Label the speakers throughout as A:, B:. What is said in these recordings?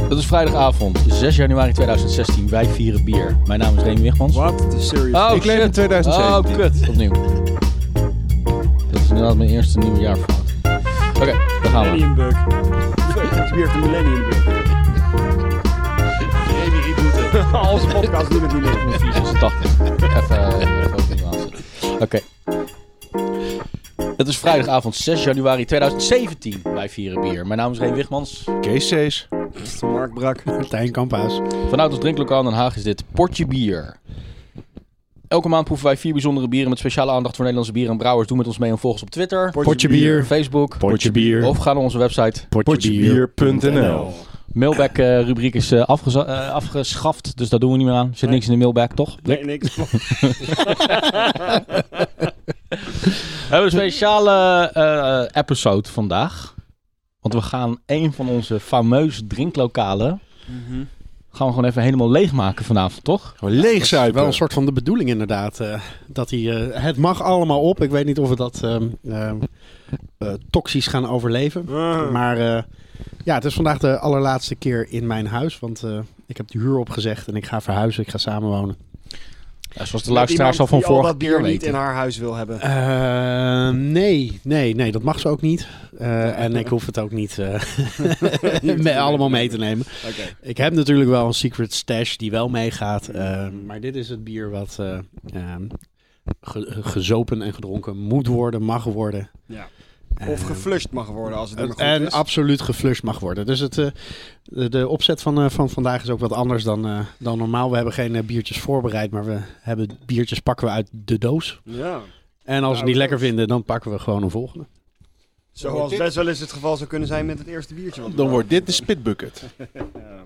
A: Het is vrijdagavond, 6 januari 2016. Wij vieren bier. Mijn naam is Remy Wichmans.
B: What the serious
A: Oh,
B: Ik leef in
A: shit.
B: 2017.
A: Oh, kut. Opnieuw. Dat is inderdaad mijn eerste nieuwe jaarfout. Oké, daar gaan we.
C: Millennium Bug. Het is weer de Millennium Bug. Jamie rebooten. Al zijn podcast doen het niet meer.
A: 86. Even, even opnieuw aanzetten. Oké. Het is vrijdagavond 6 januari 2017. Wij vieren bier. Mijn naam is Reen Wichmans.
B: Kees Sees.
C: Mark Brak.
D: Martijn Kamphuis.
A: Vanuit ons drinklokaal in Den Haag is dit Portje Bier. Elke maand proeven wij vier bijzondere bieren met speciale aandacht voor Nederlandse bieren en brouwers. Doe met ons mee en volg ons op Twitter,
D: Potje bier.
A: Facebook
D: Potje bier.
A: of ga naar onze website.
B: Potjebier.nl
A: Mailback eh, rubriek is eh, afgeza- eh, afgeschaft, dus dat doen we niet meer aan. Zit
C: Nee.
A: niks in de mailback, toch?
C: Nee, niks.
A: We hebben een speciale eh, episode vandaag. Want we gaan een van onze fameuze drinklokalen Mhm. gaan we gewoon even helemaal leegmaken vanavond, toch?
B: Gewoon leegzuipen.
D: Wel een soort van de bedoeling inderdaad. eh, dat hij, eh, het mag allemaal op. Ik weet niet of we dat ehm, ehm, eh, toxisch gaan overleven. Maar eh, ja, het is vandaag de allerlaatste keer in mijn huis. Want eh, ik heb de huur opgezegd en ik ga verhuizen. Ik ga samenwonen.
A: Ja, zoals de luisteraars al van
C: voor
A: vorige
C: dat bier
A: keer
C: niet in
A: weten.
C: haar huis wil hebben.
D: Eh, nee, nee, nee. Dat mag ze ook niet. Eh, en ik hoef het ook niet eh, me- allemaal mee te nemen.
C: Oké.
D: Ik heb natuurlijk wel een secret stash die wel meegaat. eh, maar dit is het bier wat eh, ehm, ge- gezopen en gedronken moet worden, mag worden.
C: Ja. Of
D: Eh,
C: geflushed mag worden als het
D: en-
C: maar goed
D: en
C: is.
D: absoluut geflushed mag worden. Dus het, eh, de, de opzet van, eh, van vandaag is ook wat anders dan, eh, dan normaal. We hebben geen eh, biertjes voorbereid, maar we hebben biertjes pakken we uit de doos.
C: ja.
D: En als we het
C: Nou,
D: niet
C: dat-
D: lekker vinden, dan pakken we gewoon een volgende.
C: Zoals best wel eens het geval zou kunnen zijn met het eerste biertje. wat we
B: Dan wordt
C: maken.
B: dit de spitbucket.
C: Ja,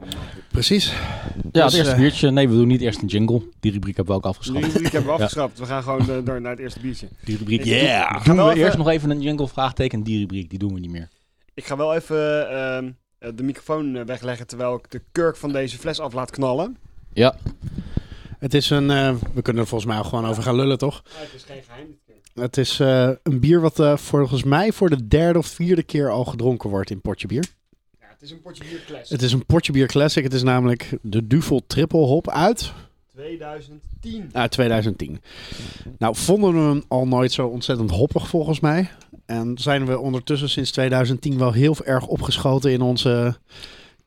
C: man.
D: Precies.
A: Ja, het
D: Dus,
A: eerste
D: eh,
A: biertje. Nee, we doen niet eerst een jingle. Die rubriek hebben we ook
C: Die
A: afgeschaft.
C: rubriek hebben we afgeschrapt. We gaan gewoon eh, door naar het eerste biertje.
A: Die rubriek.
B: Yeah.
A: Doen
C: Gaan
A: we
C: we even-
A: eerst nog even een jingle vraagteken die rubriek, die doen we niet meer.
C: Ik ga wel even ehm, eh, de microfoon eh, wegleggen terwijl ik de kurk van deze fles af laat knallen.
A: Ja,
D: Het is een, eh, we kunnen er volgens mij ook gewoon over gaan lullen, toch?
C: Ah, Het is geen geheim.
D: Het is eh, een bier wat eh, volgens mij voor de derde of vierde keer al gedronken wordt in potje bier.
C: Ja, het is een potje bierkles.
D: Het is een potje bier classic. Het is namelijk de Duvel Triple Hop uit,
C: 2010.
D: uit 2010. Nou, vonden we hem al nooit zo ontzettend hoppig volgens mij. En zijn we ondertussen sinds 2010 wel heel erg opgeschoten in onze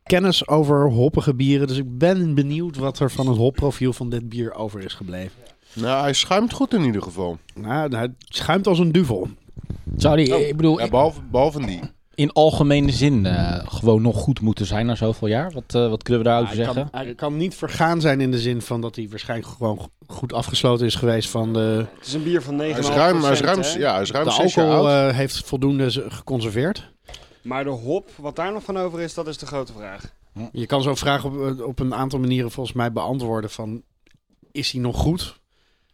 D: kennis over hoppige bieren. Dus ik ben benieuwd wat er van het hopprofiel van dit bier over is gebleven.
B: Nou, hij schuimt goed in ieder geval.
D: Nou, hij schuimt als een duvel.
A: zou die, ik bedoel,
B: Ja, behalve, behalve die.
A: in algemene zin eh, gewoon nog goed moeten zijn na zoveel jaar? Wat, eh, wat kunnen we daarover
D: hij,
A: zeggen?
D: Kan, hij kan niet vergaan zijn in de zin van dat hij waarschijnlijk gewoon go- goed afgesloten is geweest van de,
C: Het is een bier van 9,5%.
B: Hij is ruim, hij is ruim,
C: hè?
B: ja, hij is ruim
D: de
B: zes jaar
D: alcohol.
B: oud.
D: eh, heeft voldoende z- geconserveerd.
C: Maar de hop, wat daar nog van over is, dat is de grote vraag.
D: Je kan zo'n vraag op, eh, op een aantal manieren volgens mij beantwoorden van is hij nog goed?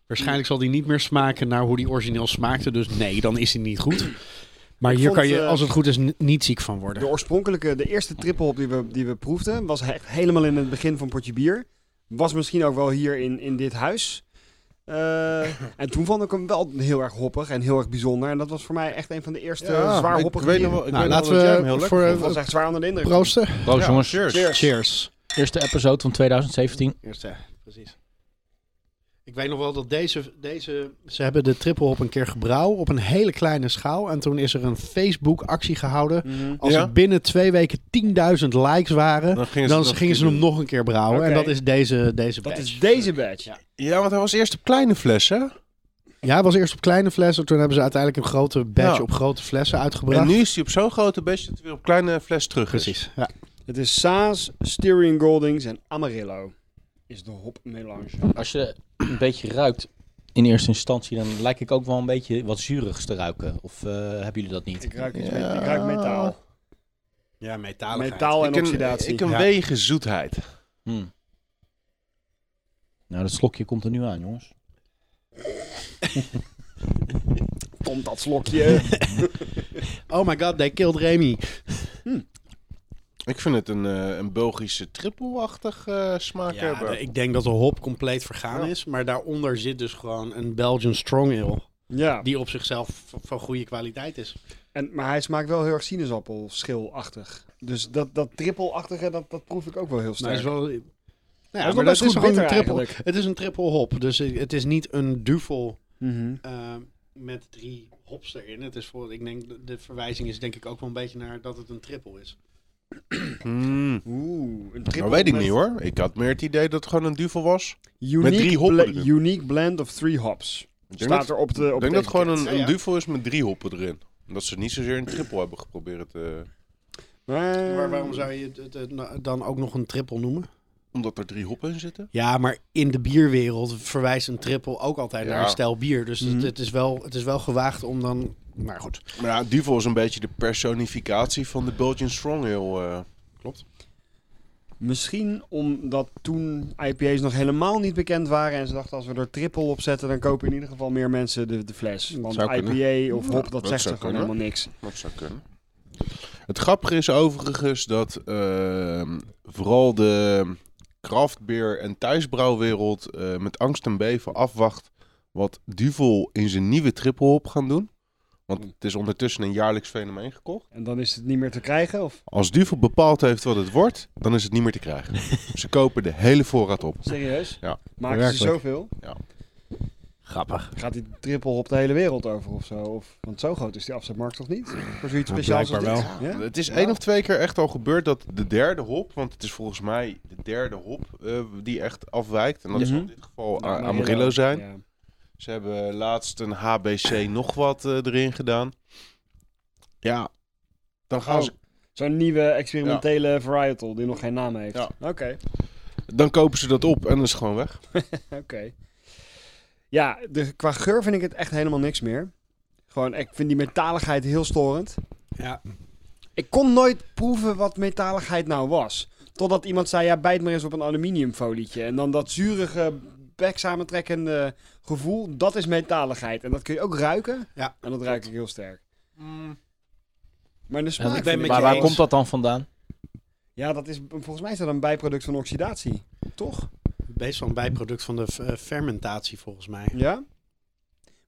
D: Waarschijnlijk zal hij niet meer smaken naar hoe die origineel smaakte. Dus nee, dan is hij niet goed. Maar
C: Ik
D: hier
C: vond,
D: kan je,
C: eh,
D: als het goed is, n- niet ziek van worden.
C: De oorspronkelijke, de eerste trippelhop die we, die we proefden, was echt helemaal in het begin van Potje Bier. Was misschien ook wel hier in, in dit huis. Eh, en toen vond ik hem wel heel erg hoppig en heel erg bijzonder. En dat was voor mij echt een van de eerste
B: Ja,
C: zwaar
B: ik
C: hoppige
B: weet nog
C: bieren.
B: wel,
D: Nou,
B: ik weet nog
D: laten
B: wel dat jij hem
D: we
B: heel lekker
D: voor-
B: vond.
C: Ik was echt zwaar onder de indruk.
D: Proosten.
A: Proost
B: Ja,
A: jongens.
B: cheers.
C: Cheers.
D: eh, Cheers.
A: Eerste episode van 2017.
D: Eerste, precies. Ik weet nog wel dat deze, deze... Ze hebben de triple op een keer gebrouwen op een hele kleine schaal. En toen is er een Facebook actie gehouden.
C: Mhm.
D: Als
B: Ja.
D: er binnen twee weken 10.000 likes waren,
B: Dan gingen
D: dan gingen ze hem nog een keer brouwen. En
C: Oké.
D: dat is deze, deze
C: Dat
D: batch.
C: is deze badge.
B: Ja, want hij was eerst op kleine flessen.
D: Ja, hij was eerst op kleine flessen. Toen hebben ze uiteindelijk een grote batch
B: Ja.
D: op grote flessen uitgebracht.
B: En nu is hij op zo'n grote bestje dat hij weer op kleine fles terug is.
D: Precies, ja.
C: Het is Saas, Styrian Goldings en Amarillo. Is de hop melange.
A: Als je een beetje ruikt in eerste instantie, dan lijk ik ook wel een beetje wat zurigs te ruiken. Of eh, hebben jullie dat niet?
C: Ik ruik, iets
B: Ja.
C: met- ik ruik metaal.
D: Ja, metaligheid.
C: Metaal en
B: Ik een,
C: oxidatie.
B: ik een
D: Ja.
B: wegen zoetheid.
A: Hmm. Nou, dat slokje komt er nu aan, jongens.
C: Komt dat slokje.
D: Oh my god, they killed Remy.
B: Ik vind het een, eh, een Belgische trippelachtig eh smaak
D: Ja,
B: hebben.
D: de- ik denk dat de hop compleet vergaan
B: Ja.
D: is. Maar daaronder zit dus gewoon een Belgian strong ale.
C: ja.
D: die op zichzelf v- van goede kwaliteit is.
C: En, maar hij smaakt wel heel erg sinaasappelschilachtig. Dus dat, dat trippelachtige, dat, dat proef ik ook wel heel
D: Nou,
C: sterk.
D: is wel...
C: Hij
D: Ja,
C: is
D: maar
C: nog
D: dat
C: best
D: is
C: goed
D: gewoon een
C: bitter
D: triple.
C: eigenlijk.
D: Het is een triple hop, dus eh, het is niet een duvel
C: Mhm.
D: eh, met drie hops erin. Het is voor, ik denk, de- de verwijzing is denk ik ook wel een beetje naar dat het een triple is.
B: Mm.
C: Oeh, een
B: Nou
C: triple
B: weet ik
C: met
B: niet hoor. Ik had meer het idee dat het gewoon een duvel was.
C: Unique,
B: Met drie hoppen
C: bla-
B: erin.
C: unique blend of three hops.
B: Ik denk
C: Staat
B: dat,
C: er op de
B: ik
C: op
B: denk
C: de
B: dat het gewoon
C: etiket.
B: een,
D: Ja, ja.
B: een duvel is met drie hoppen erin. Dat ze niet zozeer een triple hebben geprobeerd. eh,
C: Maar,
D: Maar waarom zou je het, het- het nou dan ook nog een triple noemen?
B: omdat er drie hoppen in zitten.
D: Ja, maar in de bierwereld verwijst een triple ook altijd
B: Ja.
D: naar een stijl bier. Dus het-
C: Mhm.
D: het, is wel, het is wel gewaagd om dan... Maar goed.
B: Maar ja, duvel is een beetje de personificatie van de Belgian Strong Ale. eh.
C: Misschien omdat toen IPA's nog helemaal niet bekend waren en ze dachten als we er triple op zetten, dan kopen in ieder geval meer mensen de, de fles. Want
B: zou
C: IPA
B: kunnen.
C: of
B: Ja,
C: hop, dat,
B: dat
C: zegt
B: zou
C: er gewoon
B: kunnen.
C: helemaal niks.
B: Dat zou kunnen. Het grappige is overigens dat ehm, vooral de craftbeer en thuisbrouwwereld eh, met angst en beven afwacht wat Duvel in zijn nieuwe trippelhop gaan doen. Want het is ondertussen een jaarlijks fenomeen gekocht.
C: En dan is het niet meer te krijgen of
B: Als Duvel bepaald heeft wat het wordt, dan is het niet meer te krijgen. Ze kopen de hele voorraad op.
C: serieus?
B: Ja.
C: Maken ze
A: Werkelijk.
C: zoveel?
A: Grappig.
C: Gaat die triple hop de hele wereld over of zo? Of, want zo groot is die afzetmarkt toch niet? Voor zoiets
D: Ja,
C: speciaals als
D: blijkbaar
C: dit? Ja?
B: Het is één of twee keer echt al gebeurd dat de derde hop, want het is volgens mij de derde hop eh, die echt afwijkt. En dat zou in
C: Mhm.
B: dit geval A- Amarillo zijn.
C: Ja.
B: Ze hebben laatst een HBC nog wat eh, erin gedaan. Ja, dan gaan
C: Oh.
B: ze,
C: Zo'n nieuwe experimentele varietal die nog geen naam heeft.
B: Ja.
C: Oké.
B: dan kopen ze dat op en dan is het gewoon weg.
C: Oké. Ja, de, qua geur vind ik het echt helemaal niks meer. Gewoon, ik vind die metaligheid heel storend.
D: Ja.
C: Ik kon nooit proeven wat metaligheid nou was. Totdat iemand zei, ja, bijt maar eens op een aluminiumfolietje. En dan dat zurige, bek samentrekkende gevoel, dat is metaligheid. En dat kun je ook ruiken.
D: Ja.
C: En dat ruik ik heel sterk. Maar de smaak
D: ik ben
C: vind ik
D: met je
A: Maar
C: wel
A: waar
D: eens.
A: komt dat dan vandaan?
C: Ja, dat is, volgens mij is dat een bijproduct van oxidatie. Toch?
D: Best wel een bijproduct van de eh, fermentatie volgens mij.
C: Ja?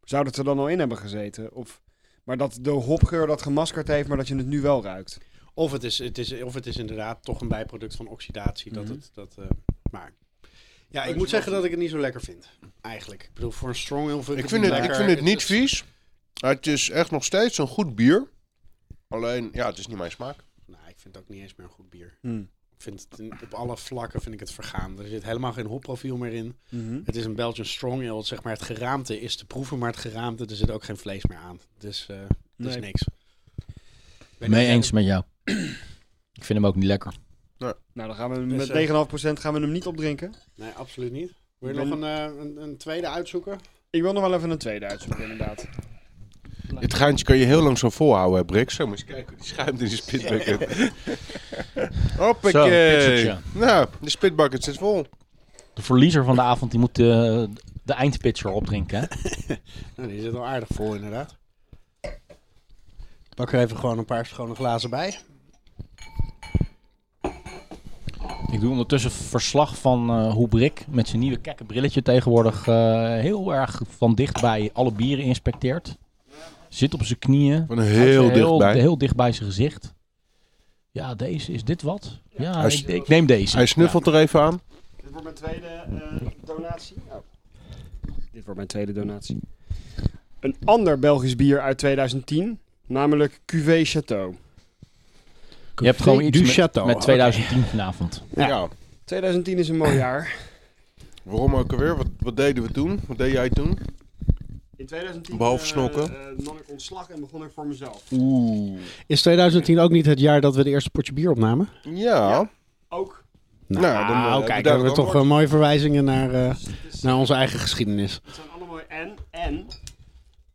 C: Zou dat er dan al in hebben gezeten? Of, maar dat de hopgeur dat gemaskerd heeft, maar dat je het nu wel ruikt.
D: Of het is, het is, of het is inderdaad toch een bijproduct van oxidatie. Dat
C: Mhm.
D: het, dat, eh, maar ja, ik moet zeggen dat ik het niet zo lekker vind. Eigenlijk. Ik bedoel, voor een strong heel
B: Ik vind het, ik vind het niet vies. Het is echt nog steeds een goed bier. Alleen, ja, het is niet mijn smaak.
D: Nou, ik vind het ook niet eens meer een goed bier.
C: Hm.
D: Ik vind het in- op alle vlakken vind ik het vergaan. Er zit helemaal geen hopprofiel meer in.
C: Mhm.
D: Het is een Belgian strong ale. Zeg maar, het geraamte is te proeven, maar het geraamte, er zit ook geen vlees meer aan. Dus eh dat is
C: Nee.
D: niks. Ben
A: Mee
D: ik-
A: eens met jou. Ik vind hem ook niet lekker.
C: Nou, dan gaan we
D: Dus,
C: met
D: eh,
C: 9,5% gaan we hem niet opdrinken.
D: Nee, absoluut niet. Wil je
C: Ben-
D: nog een, eh, een, een tweede uitzoeken?
C: Ik wil nog wel even een tweede uitzoeken, inderdaad.
B: Dit geintje kan je heel lang zo volhouden, hè, Brik. Zo, moet je eens kijken hoe die schuimt in die spitbucket.
A: Zo,
B: Hoppakee.
A: pitchertje.
B: Nou, de spitbucket zit vol.
A: De verliezer van de avond die moet de, de eindpitcher opdrinken. Hè?
D: Nou, die zit al aardig vol inderdaad. Ik Pak er even gewoon een paar schone glazen bij.
A: Ik doe ondertussen verslag van eh, hoe Brik met zijn nieuwe kekke brilletje tegenwoordig eh, heel erg van dichtbij alle bieren inspecteert. Zit op zijn knieën.
B: Van heel
A: Houdt ze
B: dichtbij.
A: Heel dicht bij zijn gezicht. Ja, deze. Is dit wat? Ja,
B: Hij
A: ik, ik neem deze.
B: Hij snuffelt er even aan.
C: Dit wordt mijn tweede eh, donatie. Oh. Dit wordt mijn tweede donatie. Een ander Belgisch bier uit 2010, namelijk Cuvée Château.
A: Je hebt gewoon
D: Du
A: iets met,
D: Château.
A: met 2010 vanavond.
D: Ja.
B: ja.
C: 2010 is een mooi jaar.
B: Waarom ook alweer? Wat, wat deden we toen? Wat deed jij toen?
C: In 2010
B: Behalve
C: eh,
B: snokken.
C: eh, nam ik ontslag en begon ik voor mezelf.
B: Oeh.
D: Is 2010 ook niet het jaar dat we de eerste potje bier opnamen?
B: Ja.
C: Ja. Ook
D: Nou,
B: dan, eh, hebben we
D: kijk,
B: daar
D: hebben we
B: een
D: toch
B: antwoord.
D: eh, mooie verwijzingen naar, eh,
C: Dus het is-
D: naar onze eigen geschiedenis.
C: Het zijn allemaal en. En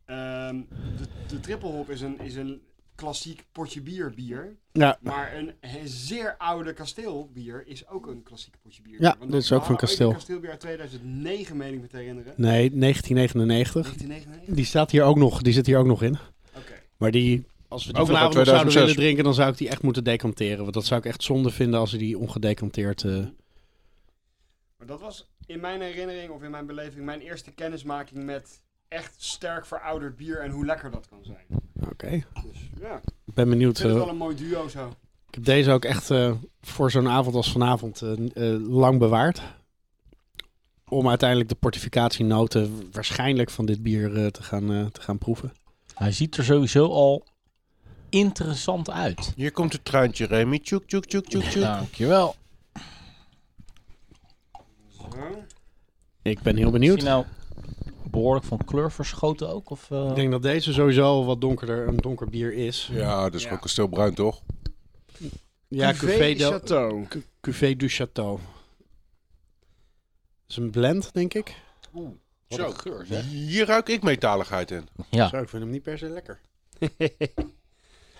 C: ehm, de, de trippelhop is een, is een klassiek potje bier bier.
D: Ja,
C: Maar een, he- zeer oude kasteelbier is ook een klassiek potje bier.
D: Ja,
C: Want
D: dit is ook
C: we
D: van
C: hadden ooit
D: kasteel.
C: een kasteelbier uit 2009, meen ik me te herinneren.
D: nee, 1999.
C: 1999?
D: Die staat hier ook nog, die zit hier ook nog in.
C: Oké.
D: Maar die, als we die
B: Ook nog uit
D: vanavond nog zouden
B: 2006.
D: willen drinken, dan zou ik die echt moeten decanteren. Want dat zou ik echt zonde vinden als we die ongedecanteerd... eh,
C: Maar dat was in mijn herinnering of in mijn beleving mijn eerste kennismaking met echt sterk verouderd bier en hoe lekker dat kan zijn.
D: Oké.
C: Dus ja, ik
D: Ik ben benieuwd.
C: vind het
D: eh,
C: wel een mooi duo zo.
D: ik heb deze ook echt eh, voor zo'n avond als vanavond eh, n- eh, lang bewaard. Om uiteindelijk de portificatienoten waarschijnlijk van dit bier eh, te, gaan, eh, te gaan proeven.
A: Hij ziet er sowieso al interessant uit.
B: Hier komt het truintje, Remy. Tjoek, tjoek, tjoek, tjoek, tjoek.
A: Dankjewel.
C: Zo.
D: Ik ben heel
A: Is hij
D: benieuwd.
A: nou behoorlijk van kleur verschoten ook? Of, eh?
D: Ik denk dat deze sowieso al wat donkerder een donker bier is.
B: Ja, dat is
C: Ja.
B: ook een stil bruin, toch?
D: Ja, Cuvée,
C: Cuvée
D: del-
C: Chateau.
D: Cu- Cuvée du Château. Dat is een blend, denk ik.
A: Wat een geur, zeg.
B: Hier ruik ik metaligheid in.
A: Ja.
D: Zo, ik vind hem niet per se lekker.
A: Nee,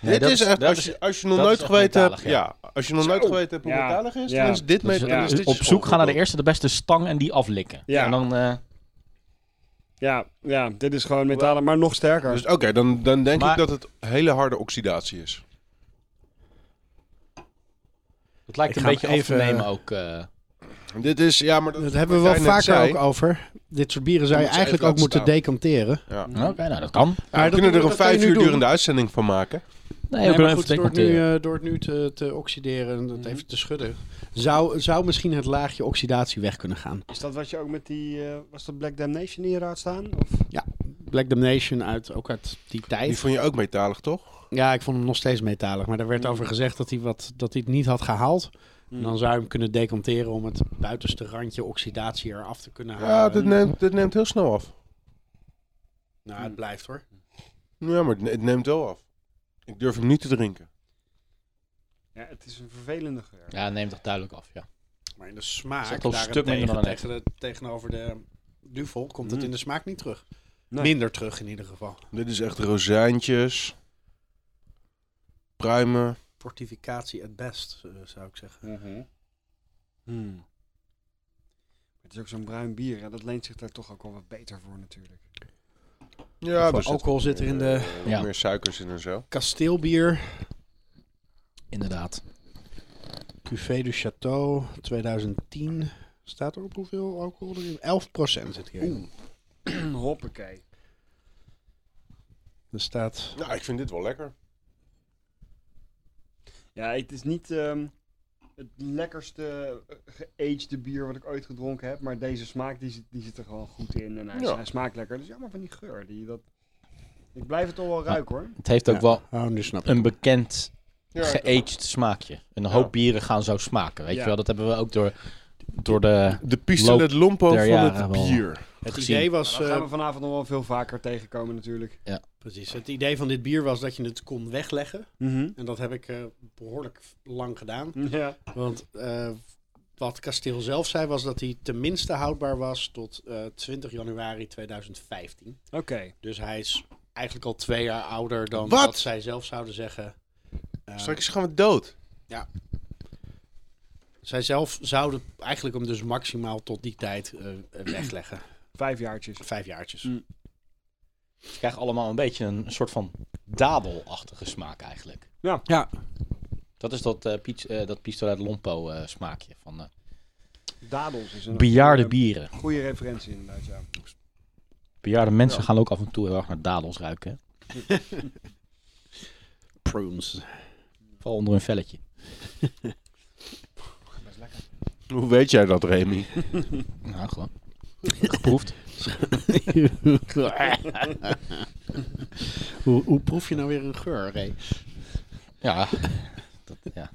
B: dit
A: dat
B: is
A: is-
B: echt,
A: dat
B: als
A: is-
B: je, als je nog
A: dat is
B: nooit
A: echt
B: geweten hebt,
A: metalig,
B: ja. als je nog nooit
C: Zo.
B: geweten hebt hoe
C: Ja.
B: metalig is,
C: Ja.
B: dan is dit
A: Dat is-
B: meta- dan is
A: dus
B: dit
A: op zoek gaan naar de
B: schoolvoorbeeld.
A: eerste de beste stang en die aflikken.
C: Ja.
A: En dan, eh,
C: Ja, ja, dit is gewoon metalen, maar nog sterker.
B: Dus oké, dan, dan denk
A: Maar-
B: ik dat het hele harde oxidatie is.
A: het lijkt
D: Ik
A: een
D: ga
A: beetje
D: hem
A: af te
D: even-
A: nemen ook. eh.
B: Dit is, ja, maar dat,
D: Dat hebben we wel
B: wat jij net
D: vaker
B: zei.
D: ook over. Dit soort bieren zou je
B: moet ze
D: eigenlijk
B: even
D: ook moeten
B: laten
D: decanteren.
B: Ja.
A: Oké, nou dat kan.
B: Ja, we
D: dat
B: kunnen
D: doen-
B: er een
D: dat kan je
B: vijf
D: nu
B: uur
D: doen.
B: durende uitzending van maken.
A: Nee,
D: Nee,
A: ik wil even
D: maar goed, door het, nu,
A: decanteren.
D: eh, door het nu te, te oxideren en dat
C: Mhm.
D: even te schudden, zou, zou misschien het laagje oxidatie weg kunnen gaan.
C: Is dat wat je ook met die, eh, was dat Black Damnation die eruit staan? Of?
D: Black Damnation uit, ook uit die tijd.
B: Die vond je ook metalig, toch?
D: Ja, ik vond hem nog steeds metalig. Maar er werd over gezegd dat hij, wat, dat hij het niet had gehaald. En dan zou je hem kunnen decanteren om het buitenste randje oxidatie eraf te kunnen halen.
B: Ja, dit neemt, dit neemt heel snel af.
D: Nou, het blijft hoor.
B: Ja, maar het ne- het neemt wel af. Ik durf hem niet te drinken.
C: Ja, het is een vervelende geur.
A: eh, Ja, neem toch duidelijk af, ja.
D: Maar in de smaak,
A: Zegt al een stuk
D: daarentegen,
A: minder dan net.
D: tegen de, tegenover de duvel, komt het
C: Mm.
D: in de smaak niet terug.
C: Nee.
D: Minder terug in ieder geval.
B: Dit is echt rozijntjes. Pruimen.
D: Fortificatie at best, eh, zou ik zeggen.
C: Mhm. Hmm. Het is ook zo'n bruin bier en dat leent zich daar toch ook wel wat beter voor natuurlijk.
B: Ja, dus
D: Hoeveel alcohol zit er in de-
B: eh,
A: Ja.
B: Meer suikers in en zo.
D: Kasteelbier,
A: Inderdaad.
D: Cuvée du Château 2010. Staat er op hoeveel alcohol erin? 11% zit hier.
C: Hoppakee.
D: Er staat
B: Nou, ik vind dit wel lekker.
C: Ja, het is niet ehm, het lekkerste eh, geagede bier wat ik ooit gedronken heb, maar deze smaak die zit, die zit er gewoon goed in en hij,
B: Ja.
C: hij smaakt lekker. Dus jammer van die geur. Die, dat... Ik blijf het toch wel ruiken hoor.
A: Het heeft ook
D: Ja.
A: wel
D: Oh, nu snap ik.
A: een bekend
B: Ja,
C: Nou,
A: geaged smaakje. Een hoop bieren gaan zo smaken, weet
C: Ja.
A: je wel. Dat hebben we ook door, door de...
B: de
A: Loop
B: pistolet lompo
A: der
B: van
A: jaren
B: het
A: wel.
B: bier.
D: Het
A: gezien.
D: idee
C: Maar
D: was...
C: dat
D: eh,
C: Nou, gaan we vanavond nog wel veel vaker tegenkomen natuurlijk.
D: Precies. Het idee van dit bier was dat je het kon wegleggen.
C: Mhm.
D: En dat heb ik eh, behoorlijk lang gedaan.
C: Ja.
D: Want eh, wat Kasteel zelf zei was dat hij tenminste houdbaar was tot eh, 20 januari 2015.
C: Oké.
D: Dus hij is eigenlijk al twee jaar ouder dan
B: Wat?
D: wat zij zelf zouden zeggen. Eh,
B: Straks gaan we dood.
D: Zij zelf zouden eigenlijk hem dus maximaal tot die tijd eh, wegleggen.
C: Vijf jaartjes.
D: Vijf jaartjes.
C: Mm.
A: Je krijgt allemaal een beetje een soort van dadel-achtige smaak eigenlijk.
D: Ja.
A: Dat is dat, eh piet, eh, dat pistolet lompo eh, smaakje van eh,
C: Dadels is een
A: bejaarde
C: goede-
A: bieren.
C: Goede referentie inderdaad, ja.
A: Bejaarde mensen gaan ook af en toe heel erg naar dadels ruiken. hè.
D: Prunes.
A: Vooral onder een velletje.
C: Best lekker.
B: Hoe weet jij dat, Remy?
A: Nou, gewoon. Geproefd.
D: hoe, hoe proef je nou weer een geur, Ray?
A: Ja. Dat, ja.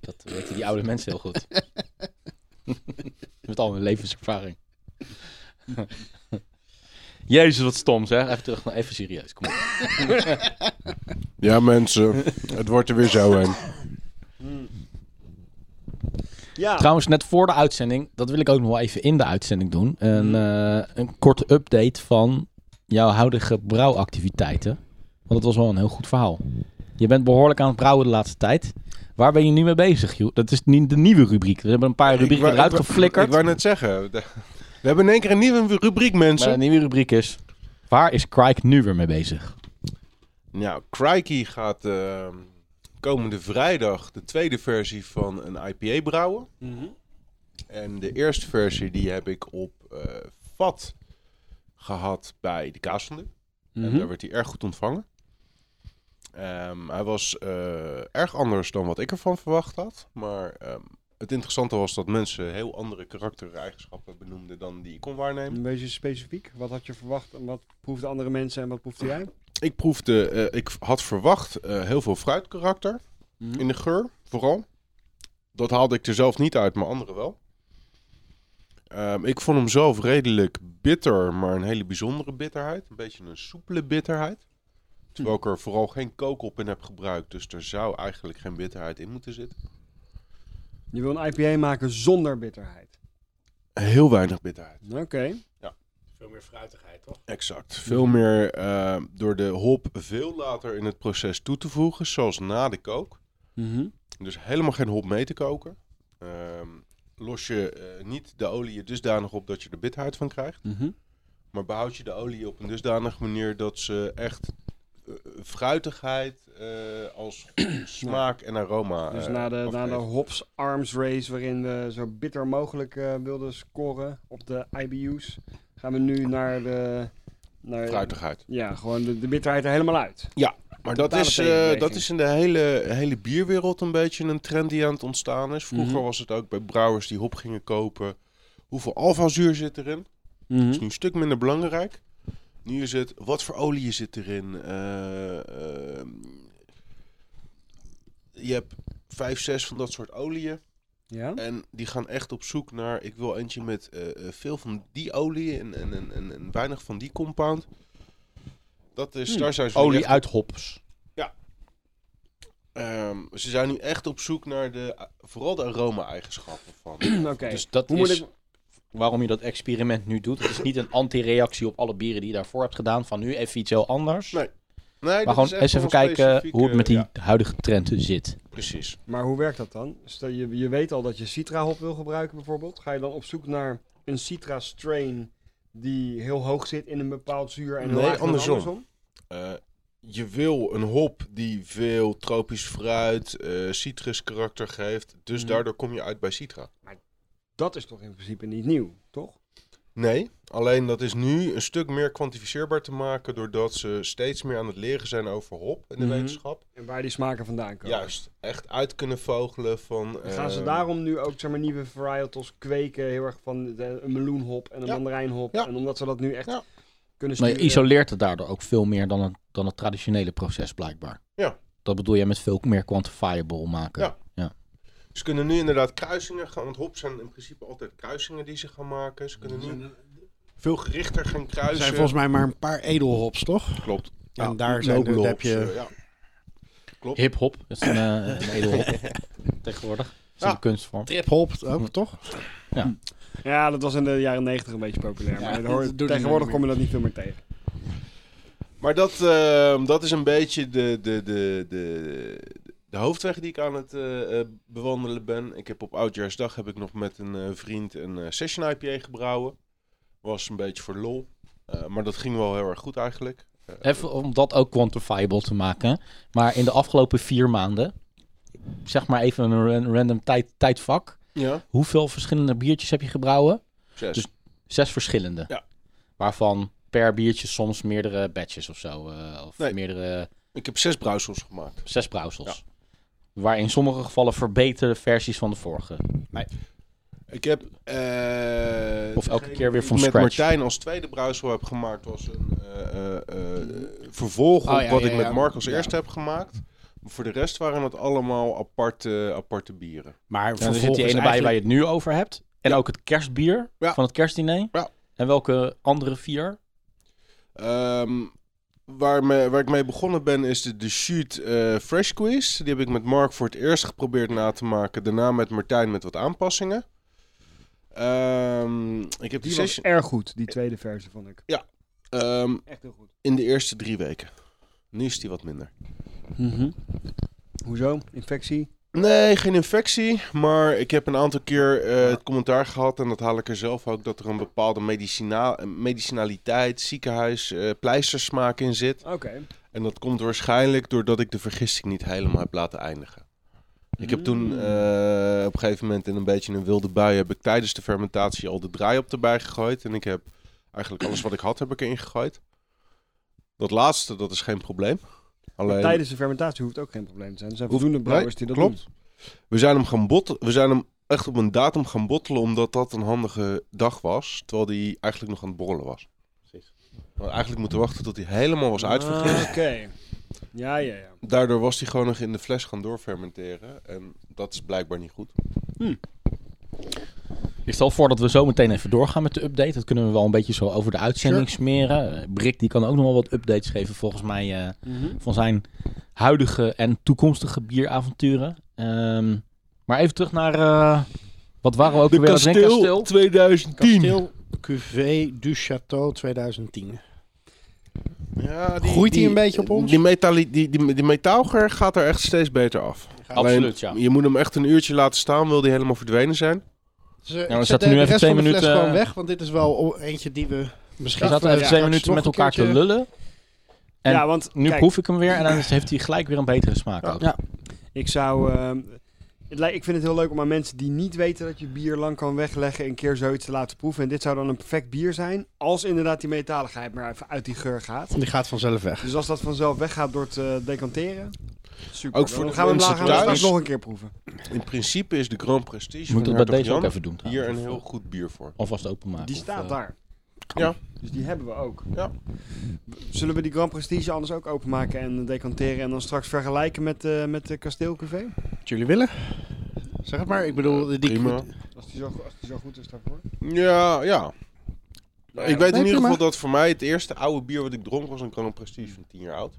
A: dat weten die oude mensen heel goed. Met al hun levenservaring. Jezus, wat stom zeg. Even terug, even serieus. Kom op.
B: Ja, mensen. Het wordt er weer zo heen.
C: Ja.
A: Trouwens, net voor de uitzending, dat wil ik ook nog wel even in de uitzending doen. Een, eh, een korte update van jouw huidige brouwactiviteiten. Want dat was wel een heel goed verhaal. Je bent behoorlijk aan het brouwen de laatste tijd. Waar ben je nu mee bezig, joh? Dat is niet de nieuwe rubriek. We hebben een paar
B: Ik
A: rubrieken
B: wou-
A: eruit
B: ik wou-
A: geflikkerd.
B: Ik wou net zeggen. de- We hebben in één keer een nieuwe rubriek,
A: Maar een
B: mensen.
A: nieuwe rubriek is... Waar is Crike nu weer mee bezig?
B: Nou, Crikey gaat ehm, komende vrijdag de tweede versie van een IPA brouwen.
C: Mhm.
B: En de eerste versie die heb ik op eh, vat gehad bij de Kaasvender.
A: Mhm.
B: En daar werd hij erg goed ontvangen. Ehm, hij was eh, erg anders dan wat ik ervan verwacht had. Maar ehm, het interessante was dat mensen heel andere karaktereigenschappen benoemden dan die ik kon waarnemen.
C: Een beetje specifiek. Wat had je verwacht en wat proefden andere mensen en wat proefde jij?
B: Ik proefde, eh, ik had verwacht eh, heel veel fruitkarakter in de geur, vooral. Dat haalde ik er zelf niet uit, maar anderen wel. Ehm, ik vond hem zelf redelijk bitter, maar een hele bijzondere bitterheid. Een beetje een soepele bitterheid. Terwijl ik er vooral geen kookop in heb gebruikt, dus er zou eigenlijk geen bitterheid in moeten zitten.
C: Je wil een IPA maken zonder bitterheid.
B: Heel weinig bitterheid.
C: Oké.
E: Veel meer fruitigheid, toch?
B: Exact. Veel meer eh, door de hop veel later in het proces toe te voegen, zoals na de kook. Dus helemaal geen hop mee te koken. Ehm, los je eh, niet de olie dusdanig op dat je er bitterheid van krijgt. Maar behoud je de olie op een dusdanige manier dat ze echt eh, fruitigheid eh, als smaak en aroma.
C: Dus
B: eh,
C: na de, na de
B: afgeeft.
C: Hops Arms Race, waarin we zo bitter mogelijk eh, wilden scoren op de IBU's, gaan we nu naar de... Naar,
B: fruitigheid.
C: Ja, gewoon de, de bitterheid er helemaal uit.
B: Maar dat
C: Totale
B: is, eh,
C: tegenbeweging.
B: dat is in de hele, hele bierwereld een beetje een trend die aan het ontstaan is. Vroeger
C: Mhm.
B: was het ook bij brouwers die hop gingen kopen. Hoeveel alfazuur zit erin? is nu een stuk minder belangrijk. Nu is het, wat voor olie zit erin? Eh, ehm, je hebt vijf, zes van dat soort olieën.
C: Ja?
B: En die gaan echt op zoek naar, ik wil eentje met eh, eh, veel van die olie en, en, en, en, en weinig van die compound. Dat is, daar zijn ze nu
A: Hmm. Olie
B: echt-
A: uit hops.
B: ehm, ze zijn nu echt op zoek naar de, vooral de aroma-eigenschappen van.
C: Oké.
A: Dus dat
C: Hoe
A: is
C: moet ik...
A: waarom je dat experiment nu doet. Het is niet een anti-reactie op alle bieren die je daarvoor hebt gedaan. Van nu even iets heel anders.
B: Nee, Nee,
A: maar
B: dat
A: gewoon
B: is echt
A: eens even
B: wel een
A: kijken hoe het met die
B: specifieke- Dus
A: huidige trend zit.
B: ja, precies.
C: Maar hoe werkt dat dan? Stel, je, je weet al dat je citrahop wil gebruiken bijvoorbeeld. Ga je dan op zoek naar een citra strain die heel hoog zit in een bepaald zuur en heel
B: Nee,
C: laag in een
B: andersom.
C: andersom?
B: Eh, je wil een hop die veel tropisch fruit, eh citrus karakter geeft. Dus
C: Mhm.
B: daardoor kom je uit bij citra.
C: Dat is toch in principe niet nieuw, toch?
B: Nee, alleen dat is nu een stuk meer kwantificeerbaar te maken... doordat ze steeds meer aan het leren zijn over hop in de
C: Mhm.
B: wetenschap.
C: En waar die smaken vandaan komen.
B: Juist, echt uit kunnen vogelen van...
C: Dan gaan ze
B: eh,
C: daarom nu ook zeg maar, nieuwe varietals kweken? Heel erg van de, een meloenhop en een
B: Ja.
C: mandarijnhop.
B: Ja.
C: En omdat ze dat nu echt
B: Ja.
C: kunnen
A: Maar je
C: sturen.
B: eh,
A: isoleert het daardoor ook veel meer dan het, dan het traditionele proces blijkbaar.
B: Ja.
A: Dat bedoel jij met veel meer quantifiable maken.
B: Ja. Ze kunnen nu inderdaad kruisingen gaan... want hop zijn in principe altijd kruisingen die ze gaan maken. Ze kunnen
C: Mhm.
B: nu veel gerichter gaan
D: Er
B: kruisen.
D: zijn volgens mij maar een paar edelhops, toch?
B: Klopt.
D: en daar zijn de,
B: Nobele
D: heb
B: hops, eh,
D: je...
B: ja. Klopt.
A: Hip-hop, dat is een, eh, een edelhop tegenwoordig. Dat is
B: Ja.
A: een kunstvorm.
D: Triphop
B: Mm.
D: ook, toch?
C: Ja, dat was in de jaren negentig een beetje populair. maar
D: dat
C: hoor-
D: doet het niet
C: tegenwoordig
D: meer.
C: kom je dat niet veel meer tegen.
B: Maar dat, ehm, dat is een beetje de, de, de, de, de hoofdweg die ik aan het eh, eh, bewandelen ben. Ik heb op Oudjaarsdag heb ik nog met een eh, vriend een eh, session IPA gebrouwen. Was een beetje voor lol. Eh, maar dat ging wel heel erg goed eigenlijk. Eh,
A: Even om dat ook quantifiable te maken. Maar in de afgelopen vier maanden, zeg maar even een ran- random tijd, tijdvak.
B: ja,
A: Hoeveel verschillende biertjes heb je gebrouwen?
B: zes.
A: Dus- Zes verschillende.
B: Ja.
A: Waarvan per biertje soms meerdere batches of zo. eh, of
B: Nee.
A: meerdere
B: Ik heb zes brouwsels gemaakt.
A: zes brouwsels. Waar in sommige gevallen verbeterde versies van de vorige.
B: Ik heb... eh,
A: Of elke keer weer
B: die
A: van
B: ik met
A: scratch.
B: Martijn als tweede brouwsel heb gemaakt was een eh, eh, eh, vervolg
D: Oh,
B: op
D: ja,
B: wat
D: ja,
B: ik
D: ja.
B: met Mark als
D: Ja.
B: eerste heb gemaakt. Maar voor de rest waren het allemaal aparte, aparte bieren.
D: Maar
A: En er zit die ene bij waar je het nu over hebt. En ook het kerstbier
B: Ja.
A: van het kerstdiner.
B: Ja.
A: En welke andere vier?
B: Ehm, waar, me, waar ik mee begonnen ben is de de Shoot eh, Fresh Quiz. Die heb ik met Mark voor het eerst geprobeerd na te maken. Daarna met Martijn met wat aanpassingen. Ehm, ik heb die
C: Die was
B: session
C: erg goed, die tweede versie vond ik.
B: ehm,
C: Echt heel goed.
B: in de eerste drie weken. Nu is die wat minder. Mhm.
C: Hoezo? Infectie?
B: Nee, geen infectie. Maar ik heb een aantal keer eh, het commentaar gehad. En dat haal ik er zelf ook. Dat er een bepaalde medicina medicinaliteit, ziekenhuis, eh pleistersmaak in zit.
C: Oké.
B: En dat komt waarschijnlijk doordat ik de vergisting niet helemaal heb laten eindigen. Ik heb toen eh, op een gegeven moment in een beetje een wilde bui... heb ik tijdens de fermentatie al de draai op erbij gegooid. En ik heb Eigenlijk alles wat ik had heb ik erin gegooid. Dat laatste, dat is geen probleem. Alleen,
C: Tijdens de fermentatie hoeft ook geen probleem te zijn. Er zijn
B: Hoeft-
C: voldoende brouwers
B: nee,
C: die dat
B: klopt. we zijn hem gaan botten, we zijn hem echt op een datum gaan bottelen, omdat dat een handige dag was. Terwijl die eigenlijk nog aan het borrelen was.
E: Precies.
B: We hadden eigenlijk moeten wachten tot hij helemaal was
C: doen.
B: uitvergist.
C: Ah, Oké. Ja, ja, ja.
B: Daardoor was hij gewoon nog in de fles gaan doorfermenteren. En dat is blijkbaar niet goed.
A: Ik stel voor dat we zo meteen even doorgaan met de update. Dat kunnen we wel een beetje zo over de uitzending smeren. Eh, Brik die kan ook nog wel wat updates geven volgens mij eh,
B: Mhm.
A: van zijn huidige en toekomstige bieravonturen. Ehm, maar even terug naar eh, wat waren we ook weer aan het denken? Kasteel.
B: 2010.
D: Kasteel Cuvée du Château 2010.
B: Ja,
D: Groeit hij een beetje op ons?
B: Die, metali- die, die, die metaalger gaat er echt steeds beter af.
A: Absoluut, ja.
B: Alleen, Je moet hem echt een uurtje laten staan, wil die helemaal verdwenen zijn.
D: Dus, eh, ik
A: Nou, we
D: zet
A: zaten nu
D: de
A: even
D: rest
A: twee
D: van de fles
A: minuten,
D: gewoon
A: eh,
D: weg, want dit is wel o- eentje die we
A: We
D: misschien...
A: zaten even twee minuten met elkaar te lullen. En
C: ja, want
A: Nu
C: kijk,
A: proef ik hem weer en dan is- heeft hij gelijk weer een betere smaak.
B: Ja.
A: ook.
D: Ja.
C: ik zou... ehm, het lijkt- ik vind het heel leuk om aan mensen die niet weten dat je bier lang kan wegleggen... een keer zoiets te laten proeven. En dit zou dan een perfect bier zijn. Als inderdaad die metaligheid maar even uit die geur gaat.
D: Die gaat vanzelf weg.
C: Dus als dat vanzelf weggaat door het eh, decanteren... Super.
B: Ook voor
C: dan
B: de
C: gaan we hem
B: mensen
C: later gaan we straks
B: thuis.
C: nog een keer proeven.
B: In principe is de Grand Prestige
A: Moet ik
B: van
A: dat bij
B: Hertog
A: deze ook
B: Jan
A: even doen? trouwens?
B: hier een
A: Of,
B: heel
A: eh,
B: goed bier voor.
A: Alvast openmaken.
C: Die
A: of,
C: staat
A: eh,
C: daar.
B: Ja.
C: Dus die hebben we ook.
B: Ja.
C: Zullen we die Grand Prestige anders ook openmaken en decanteren en dan straks vergelijken met, eh met de kasteelcafé?
D: Wat jullie willen? Zeg het maar. Ik bedoel, die...
B: Prima.
C: Als die zo, als die zo goed is daarvoor.
B: Ja, ja.
D: Nou
B: ik weet in ieder
D: prima.
B: geval dat voor mij het eerste oude bier wat ik dronk was een Grand Prestige van 10 jaar oud.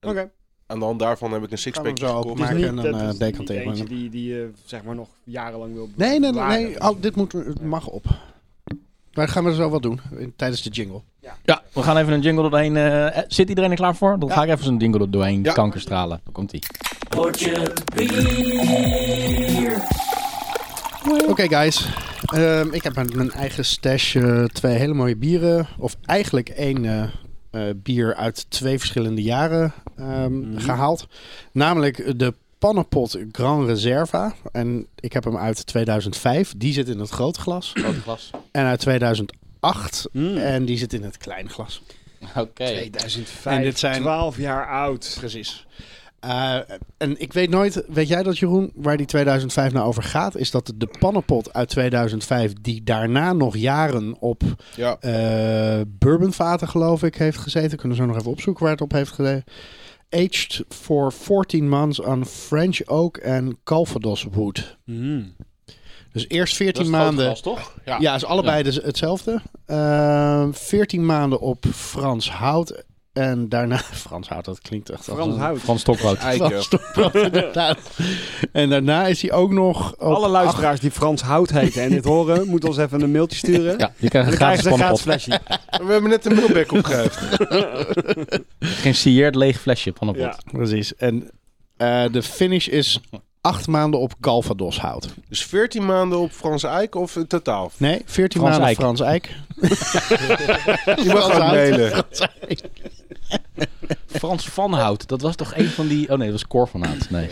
C: Oké. Dus
B: En dan daarvan heb ik een sixpack
D: Gaan we hem zo
B: gekocht.
D: openmaken.
C: niet-
D: en dan,
C: dat
D: eh,
C: is niet
D: decanteren we
C: eentje
D: hem.
C: die, die eh, zeg maar nog jarenlang wil
D: Nee, nee, nee.
C: bewaren.
D: nee. Al, dit moet, het mag op. Maar gaan we zo wat doen in- tijdens de jingle.
A: Ja, we gaan even een jingle er doorheen. eh, eh, zit iedereen er klaar voor? Dan ga ik even zo'n jingle er doorheen
B: Ja.
A: kankerstralen. Daar komt ie.
D: Oké, guys. Ehm, ik heb uit mijn eigen stash eh, twee hele mooie bieren. Of eigenlijk één eh, eh, bier uit twee verschillende jaren ehm,
A: Mhm.
D: gehaald. Namelijk de Pannenpot Grand Reserva. En ik heb hem uit 2005. Die zit in het grote glas.
A: Grote glas. Hmm.
D: En uit 2008.
C: Mm.
D: En die zit in het kleine glas.
A: Oké.
C: 2005,
D: Eh, En dit zijn-
C: 12 jaar oud.
D: Precies. Eh, en ik weet nooit, weet jij dat Jeroen, waar die 2005 nou over gaat? Is dat de pannenpot uit 2005, die daarna nog jaren op
B: Ja,
D: eh bourbonvaten, geloof ik, heeft gezeten. Kunnen we zo nog even opzoeken waar het op heeft gezeten. Aged for 14 months on French oak en Calvados wood.
A: Hmm.
D: Dus eerst 14 maanden.
A: toch?
D: ja. is allebei dus hetzelfde. Eh, 14 maanden op Frans hout. En daarna. Frans hout, dat klinkt echt als
C: Frans
D: een-
C: hout.
A: Van Stokrood.
B: eiken.
D: Frans Stokbrood, inderdaad. En daarna is hij ook nog. op
C: Alle luisteraars die Frans Hout heten en dit horen, moeten ons even een mailtje sturen.
A: Ja, je krijgt
C: En
A: een gratis
C: dan krijgen ze een gratis
A: pannenpot.
C: flesje.
B: We hebben net een mailback opgegeven.
A: Geen sieerd leeg flesje pannenpot.
C: Ja.
D: Precies. En eh, de finish is acht maanden op Calvados hout.
B: Dus 14 maanden op Frans Eik of in totaal?
D: Nee, 14
A: Frans
D: maanden
A: Eik.
D: Frans Eik.
B: Je
D: Frans
B: mag ook
D: Hout.
A: Nou,
B: mailen.
A: Frans van Hout. Dat was toch een van die... Oh nee, dat was Cor van Hout. Nee.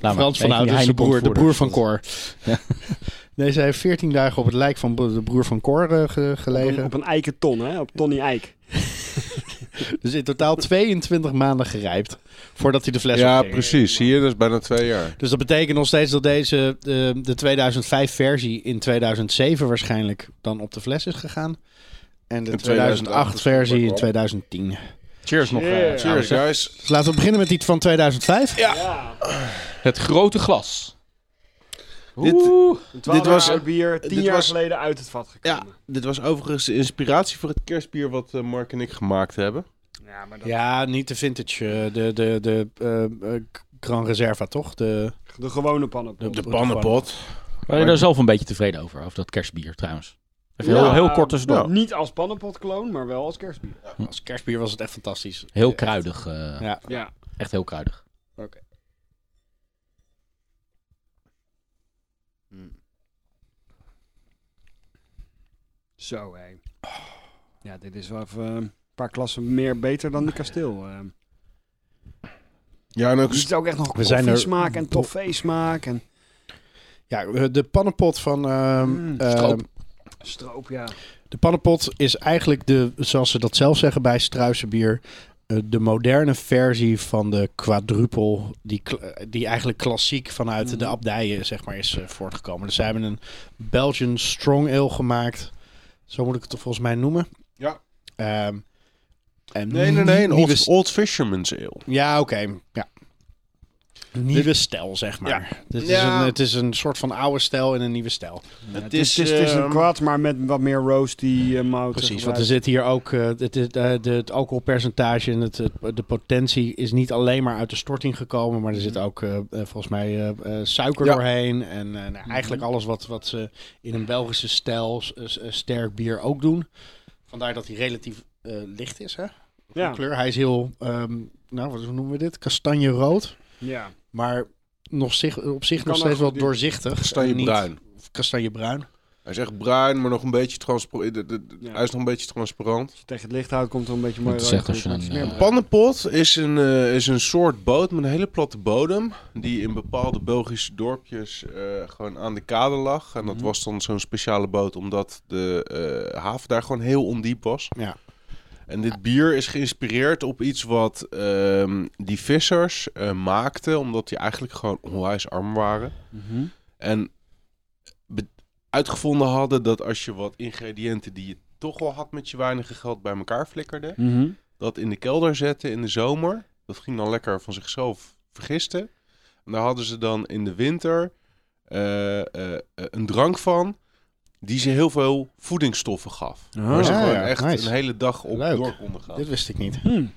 A: Laat maar.
D: Frans van
A: Nee,
D: Hout
A: die
D: is de
A: Heine
D: broer, de
A: Bondvoerder.
D: broer van Cor. Deze heeft 14 dagen op het lijk van bo- de broer van Cor eh, ge-
C: Op, een-
D: gelegen.
C: op een eikenton, hè? Op Tony Eik.
D: Dus in totaal 22 maanden gerijpt voordat hij de fles
B: Ja,
D: opging.
B: precies. Zie je, dat is bijna twee jaar.
D: Dus dat betekent nog steeds dat deze, eh, de 2005 versie in 2007 waarschijnlijk dan op de fles is gegaan. En de
B: In
D: 2008 versie in
B: wel.
D: 2010.
A: Cheers nog. eh,
C: Cheers.
B: Cheers,
A: trouwens, hè.
B: guys.
D: Dus laten we beginnen met die van 2005. Ja.
C: Ja.
A: Het grote glas.
B: Dit-
A: Oeh.
C: Een
B: Dit
C: 12 jaar
B: was-
C: oud bier, 10
B: dit
C: jaar
B: was-
C: geleden uit het vat
B: Ja,
C: gekomen.
B: dit was overigens de inspiratie voor het kerstbier wat eh, Mark en ik gemaakt hebben.
C: Ja, maar dat...
D: ja, niet de vintage, eh, de, de, de eh, eh, Grand Reserva toch? De,
C: De gewone pannen.
D: de,
A: Ben je daar zelf een beetje tevreden over? Over dat kerstbier trouwens. Even
C: Ja.
A: heel, heel kort tussendoor.
C: Nou, Niet als pannenpotkloon, maar wel als kerstbier.
D: Als kerstbier was het echt fantastisch.
A: Heel kruidig. eh,
D: Ja.
C: Ja.
A: Echt heel kruidig.
C: Zo, hé. Ja, dit is wel even eh, een paar klassen meer beter dan de kasteel. eh.
B: Ja, en ook
C: Er zit ook echt nog
D: Dus We zijn er-
C: koffiesmaak en toffee smaak en
D: Ja, eh, de pannenpot van ehm
C: Mm.
D: ehm,
A: Stroop.
C: Stroop, ja.
D: De pannenpot is eigenlijk de, zoals ze dat zelf zeggen bij Struisenbier, eh, de moderne versie van de quadrupel, die, kla- die eigenlijk klassiek vanuit
B: Mhm.
D: de abdijen zeg maar, is eh, voortgekomen. Dus zij hebben een Belgian Strong Ale gemaakt, zo moet ik het er volgens mij noemen.
B: Ja.
D: Ehm, en
B: Nee, nee, nee. Een
D: nieuwe
B: old,
D: st-
B: old Fisherman's Ale.
D: ja, oké. Ja. Nieuwe stijl, zeg maar. Dit is
B: Ja.
D: een, het is een soort van oude stijl en een nieuwe stijl.
C: Het is, het, is, het is een kwaad, maar met wat meer roasty eh, mout.
D: ehm, Precies, want er
C: gebruikt.
D: zit hier ook eh, het, is, eh, de, het alcoholpercentage en het, het- de potentie is niet alleen maar uit de storting gekomen, maar er zit ook eh, eh, volgens mij eh, eh, suiker
B: Ja.
D: doorheen en eh, nou, eigenlijk alles wat, wat ze in een Belgische stijl s- s- eh, sterk bier ook doen. Vandaar dat hij relatief eh, licht is, hè? Ja.
C: Ja.
D: Kleur. Hij is heel, ehm, nou, wat hoe noemen we dit? Kastanje rood,
C: ja.
D: maar nog zich, op zich
C: Kan
D: nog steeds
C: nog
D: wel
C: die-
D: doorzichtig.
B: Kastanje
D: en niet-
B: bruin.
D: of Kastanjebruin.
B: Hij zegt bruin, maar nog een beetje transparant.
C: Ja.
B: Hij is nog een beetje transparant.
C: Als je tegen het licht houdt, komt er een beetje mooi
A: Dat
C: rood
A: zegt als
C: uit.
A: je
C: Het is
A: een,
C: meer-
A: eh,
B: Pannenpot is een, eh, is een soort boot met een hele platte bodem. Die in bepaalde Belgische dorpjes eh, gewoon aan de kade lag. En dat
C: Mhm.
B: was dan zo'n speciale boot, omdat de eh, haven daar gewoon heel ondiep was.
D: Ja.
B: En dit bier is geïnspireerd op iets wat ehm, die vissers eh, maakten, omdat die eigenlijk gewoon onwijs arm waren.
C: Mhm.
B: En be- uitgevonden hadden dat als je wat ingrediënten die je toch wel had met je weinige geld bij elkaar flikkerde,
C: Mhm.
B: dat in de kelder zetten in de zomer. Dat ging dan lekker van zichzelf vergisten. En daar hadden ze dan in de winter eh, eh, eh, een drank van die ze heel veel voedingsstoffen gaf. waar ze
D: ja,
B: gewoon
D: Ah, ja,
B: echt
D: nice.
B: een hele dag op
D: Leuk.
B: door konden gaan.
D: Dit wist ik niet.
C: Hmm.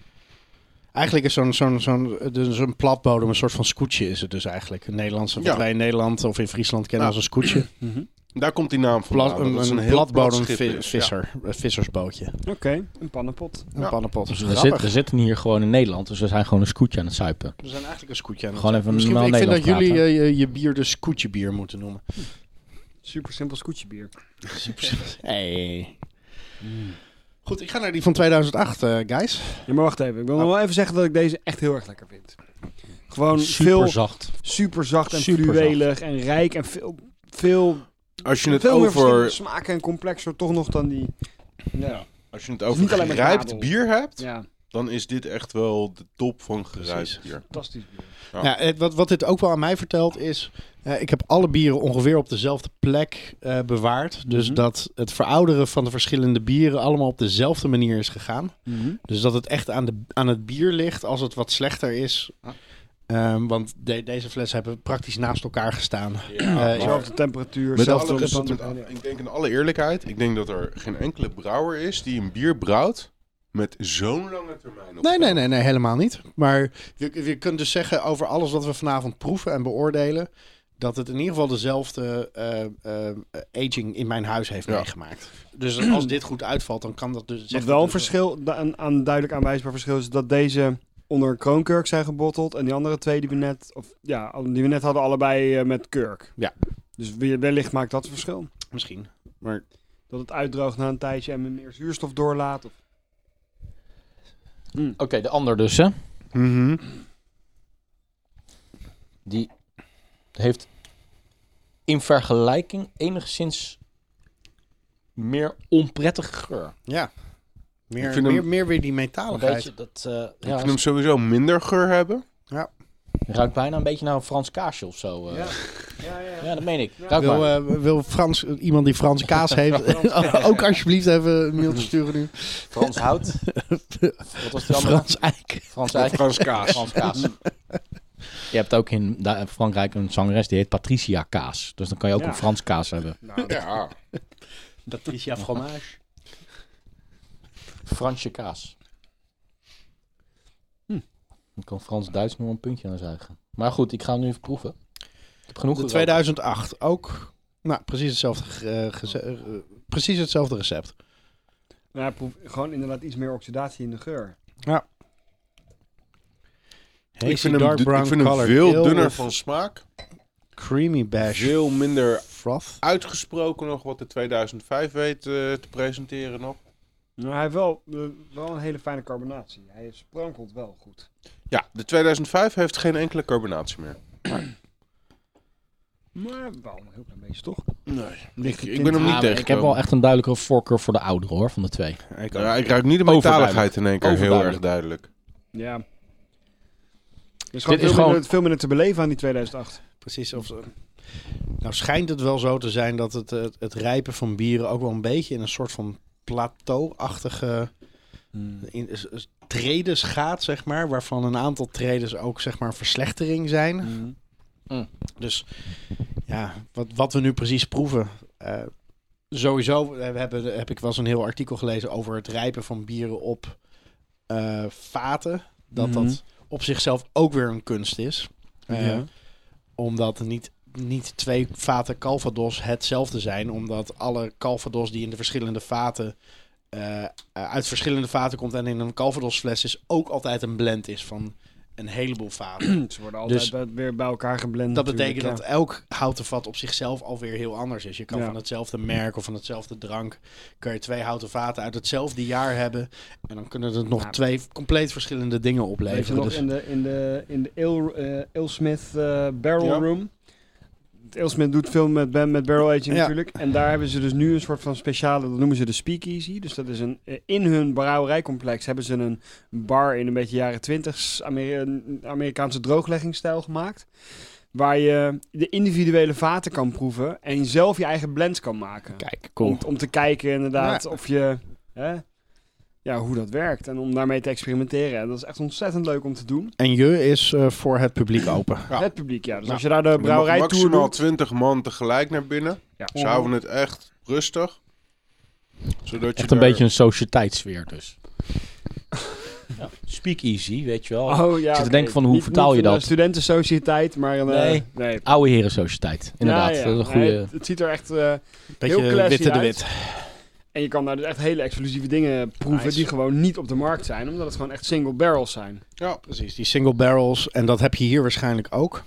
D: Eigenlijk is zo'n zo'n zo'n dus een platbodem, een soort van scootje is het dus eigenlijk. Een Nederlandse, wat
B: Ja.
D: wij in Nederland of in Friesland kennen
B: Ja.
D: als een scootje.
C: Mhm.
B: Daar komt die naam
D: Plat,
B: van.
D: een
B: dat is
D: een,
B: een heel
D: platbodem
B: plat schip
D: vi-
B: is.
D: visser, een vissersbootje.
C: Oké, een pannenpot.
D: Een
B: Ja.
D: pannenpot.
A: Dus we,
D: Grappig.
A: zit- we zitten hier gewoon in Nederland, dus we zijn gewoon een scootje aan het suipen.
D: We zijn eigenlijk een scootje aan het-
A: Gewoon even
D: Misschien,
A: normaal
D: ik vind dat
A: Nederlands
D: jullie
A: praten.
D: eh, je, je bier dus scootjebier moeten noemen.
C: Super simpel scootjebier.
D: Hey. Goed, ik ga naar die van 2008, eh, guys.
C: Ja, maar wacht even. Ik wil nog wel even zeggen dat ik deze echt heel erg lekker vind. Gewoon veel
A: Super zacht.
C: super zacht en
A: Superzacht.
C: fluwelig en rijk en veel, veel,
B: Als je
C: veel
B: het
C: meer verschillende
B: over,
C: smaken en complexer toch nog dan die... Ja.
B: als je het
C: is
B: over
C: niet alleen maar
B: gerijpt
C: nadel.
B: bier hebt,
C: Ja,
B: dan is dit echt wel de top van gerijpt
D: Precies.
B: bier.
C: fantastisch bier.
B: Ja.
D: Ja, het- wat, wat dit ook wel aan mij vertelt is, eh, ik heb alle bieren ongeveer op dezelfde plek eh, bewaard. Dus
C: Mhm.
D: dat het verouderen van de verschillende bieren allemaal op dezelfde manier is gegaan. Dus dat het echt aan, de, aan het bier ligt als het wat slechter is. Ehm, want de- deze flessen hebben praktisch naast elkaar gestaan.
B: Ja,
D: Eh,
B: maar-
C: Zelfde temperatuur,
B: Met
C: zelfde
B: alle,
C: pand-
B: met- met- ik denk in alle eerlijkheid, ik denk dat er geen enkele brouwer is die een bier brouwt met zo'n lange termijn. op-
D: Nee, nee, nee, nee, helemaal niet. Maar je, je kunt dus zeggen over alles wat we vanavond proeven en beoordelen. Dat het in ieder geval dezelfde eh, eh, aging in mijn huis heeft
B: Ja.
D: meegemaakt. Dus als dit goed uitvalt, dan kan dat dus.
C: Wat
D: zegt
C: wel
D: dat
C: een
D: dus-
C: verschil, da- een, aan duidelijk aanwijsbaar verschil is dat deze onder een kroonkurk zijn gebotteld en die andere twee die we net, of, ja, al- die we net hadden allebei eh, met kurk.
D: Ja.
C: Dus we- wellicht maakt dat verschil.
D: Misschien.
C: Dat het uitdroogt na een tijdje en meer zuurstof doorlaat. Of...
A: Oké, de ander dus, hè.
B: Mhm.
A: Die heeft in vergelijking enigszins meer onprettige geur.
D: Ja.
B: Ik
D: Meer,
B: vind
D: meer,
B: hem-
D: meer weer die
A: Een beetje
D: metaligheid.
A: dat eh,
B: ik
A: ja,
B: vind hem sowieso minder geur hebben.
A: ruikt bijna een beetje naar een Frans kaasje of zo. eh. Ja.
C: Ja, ja,
A: dat meen ik. Ruik
D: Wil,
A: maar.
D: eh, wil Frans, iemand die Frans kaas heeft, ook alsjeblieft even een mailtje sturen nu.
A: Frans hout. Wat was die andere?
D: Frans Eik.
A: Frans eigenlijk.
B: Frans kaas.
A: Frans kaas. Je hebt ook in da- Frankrijk een zangeres die heet Patricia Kaas. Dus dan kan je ook
C: Ja.
A: een Frans kaas hebben.
C: Nou,
B: Ja.
D: Patricia Fromage.
A: Fransje kaas. Hm. Ik kan Frans-Duits nog een puntje aan zuigen. Maar goed, ik ga hem nu even proeven. Ik heb genoeg
D: De
A: geroken.
D: 2008 ook. Nou, precies hetzelfde, ge- eh, geze- eh, precies hetzelfde recept.
C: ja, proef gewoon inderdaad iets meer oxidatie in de geur.
B: Ik vind hem, du- ik vind hem veel dunner van smaak.
D: Creamy bash.
B: Veel minder
D: Froth.
B: uitgesproken nog wat de 2005 weet eh, te presenteren nog.
C: Maar hij heeft wel, eh, wel een hele fijne carbonatie. Hij sprankelt wel goed.
B: Ja, de 2005 heeft geen enkele carbonatie meer.
C: Maar wel een heel klein beetje, toch?
B: Nee, ik, ik ben hem
A: Ja,
B: niet
A: maar
B: tegen.
A: ik heb wel echt een duidelijke voorkeur voor de oudere hoor, van de twee.
B: ik, ja, ik ruik niet de metaligheid in één keer heel
A: Overduidelijk.
B: erg duidelijk.
C: Ja. Er is gewoon,
A: is
C: veel,
A: gewoon-
C: Minder, veel minder te beleven aan die 2008.
D: Precies. Of, nou schijnt het wel zo te zijn dat het, het, het rijpen van bieren ook wel een beetje in een soort van plateauachtige in, s- s- tredes gaat, zeg maar. Waarvan een aantal tredes ook, zeg maar, verslechtering zijn. Dus ja, wat, wat we nu precies proeven. eh, sowieso eh, we hebben, heb ik wel eens een heel artikel gelezen over het rijpen van bieren op eh, vaten. Dat
C: Mhm.
D: dat op zichzelf ook weer een kunst is. Eh,
C: Ja.
D: Omdat niet, niet twee vaten Calvados hetzelfde zijn. Omdat alle Calvados die in de verschillende vaten. eh, uit verschillende vaten komt en in een Calvados fles is ook altijd een blend is van een heleboel vaten.
C: Ze worden altijd
D: Dus-
C: bij- weer bij elkaar geblend.
D: Dat betekent dat
C: natuurlijk,
D: elk houten vat op zichzelf alweer heel anders is. Je kan
C: Ja.
D: van hetzelfde merk of van hetzelfde drank... kan je twee houten vaten uit hetzelfde jaar hebben. En dan kunnen er nog
C: Ja.
D: twee compleet verschillende dingen
C: ja. Weet je
D: opleveren.
C: nog,
D: Dus
C: in de, in de, in de ale, eh, Alesmith eh, Barrel
B: Ja.
C: Room. Het Alesmith doet veel met, ben- met barrel aging
D: Ja.
C: natuurlijk. En daar hebben ze dus nu een soort van speciale, dat noemen ze de speakeasy. Dus dat is een, eh, in hun brouwerijcomplex hebben ze een bar in een beetje jaren 20 Amerikaanse droogleggingsstijl gemaakt. Waar je de individuele vaten kan proeven en zelf je eigen blends kan maken.
A: Kijk,
C: Om, om te kijken inderdaad of je... Hè, ja, hoe dat werkt. En om daarmee te experimenteren. En dat is echt ontzettend leuk om te doen.
D: En je is eh, voor het publiek open.
B: Ja.
C: Het publiek, ja. Dus
D: Nou,
C: als je daar de
B: Er mag
C: brouwerijtour
B: maximaal
C: doet...
B: 20 man tegelijk naar binnen.
C: Ja.
B: Ze houden het echt rustig. Zodat je
A: Echt een
B: daar-
A: beetje een sociëteitsfeer dus. ja. Speak easy, weet je wel.
C: Oh, ja,
A: te
C: oké.
A: denken van, hoe
C: Niet-
A: vertaal
C: niet
A: je
C: een,
A: dat?
C: eh, studentensociëteit, maar een... eh,
A: Nee.
C: nee.
A: Oude heren sociëteit, inderdaad.
C: Ja, ja.
A: Dat is een
C: Nee,
A: goede...
C: het, het ziet er echt... eh,
D: Beetje
C: Heel classy
D: witte de
C: uit.
D: wit.
C: en je kan daar dus echt hele exclusieve dingen proeven...
D: Nice.
C: die gewoon niet op de markt zijn. Omdat het gewoon echt single barrels zijn.
B: Ja,
D: Precies, die single barrels. En dat heb je hier waarschijnlijk ook.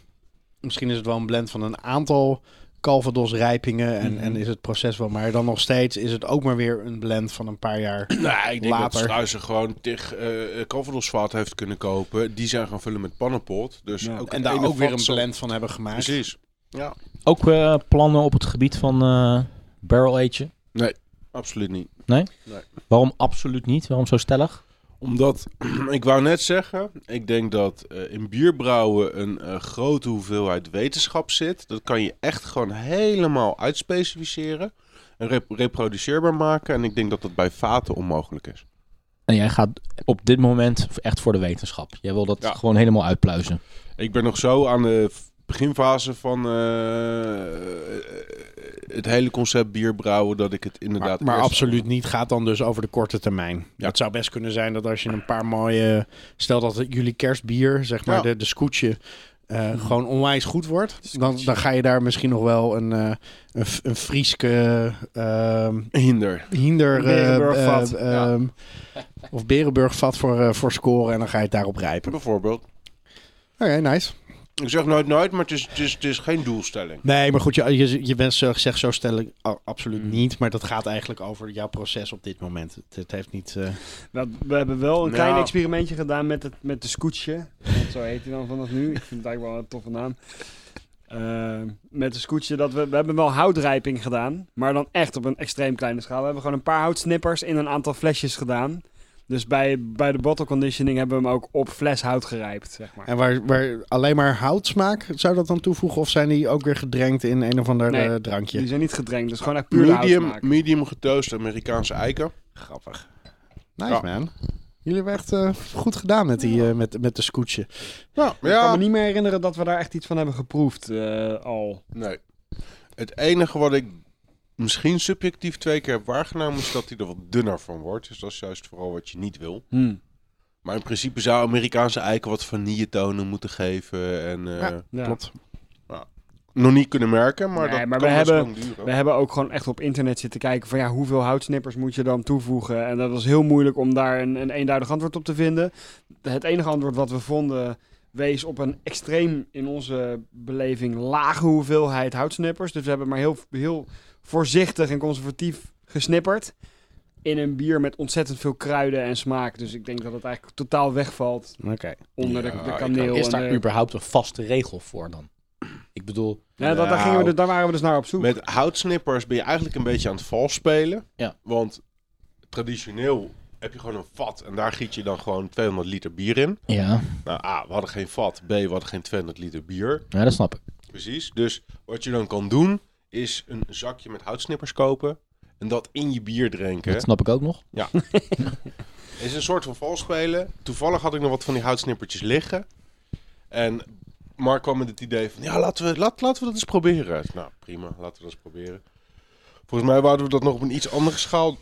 D: Misschien is het wel een blend van een aantal Calvados rijpingen. En,
C: Mhm.
D: en is het proces wel. Maar dan nog steeds is het ook maar weer een blend van een paar jaar.
B: nee, Nou, ik denk
D: Later.
B: dat Struisen gewoon tig eh Calvadosvaat heeft kunnen kopen. Die zijn gaan vullen met pannenpot. Dus
C: Ja.
B: ook
D: En
B: het
D: daar
B: ene
D: ook weer
B: vat Dus
D: een
B: zal-
D: blend van hebben gemaakt.
B: Precies,
A: Ook eh, plannen op het gebied van eh barrel age.
B: absoluut niet.
A: Waarom absoluut niet? Waarom zo stellig?
B: Omdat, ik wou net zeggen, ik denk dat eh, in bierbrouwen een eh, grote hoeveelheid wetenschap zit. Dat kan je echt gewoon helemaal uitspecificeren en rep- reproduceerbaar maken. En ik denk dat dat bij vaten onmogelijk is.
A: En jij gaat op dit moment echt voor de wetenschap. Jij wil dat
B: Ja.
A: gewoon helemaal uitpluizen.
B: Ik ben nog zo aan de v- beginfase van eh, het hele concept bierbrouwen dat ik het
D: Maar,
B: inderdaad...
D: maar
B: eerst-
D: absoluut niet. Gaat dan dus over de korte termijn.
B: Ja.
D: Het zou best kunnen zijn dat als je een paar mooie... Stel dat het jullie kerstbier, zeg maar
B: Ja.
D: de, de scootje... eh, gewoon onwijs goed wordt. Dus Dan, dan ga je daar misschien nog wel een, eh, een, F- een Frieske ehm,
B: Hinder.
D: Hinder eh,
C: Berenburgvat.
D: eh, ehm, of Berenburg vat voor, eh, voor scoren en dan ga je het daarop rijpen.
B: Bijvoorbeeld.
D: Oké, nice.
B: Ik zeg nooit nooit, maar het is, het is, het is geen doelstelling.
D: Nee, maar goed, je, je, je bent zo- zegt zo stelling a- absoluut niet, maar dat gaat eigenlijk over jouw proces op dit moment. Het, het heeft niet... eh,
C: Dat, Nou, we hebben wel een
B: Ja.
C: klein experimentje gedaan met, het, met de scootje. Want zo heet hij dan vanaf nu. Ik vind het eigenlijk wel een toffe naam. Eh, met de scootje, dat we, we hebben wel houtrijping gedaan. Maar dan echt op een extreem kleine schaal. We hebben gewoon een paar houtsnippers in een aantal flesjes gedaan. Dus bij, bij de bottle conditioning hebben we hem ook op fles hout gerijpt, zeg maar.
D: en waar, waar alleen maar houtsmaak zou dat dan toevoegen? Of zijn die ook weer gedrenkt in een of ander
C: Nee,
D: eh, drankje?
C: Die zijn niet gedrenkt, dus gewoon echt puur
B: Medium,
C: hout
B: medium getoast Amerikaanse eiken.
D: Grappig. Nice
B: Ja.
D: man. Jullie hebben echt eh, goed gedaan met, die, eh, met, met de scootje.
B: Nou,
C: Ik kan
B: ja.
C: me niet meer herinneren dat we daar echt iets van hebben geproefd eh, al.
B: Nee. Het enige wat ik misschien subjectief twee keer heb waargenomen... is dat hij er wat dunner van wordt. Dus dat is juist vooral wat je niet wil. Maar in principe zou Amerikaanse eiken wat vanilletonen moeten geven. En eh,
D: Ja.
C: Ja.
D: Klopt.
B: nog niet kunnen merken, maar
C: Nee,
B: dat
C: maar
B: kan
C: we
B: best
C: hebben-
B: lang duren.
C: We hebben ook gewoon echt op internet zitten kijken van ja, hoeveel houtsnippers moet je dan toevoegen? En dat was heel moeilijk om daar een, een eenduidig antwoord op te vinden. Het enige antwoord wat we vonden wees op een extreem in onze beleving lage hoeveelheid houtsnippers. Dus we hebben maar heel, heel voorzichtig en conservatief gesnipperd. In een bier met ontzettend veel kruiden en smaak. Dus ik denk dat het eigenlijk totaal wegvalt
D: Oké.
C: onder de,
B: Ja,
C: de
B: ik-
C: kaneel.
A: Is
C: en
A: daar
C: de-
A: überhaupt een vaste regel voor dan? Ik bedoel,
C: Ja, dat, daar, gingen we,
B: Nou.
C: dus- daar waren we dus naar op zoek.
B: Met houtsnippers ben je eigenlijk een beetje aan het vals spelen.
A: Ja.
B: Want traditioneel heb je gewoon een vat en daar giet je dan gewoon 200 liter bier in.
A: ja,
B: Nou, A, we hadden geen vat. B, we hadden geen 200 liter bier.
A: ja dat snap ik.
B: Precies. Dus wat je dan kan doen, is een zakje met houtsnippers kopen en dat in je bier drinken.
A: Dat snap ik ook nog.
B: is een soort van vals spelen. Toevallig had ik nog wat van die houtsnippertjes liggen. En Mark kwam met het idee van, ja, laten we, laat, laten we dat eens proberen. Ik zei, Nou, prima, laten we dat eens proberen. Volgens mij wouden we dat nog op een iets andere schaal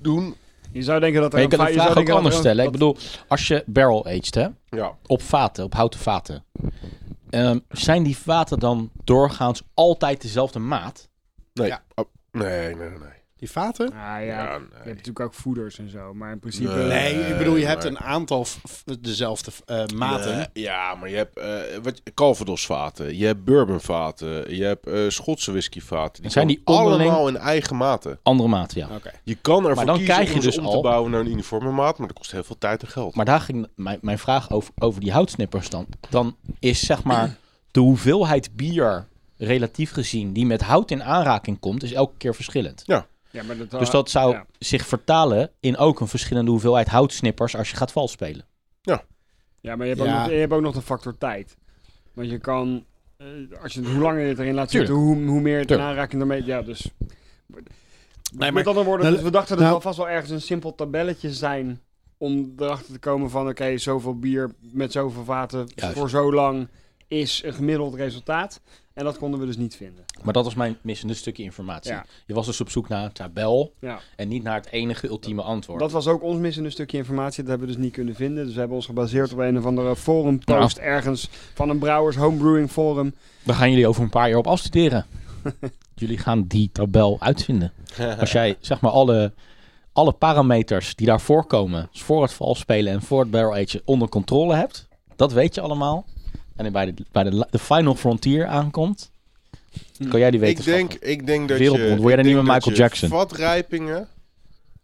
B: doen.
C: Je zou denken dat er
A: Maar je
C: een
A: kan de
C: va- zou
A: vraag ook
C: denken dat eh,
A: anders
C: er een-
A: stellen. Ik
C: dat-
A: bedoel, als je barrel aged, hè,
B: Ja,
A: op vaten, op houten vaten. Ehm, zijn die vaten dan doorgaans altijd dezelfde maat?
B: nee.
D: Ja.
B: Oh, nee, nee, nee, nee.
D: Die vaten?
C: Ah, ja,
B: Ja,
C: je hebt
B: nee.
C: natuurlijk ook voeders en zo, maar in principe...
B: Nee.
D: Nee, ik bedoel, je hebt
B: Eh, maar-
D: een aantal f- f- dezelfde eh, maten.
B: Nee, ja, maar je hebt eh wat, Calvadosvaten, je hebt bourbonvaten, je hebt eh, Schotse whiskyvaten.
A: Zijn die
B: komen
A: onderling-
B: allemaal in eigen maten.
A: Andere maat, ja.
D: Oké.
B: Je kan ervoor
A: dan
B: kiezen
A: krijg je
B: om ze
A: dus
B: om te
A: al-
B: bouwen naar een uniforme maat, maar dat kost heel veel tijd en geld.
A: Maar daar ging mijn, mijn vraag over, over die houtsnippers dan. Dan is zeg maar de hoeveelheid bier relatief gezien die met hout in aanraking komt, is elke keer verschillend.
C: Ja, maar dat,
A: Dus dat zou
C: Nou, ja.
A: zich vertalen in ook een verschillende hoeveelheid houtsnippers als je gaat vals spelen.
C: Ja, maar je hebt,
D: Ja.
C: Ook, nog, je hebt ook nog de factor tijd. Want je kan, eh, als je, hoe langer je het erin laat
A: Tuurlijk.
C: zitten, hoe, hoe meer het in
A: Tuurlijk.
C: aanraking ermee... Ja, dus...
D: Nee, maar
C: Met andere woorden,
D: Nou,
C: dus we dachten dat
D: nou-
C: er vast wel ergens een simpel tabelletje zijn om erachter te komen van oké, zoveel bier met zoveel vaten
A: Juist.
C: voor zo lang is een gemiddeld resultaat. En dat konden we dus niet vinden.
A: Maar dat was mijn missende stukje informatie.
C: Ja.
A: Je was dus op zoek naar een tabel
C: Ja.
A: en niet naar het enige ultieme antwoord.
C: Dat was ook ons missende stukje informatie. Dat hebben we dus niet kunnen vinden. Dus we hebben ons gebaseerd op een of andere forum post
B: Nou.
C: ergens van een brouwers homebrewing forum.
A: Daar gaan jullie over een paar jaar op afstuderen. jullie gaan die tabel uitvinden. Als jij zeg maar alle, alle parameters die daar voorkomen, dus voor het vals spelen en voor het barrel age onder controle hebt, dat weet je allemaal. En bij de, bij de, la- de final frontier aankomt, kan jij die weten.
B: Hm. Ik denk, ik denk dat
A: Wereldbond,
B: je...
A: word jij
B: ik
A: de nieuwe
B: denk dat
A: Michael
B: je
A: Jackson?
B: vatrijpingen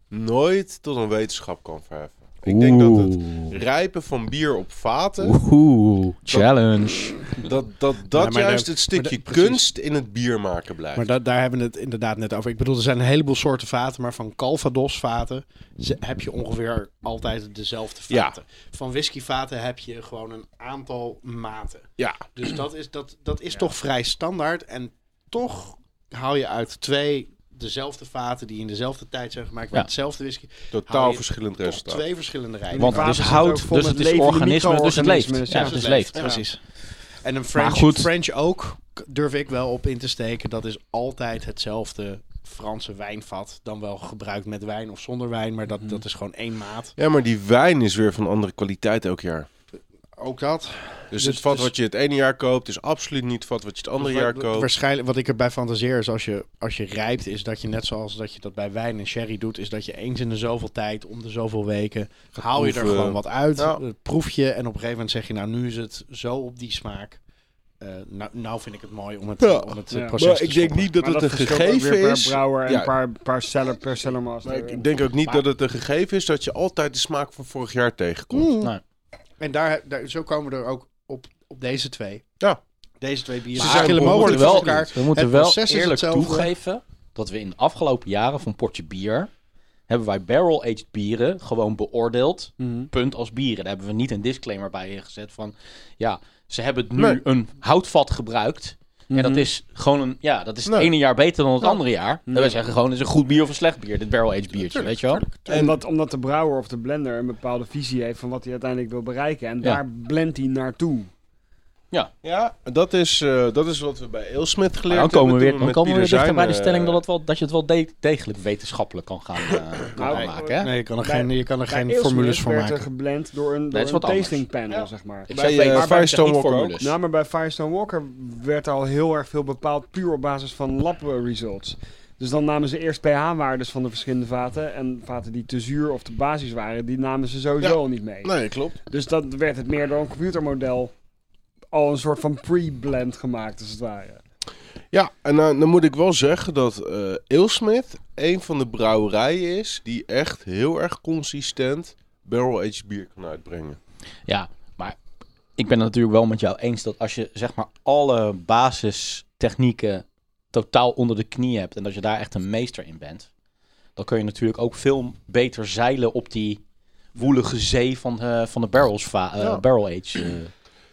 B: nooit tot een wetenschap kan verheffen. Ik denk dat het rijpen van bier op vaten,
A: Oeh, challenge.
B: dat dat,
D: maar
B: dat
D: daar-
B: juist het stukje
D: maar daar-
B: kunst in het bier maken blijft.
D: Maar da- daar hebben we het inderdaad net over. Ik bedoel, er zijn een heleboel soorten vaten, maar van Calvados vaten ze- heb je ongeveer altijd dezelfde
B: Ja.
D: vaten. Van whisky vaten heb je gewoon een aantal maten.
B: Ja.
D: Dus dat is, dat, dat is toch vrij standaard. En toch haal je uit twee dezelfde vaten die in dezelfde tijd zijn gemaakt met
A: Ja.
D: hetzelfde whisky.
B: Totaal
D: Haal je
B: verschillend
D: Toch
B: resultaat.
D: twee verschillende rijen.
A: Want het
C: vaten
A: is
C: zitten ook
A: hout,
C: vol
A: dus
C: met
A: het is
C: levende
A: organisme, dus het leeft.
C: micro-organismen.
A: Ja,
C: Ja,
A: dus het leeft.
D: Ja. Precies. En een
A: Maar
D: French,
A: goed.
D: French ook durf ik wel op in te steken. Dat is altijd hetzelfde Franse wijnvat. Dan wel gebruikt met wijn of zonder wijn. Maar dat,
A: Mhm.
D: dat is gewoon één maat.
B: Ja, maar die wijn is weer van andere kwaliteit elk jaar.
D: Ook dat.
B: Dus,
D: Dus-
B: het vat
D: dus-
B: wat je het ene jaar koopt is absoluut niet het vat wat je het andere
D: Dus wa-
B: jaar koopt.
D: Waarschijnlijk, wat ik erbij fantaseer is als je, als je rijpt, is dat je net zoals dat je dat bij wijn en sherry doet, is dat je eens in de zoveel tijd, om de zoveel weken, haal je er
B: proeven.
D: gewoon wat uit.
B: Ja.
D: eh, Proef je en op een gegeven moment zeg je, nou nu is het zo op die smaak. Eh, nou, nou vind ik het mooi om het,
B: Ja.
D: om het eh,
C: Ja.
D: proces
B: Maar
D: te
B: ik denk
D: stoppen.
B: niet dat
C: Maar
B: het een
C: verschilt ook weer
B: gegeven is.
C: Per brouwer en
B: Ja.
C: paar per seller, per
B: Maar
C: cellermaster.
B: ik denk ook niet
D: Maar-
B: dat het een gegeven is dat je altijd de smaak van vorig jaar tegenkomt.
D: Mm.
A: Nee.
D: En daar, daar, zo komen we er ook op, op deze twee.
B: Ja.
D: Deze twee bieren
B: Ze
A: Maar
B: zijn
D: verschillen
A: we
D: mogelijk
A: moeten
B: behoorlijk
D: van
A: wel,
D: elkaar.
A: we moeten
D: Het
A: wel
D: proces is
A: eerlijk
D: hetzelfde.
A: toegeven dat we in de afgelopen jaren van potje bier hebben wij barrel-aged bieren gewoon beoordeeld.
C: Mhm.
A: Punt als bieren. Daar hebben we niet een disclaimer bij gezet van ja, ze hebben nu
B: Nee. Mhm.
A: een houtvat gebruikt. En dat is gewoon een, ja, dat is het
B: Nee. Nou.
A: ene jaar beter dan het andere jaar. En
C: Nee.
A: wij zeggen gewoon, het is een goed bier of een slecht bier, dit barrel-aged biertje, weet je wel?
B: En-
C: omdat, omdat de brouwer of de blender een bepaalde visie heeft van wat hij uiteindelijk wil bereiken. En
A: Ja.
C: daar blendt hij naartoe.
B: Ja, dat is, eh, dat is wat we bij Ailsmith
A: Maar dan
B: geleerd hebben.
A: komen we weer,
B: toen
A: dan
B: met
A: komen we weer
B: Pieter
A: dichter bij de
B: Zijn,
A: stelling
B: eh,
A: dat, het wel, dat je het wel de- degelijk wetenschappelijk kan gaan eh, kan
C: Nou,
A: gaan maken. Hè?
D: Nee, je kan er
C: Bij-
D: geen, je kan er
C: Bij
D: geen
C: Ailsmith
D: formules voor
C: werd er
D: maken.
C: geblend door een, door
A: dat is
C: een
A: wat anders.
C: tasting panel,
B: Ja.
C: zeg maar.
A: Ik
B: Bij,
A: zeg
B: eh,
A: weten, maar wij
B: Firestone
A: zeggen niet
B: Walker ook.
A: formules.
C: Nou, maar bij Firestone Walker werd al heel erg veel bepaald puur op basis van lab eh, results. Dus dan namen ze eerst pH-waardes van de verschillende vaten. En vaten die te zuur of te basis waren, die namen ze sowieso
B: Ja.
C: al niet mee.
B: Nee, klopt.
C: Dus dat werd het meer door een computermodel al een soort van pre-blend gemaakt, als het ware.
B: Ja, en eh, dan moet ik wel zeggen dat eh Ailsmith een van de brouwerijen is die echt heel erg consistent barrel-aged bier kan uitbrengen.
A: Ja, maar ik ben het natuurlijk wel met jou eens dat als je zeg maar alle basistechnieken totaal onder de knie hebt en dat je daar echt een meester in bent, dan kun je natuurlijk ook veel beter zeilen op die woelige zee van, eh, van de barrels va- eh,
D: Ja.
A: barrel age. eh.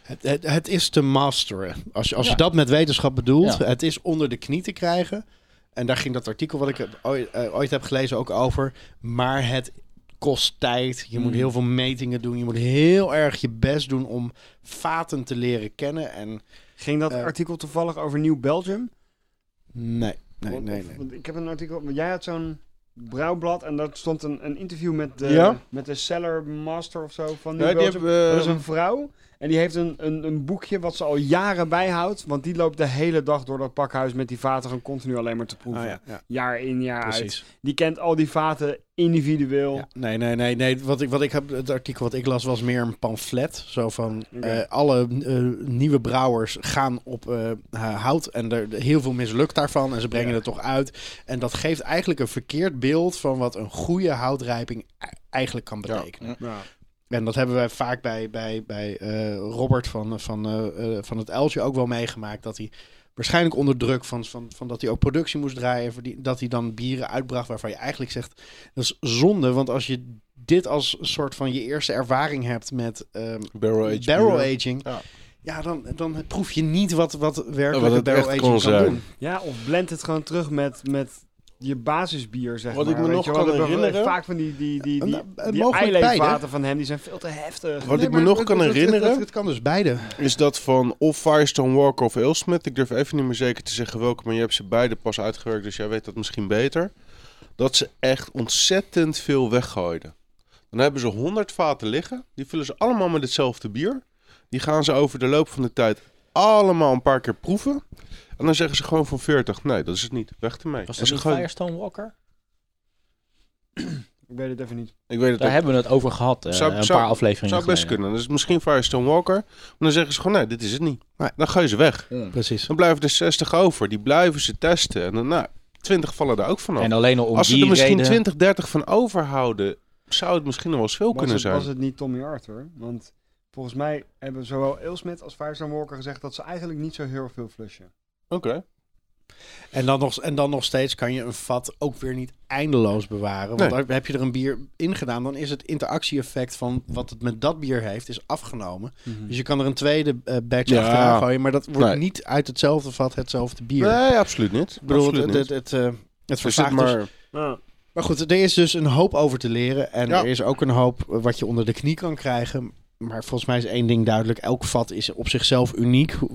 D: Het, het, het is te masteren. Als je, als
A: Ja.
D: je dat met wetenschap bedoelt,
A: Ja.
D: het is onder de knie te krijgen. En daar ging dat artikel wat ik heb- ooit, eh, ooit heb gelezen ook over. Maar het kost tijd. Je moet
A: Mm.
D: heel veel metingen doen. Je moet heel erg je best doen om vaten te leren kennen. En
C: Ging dat
D: Eh.
C: artikel toevallig over Nieuw Belgium?
D: nee, nee,
C: Want-
D: nee.
C: of-
D: nee.
C: Want ik heb een artikel, want jij had zo'n brouwblad en daar stond een, een interview met de,
B: Ja?
C: met de cellar master of zo van Nieuw
B: Nee, die
C: Belgium.
B: hebben we-
C: Dat is een vrouw en die heeft een, een, een boekje wat ze al jaren bijhoudt, want die loopt de hele dag door dat pakhuis met die vaten gewoon continu alleen maar te proeven.
A: Oh,
D: Ah, ja, ja,
C: Jaar in, jaar uit.
D: precies.
C: Die kent al die vaten individueel.
D: Ja, Nee, nee, nee. nee. Wat ik, wat ik heb, het artikel wat ik las was meer een pamflet. Zo van
C: Oké.
D: eh, alle eh, nieuwe brouwers gaan op eh, eh, hout. En er, heel veel mislukt daarvan. En ze brengen het toch uit. En dat geeft eigenlijk een verkeerd beeld van wat een goede houtrijping e- eigenlijk kan betekenen.
C: Ja.
D: En dat hebben wij vaak bij, bij, bij eh, Robert van, van, eh, eh, van het Eltje ook wel meegemaakt. Dat hij waarschijnlijk onder druk van, van, van dat hij ook productie moest draaien. voor die- Dat hij dan bieren uitbracht waarvan je eigenlijk zegt... Dat is zonde, want als je dit als soort van je eerste ervaring hebt met ehm,
B: Barrel aged
D: barrel
B: bier.
D: aging...
B: Ja.
D: Ja. dan, dan proef je niet wat, wat werkelijk
B: wat het
D: barrel
B: echt
D: aging
B: kon
D: kan
B: zijn.
D: doen.
C: Ja, of blend het gewoon terug met, met je basisbier, zeg
B: Wat
C: maar.
B: ik me
C: weet
B: nog
C: je wel.
B: kan
C: Dat we
B: herinneren-
C: Vaak van die, die, die, die,
D: En, eh,
C: die
D: mogelijk beide.
C: eilevaten van hem, die zijn veel te heftig.
B: Wat ik me
D: maar
B: nog
D: het-
B: kan
D: het- het-
B: herinneren-
D: Het, het kan dus beide.
B: Is dat van of Firestone Walker of Alesmith? Ik durf even niet meer zeker te zeggen welke, maar je hebt ze beide pas uitgewerkt, dus jij weet dat misschien beter. Dat ze echt ontzettend veel weggooiden. Dan hebben ze 100 vaten liggen, die vullen ze allemaal met hetzelfde bier. Die gaan ze over de loop van de tijd allemaal een paar keer proeven. En dan zeggen ze gewoon van 40, nee, dat is het niet, weg ermee.
A: Was
B: En
A: dat
B: ze
A: niet
B: gooien-
A: Firestone Walker?
C: Ik weet het even niet.
B: Ik weet het
A: Daar
B: ook
A: hebben we het over gehad, eh,
B: Zou-
A: een
B: zou-
A: paar afleveringen
B: zou best
A: geleden.
B: kunnen. Dus misschien Firestone Walker. Maar dan zeggen ze gewoon, nee, dit is het niet.
D: Nee.
B: Dan gooien ze weg.
D: Precies.
B: Dan blijven er 60 over. Die blijven ze testen. En dan, nou, 20 vallen er ook vanaf.
A: En alleen al om
B: Als ze
A: die
B: er misschien
A: reden...
B: 20, 30 van overhouden, zou het misschien nog wel eens veel
C: was
B: kunnen
C: het,
B: zijn.
C: Was het niet Tommy Arthur? Want volgens mij hebben zowel Ailsmith als Firestone Walker gezegd dat ze eigenlijk niet zo heel veel flushen.
B: Oké.
D: En dan, nog, en dan nog steeds kan je een vat ook weer niet eindeloos bewaren. Want
B: Nee.
D: daar heb je er een bier in gedaan, dan is het interactie-effect van wat het met dat bier heeft, is afgenomen.
B: Mhm.
D: Dus je kan er een tweede eh batch
B: Ja.
D: achteraan gooien, maar dat wordt
B: Nee.
D: niet uit hetzelfde vat hetzelfde bier.
B: Nee, absoluut niet.
D: Ik bedoel,
B: absoluut
D: het,
B: niet.
D: het, het, eh, het
B: Er zit
D: vervaagt
B: maar...
D: dus. Maar goed, er is dus een hoop over te leren. En
B: Ja.
D: er is ook een hoop eh, wat je onder de knie kan krijgen. Maar volgens mij is één ding duidelijk. Elk vat is op zichzelf uniek. Ho-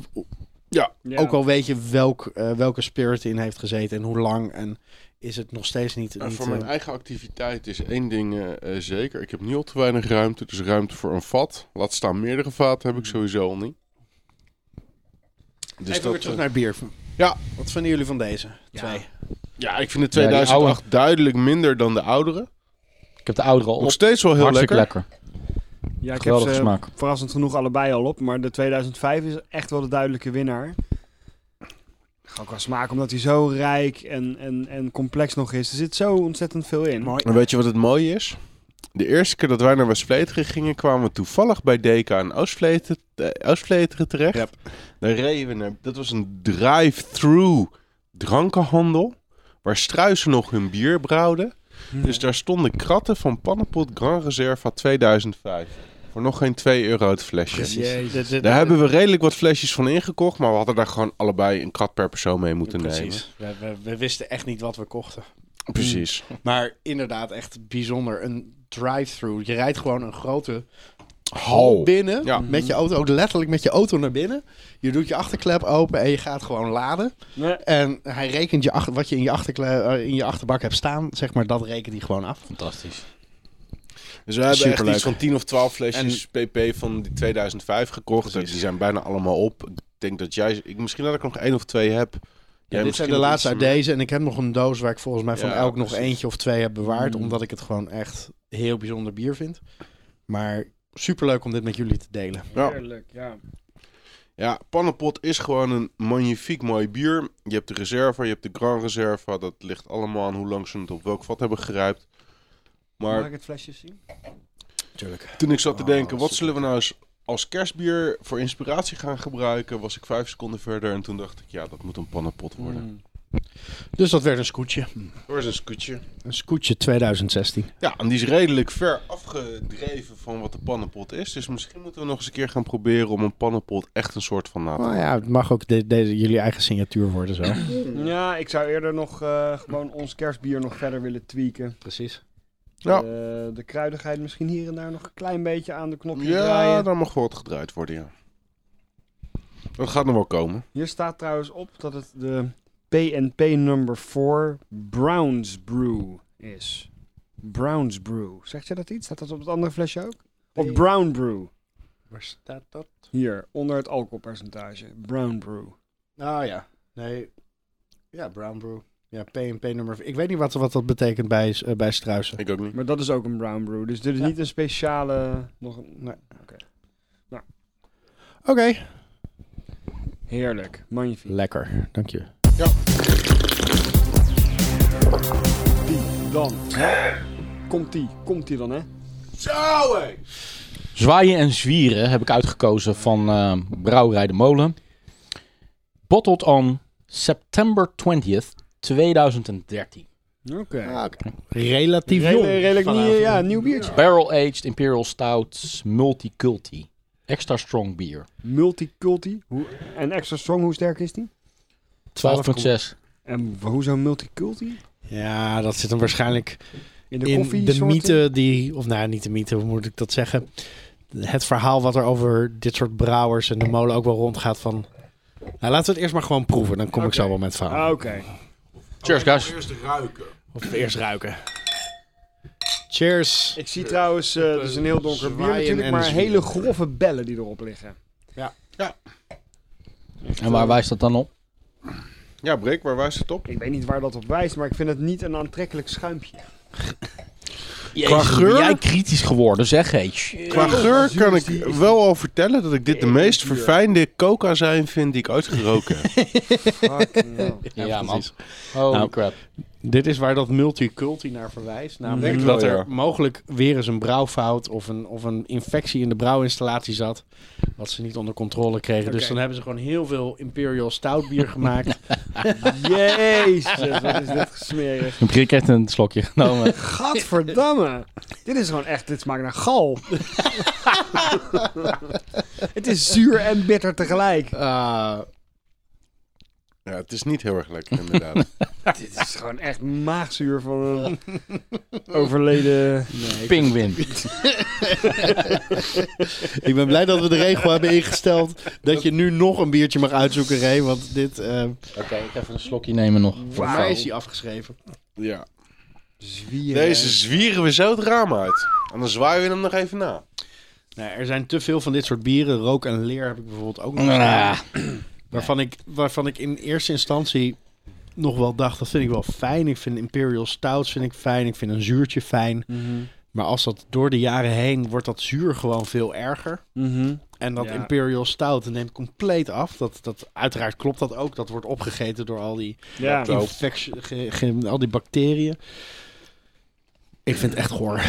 D: Ook al weet je welk, eh, welke spirit in heeft gezeten en hoe lang. En is het nog steeds niet. niet,
B: En Nou, voor mijn
D: eh,
B: eigen activiteit is één ding eh, eh, zeker. Ik heb nu al te weinig ruimte, dus ruimte voor een vat. Laat staan meerdere vaten heb ik sowieso al niet. Dus
D: Even weer terug
B: eh,
D: naar het bier.
B: Ja.
D: Wat vinden jullie van deze? Twee.
B: Ja, ik vind de
A: Ja, die
B: 2008 duidelijk minder dan de oudere.
A: Ik heb de oudere al op.
B: Nog steeds wel heel
A: Hartstikke
B: lekker.
A: lekker.
C: Ja, ik heb
A: Geweldige
C: ze
A: smaak.
C: verrassend genoeg allebei al op, maar de 2005 is echt wel de duidelijke winnaar. Gewoon qua smaak, omdat hij zo rijk en, en, en complex nog is. Er zit zo ontzettend veel in.
D: Mooi.
B: En weet je wat het mooie is? De eerste keer dat wij naar West-Vleteren gingen, kwamen we toevallig bij DK en Oost-Vleteren eh, Oost-Vleteren terecht.
D: Yep.
B: Daar reden we naar, dat was een drive-through drankenhandel, waar struisen nog hun bier brouwden.
D: Hmm.
B: Dus daar stonden kratten van Pannenpot Grand Reserva 2005. Voor nog geen 2 euro het flesje.
D: Precies. Dit- dit-
B: Daar hebben we redelijk wat flesjes van ingekocht, maar we hadden daar gewoon allebei een krat per persoon mee moeten nemen.
D: Precies. We, we, we wisten echt niet wat we kochten.
B: Precies.
D: Maar inderdaad, echt bijzonder. Een drive-through. Je rijdt gewoon een grote
B: Hal.
D: hal binnen.
B: Ja.
D: Met je auto, ook letterlijk met je auto naar binnen. Je doet je achterklep open en je gaat gewoon laden.
C: Nee.
D: En hij rekent je achter, wat je in je, achterkle- eh, in je achterbak hebt staan, zeg maar, dat rekent hij gewoon af.
A: Fantastisch.
B: Dus we hebben echt
D: Superleuk.
B: iets van 10 of 12 flesjes pp van die 2005 gekocht.
D: Precies.
B: Die zijn bijna allemaal op. Ik denk dat jij... Ik, misschien dat ik nog één of twee heb.
D: Ja,
B: Jij
D: dit zijn
B: misschien
D: de
B: nog
D: laatste
B: iets
D: uit
B: meer.
D: deze. En ik heb nog een doos waar ik volgens mij van
B: Ja,
D: elk nog
B: precies.
D: eentje of twee heb bewaard.
A: Mm.
D: Omdat ik het gewoon echt heel bijzonder bier vind. Maar superleuk om dit met jullie te delen.
B: Ja.
C: Heerlijk, ja.
B: Ja, Pannenpot is gewoon een magnifiek mooi bier. Je hebt de Reserva, je hebt de Grand Reserva. Dat ligt allemaal aan hoe lang ze het op welk vat hebben gerijpt. Maar
C: Mag ik het flesje zien?
D: Tuurlijk.
B: toen ik zat te
D: Oh,
B: denken, wat
D: super.
B: zullen we nou eens als kerstbier voor inspiratie gaan gebruiken, was ik vijf seconden verder. En toen dacht ik, ja, dat moet een pannenpot
D: Mm.
A: Mm.
B: worden.
D: Dus dat werd een scootje.
B: Er is een scootje.
D: Een scootje 2016.
B: Ja, en die is redelijk ver afgedreven van wat de pannenpot is. Dus misschien moeten we nog eens een keer gaan proberen om een pannenpot echt een soort van na te
D: Nou ja, het mag ook de- deze, jullie eigen signatuur worden zo.
B: Mm.
C: Ja, ik zou eerder nog eh, gewoon ons kerstbier nog verder willen tweaken.
D: Precies.
B: Ja.
C: Eh, de kruidigheid misschien hier en daar nog een klein beetje aan de knopje
B: Ja,
C: draaien.
B: daar mag wel wat gedraaid worden, ja. Dat gaat nog wel komen.
C: Hier staat trouwens op dat het de PNP number 4 Browns Brew is. Browns Brew. Zegt je dat iets? Staat dat op het andere flesje ook? Of
D: Nee.
C: Brown Brew.
D: Waar staat dat?
C: Hier, onder het alcoholpercentage. Brown Brew.
D: Nou ja, nee. Ja, Brown Brew. Ja, P&P nummer... Ik weet niet wat, wat dat betekent bij, eh, bij Struisen.
B: Ik ook niet.
C: Maar dat is ook een Brown Brew. Dus dit is
D: Ja.
C: niet een speciale... Nog een,
D: Nee.
C: Oké.
D: Oké.
C: Heerlijk. Magnifiek.
D: Lekker, dank je.
C: Die dan. Hè? Komt die. Komt die dan, hè?
B: Zo, Nou, hé!
A: Zwaaien en zwieren heb ik uitgekozen van eh Brouwerij de Molen. Bottled on September 20th, 2013.
C: Oké.
D: Relatief jong.
C: Redelijk, redelijk nieuw,
D: vanavond.
C: ja, nieuw biertje.
A: Barrel Aged Imperial Stout Multiculti. Extra strong bier.
C: Multiculti. Hoe, en extra strong, hoe sterk is die?
A: 12,6.
C: En w- hoezo multiculti?
D: Ja, dat zit hem waarschijnlijk
C: In de
D: in
C: koffie?
D: de
C: soorten?
D: mythe die... Of nou, niet de mythe, hoe moet ik dat zeggen? Het verhaal wat er over dit soort brouwers en de molen ook wel rondgaat van... Nou, laten we het eerst maar gewoon proeven. Dan kom ik zo wel met het verhaal.
C: Ah, Oké.
A: Cheers, guys.
B: Eerst ruiken.
D: Of eerst ruiken. Cheers.
C: Ik zie trouwens, eh, het is een heel donker bier
D: Zwaaien
C: natuurlijk,
D: en
C: maar
D: zwieren.
C: hele grove bellen die erop liggen.
A: En waar wijst dat dan op?
B: Ja, Breek, waar wijst het op?
C: Ik weet niet waar dat op wijst, maar ik vind het niet een aantrekkelijk schuimpje.
A: Jezus, ben
B: geur?
A: jij kritisch geworden, zeg. Hey.
B: Qua geur
C: zuur
B: kan
C: is
B: ik
C: die- is
B: wel al vertellen dat ik dit de
C: Heel
B: meest
C: zuur.
B: verfijnde coca-zijn vind die ik ooit geroken heb.
C: Fucking hell.
A: Ja, man.
D: precies.
A: Holy
D: Nou,
A: crap.
D: Dit is waar dat multiculti naar verwijst. Namelijk
B: Denk ik
D: Mm, dat
B: wel,
D: er
B: ja.
D: mogelijk weer eens een brouwfout of een, of een infectie in de brouwinstallatie zat. Wat ze niet onder controle kregen. Dus
C: Oké.
D: dan hebben ze gewoon heel veel Imperial Stout bier gemaakt.
C: Jezus, wat is dit gesmerig.
A: Een prik heeft een slokje Nou, eh, genomen.
C: Gadverdamme. dit is gewoon echt, dit smaakt naar gal. het is zuur en bitter tegelijk.
D: Ah,
B: Ja, het is niet heel erg lekker inderdaad.
C: Dit is gewoon echt maagzuur van een overleden...
D: nee.
A: Penguin.
D: Ik ben blij dat we de regel hebben ingesteld dat je nu nog een biertje mag uitzoeken, Ray. Want dit, eh
A: Oké, ik even een slokje nemen nog.
D: voor mij is die afgeschreven.
B: Ja.
C: Zwier.
B: Deze zwieren we zo het raam uit. En dan zwaaien we hem nog even na.
D: Nou, er zijn te veel van dit soort bieren. Rook en leer heb ik bijvoorbeeld ook nog.
A: Ah,
D: Waarvan ik, waarvan ik in eerste instantie nog wel dacht, dat vind ik wel fijn. Ik vind Imperial Stouts vind ik fijn. Ik vind een zuurtje fijn.
C: Mhm.
D: Maar als dat door de jaren heen wordt dat zuur gewoon veel erger.
C: Mhm.
D: En dat
C: Ja.
D: Imperial Stout neemt compleet af. Dat, dat, uiteraard klopt dat ook. Dat wordt opgegeten door al die,
C: Ja.
B: Klopt.
D: infectie- ge- ge- al die bacteriën. Ik vind het echt goor.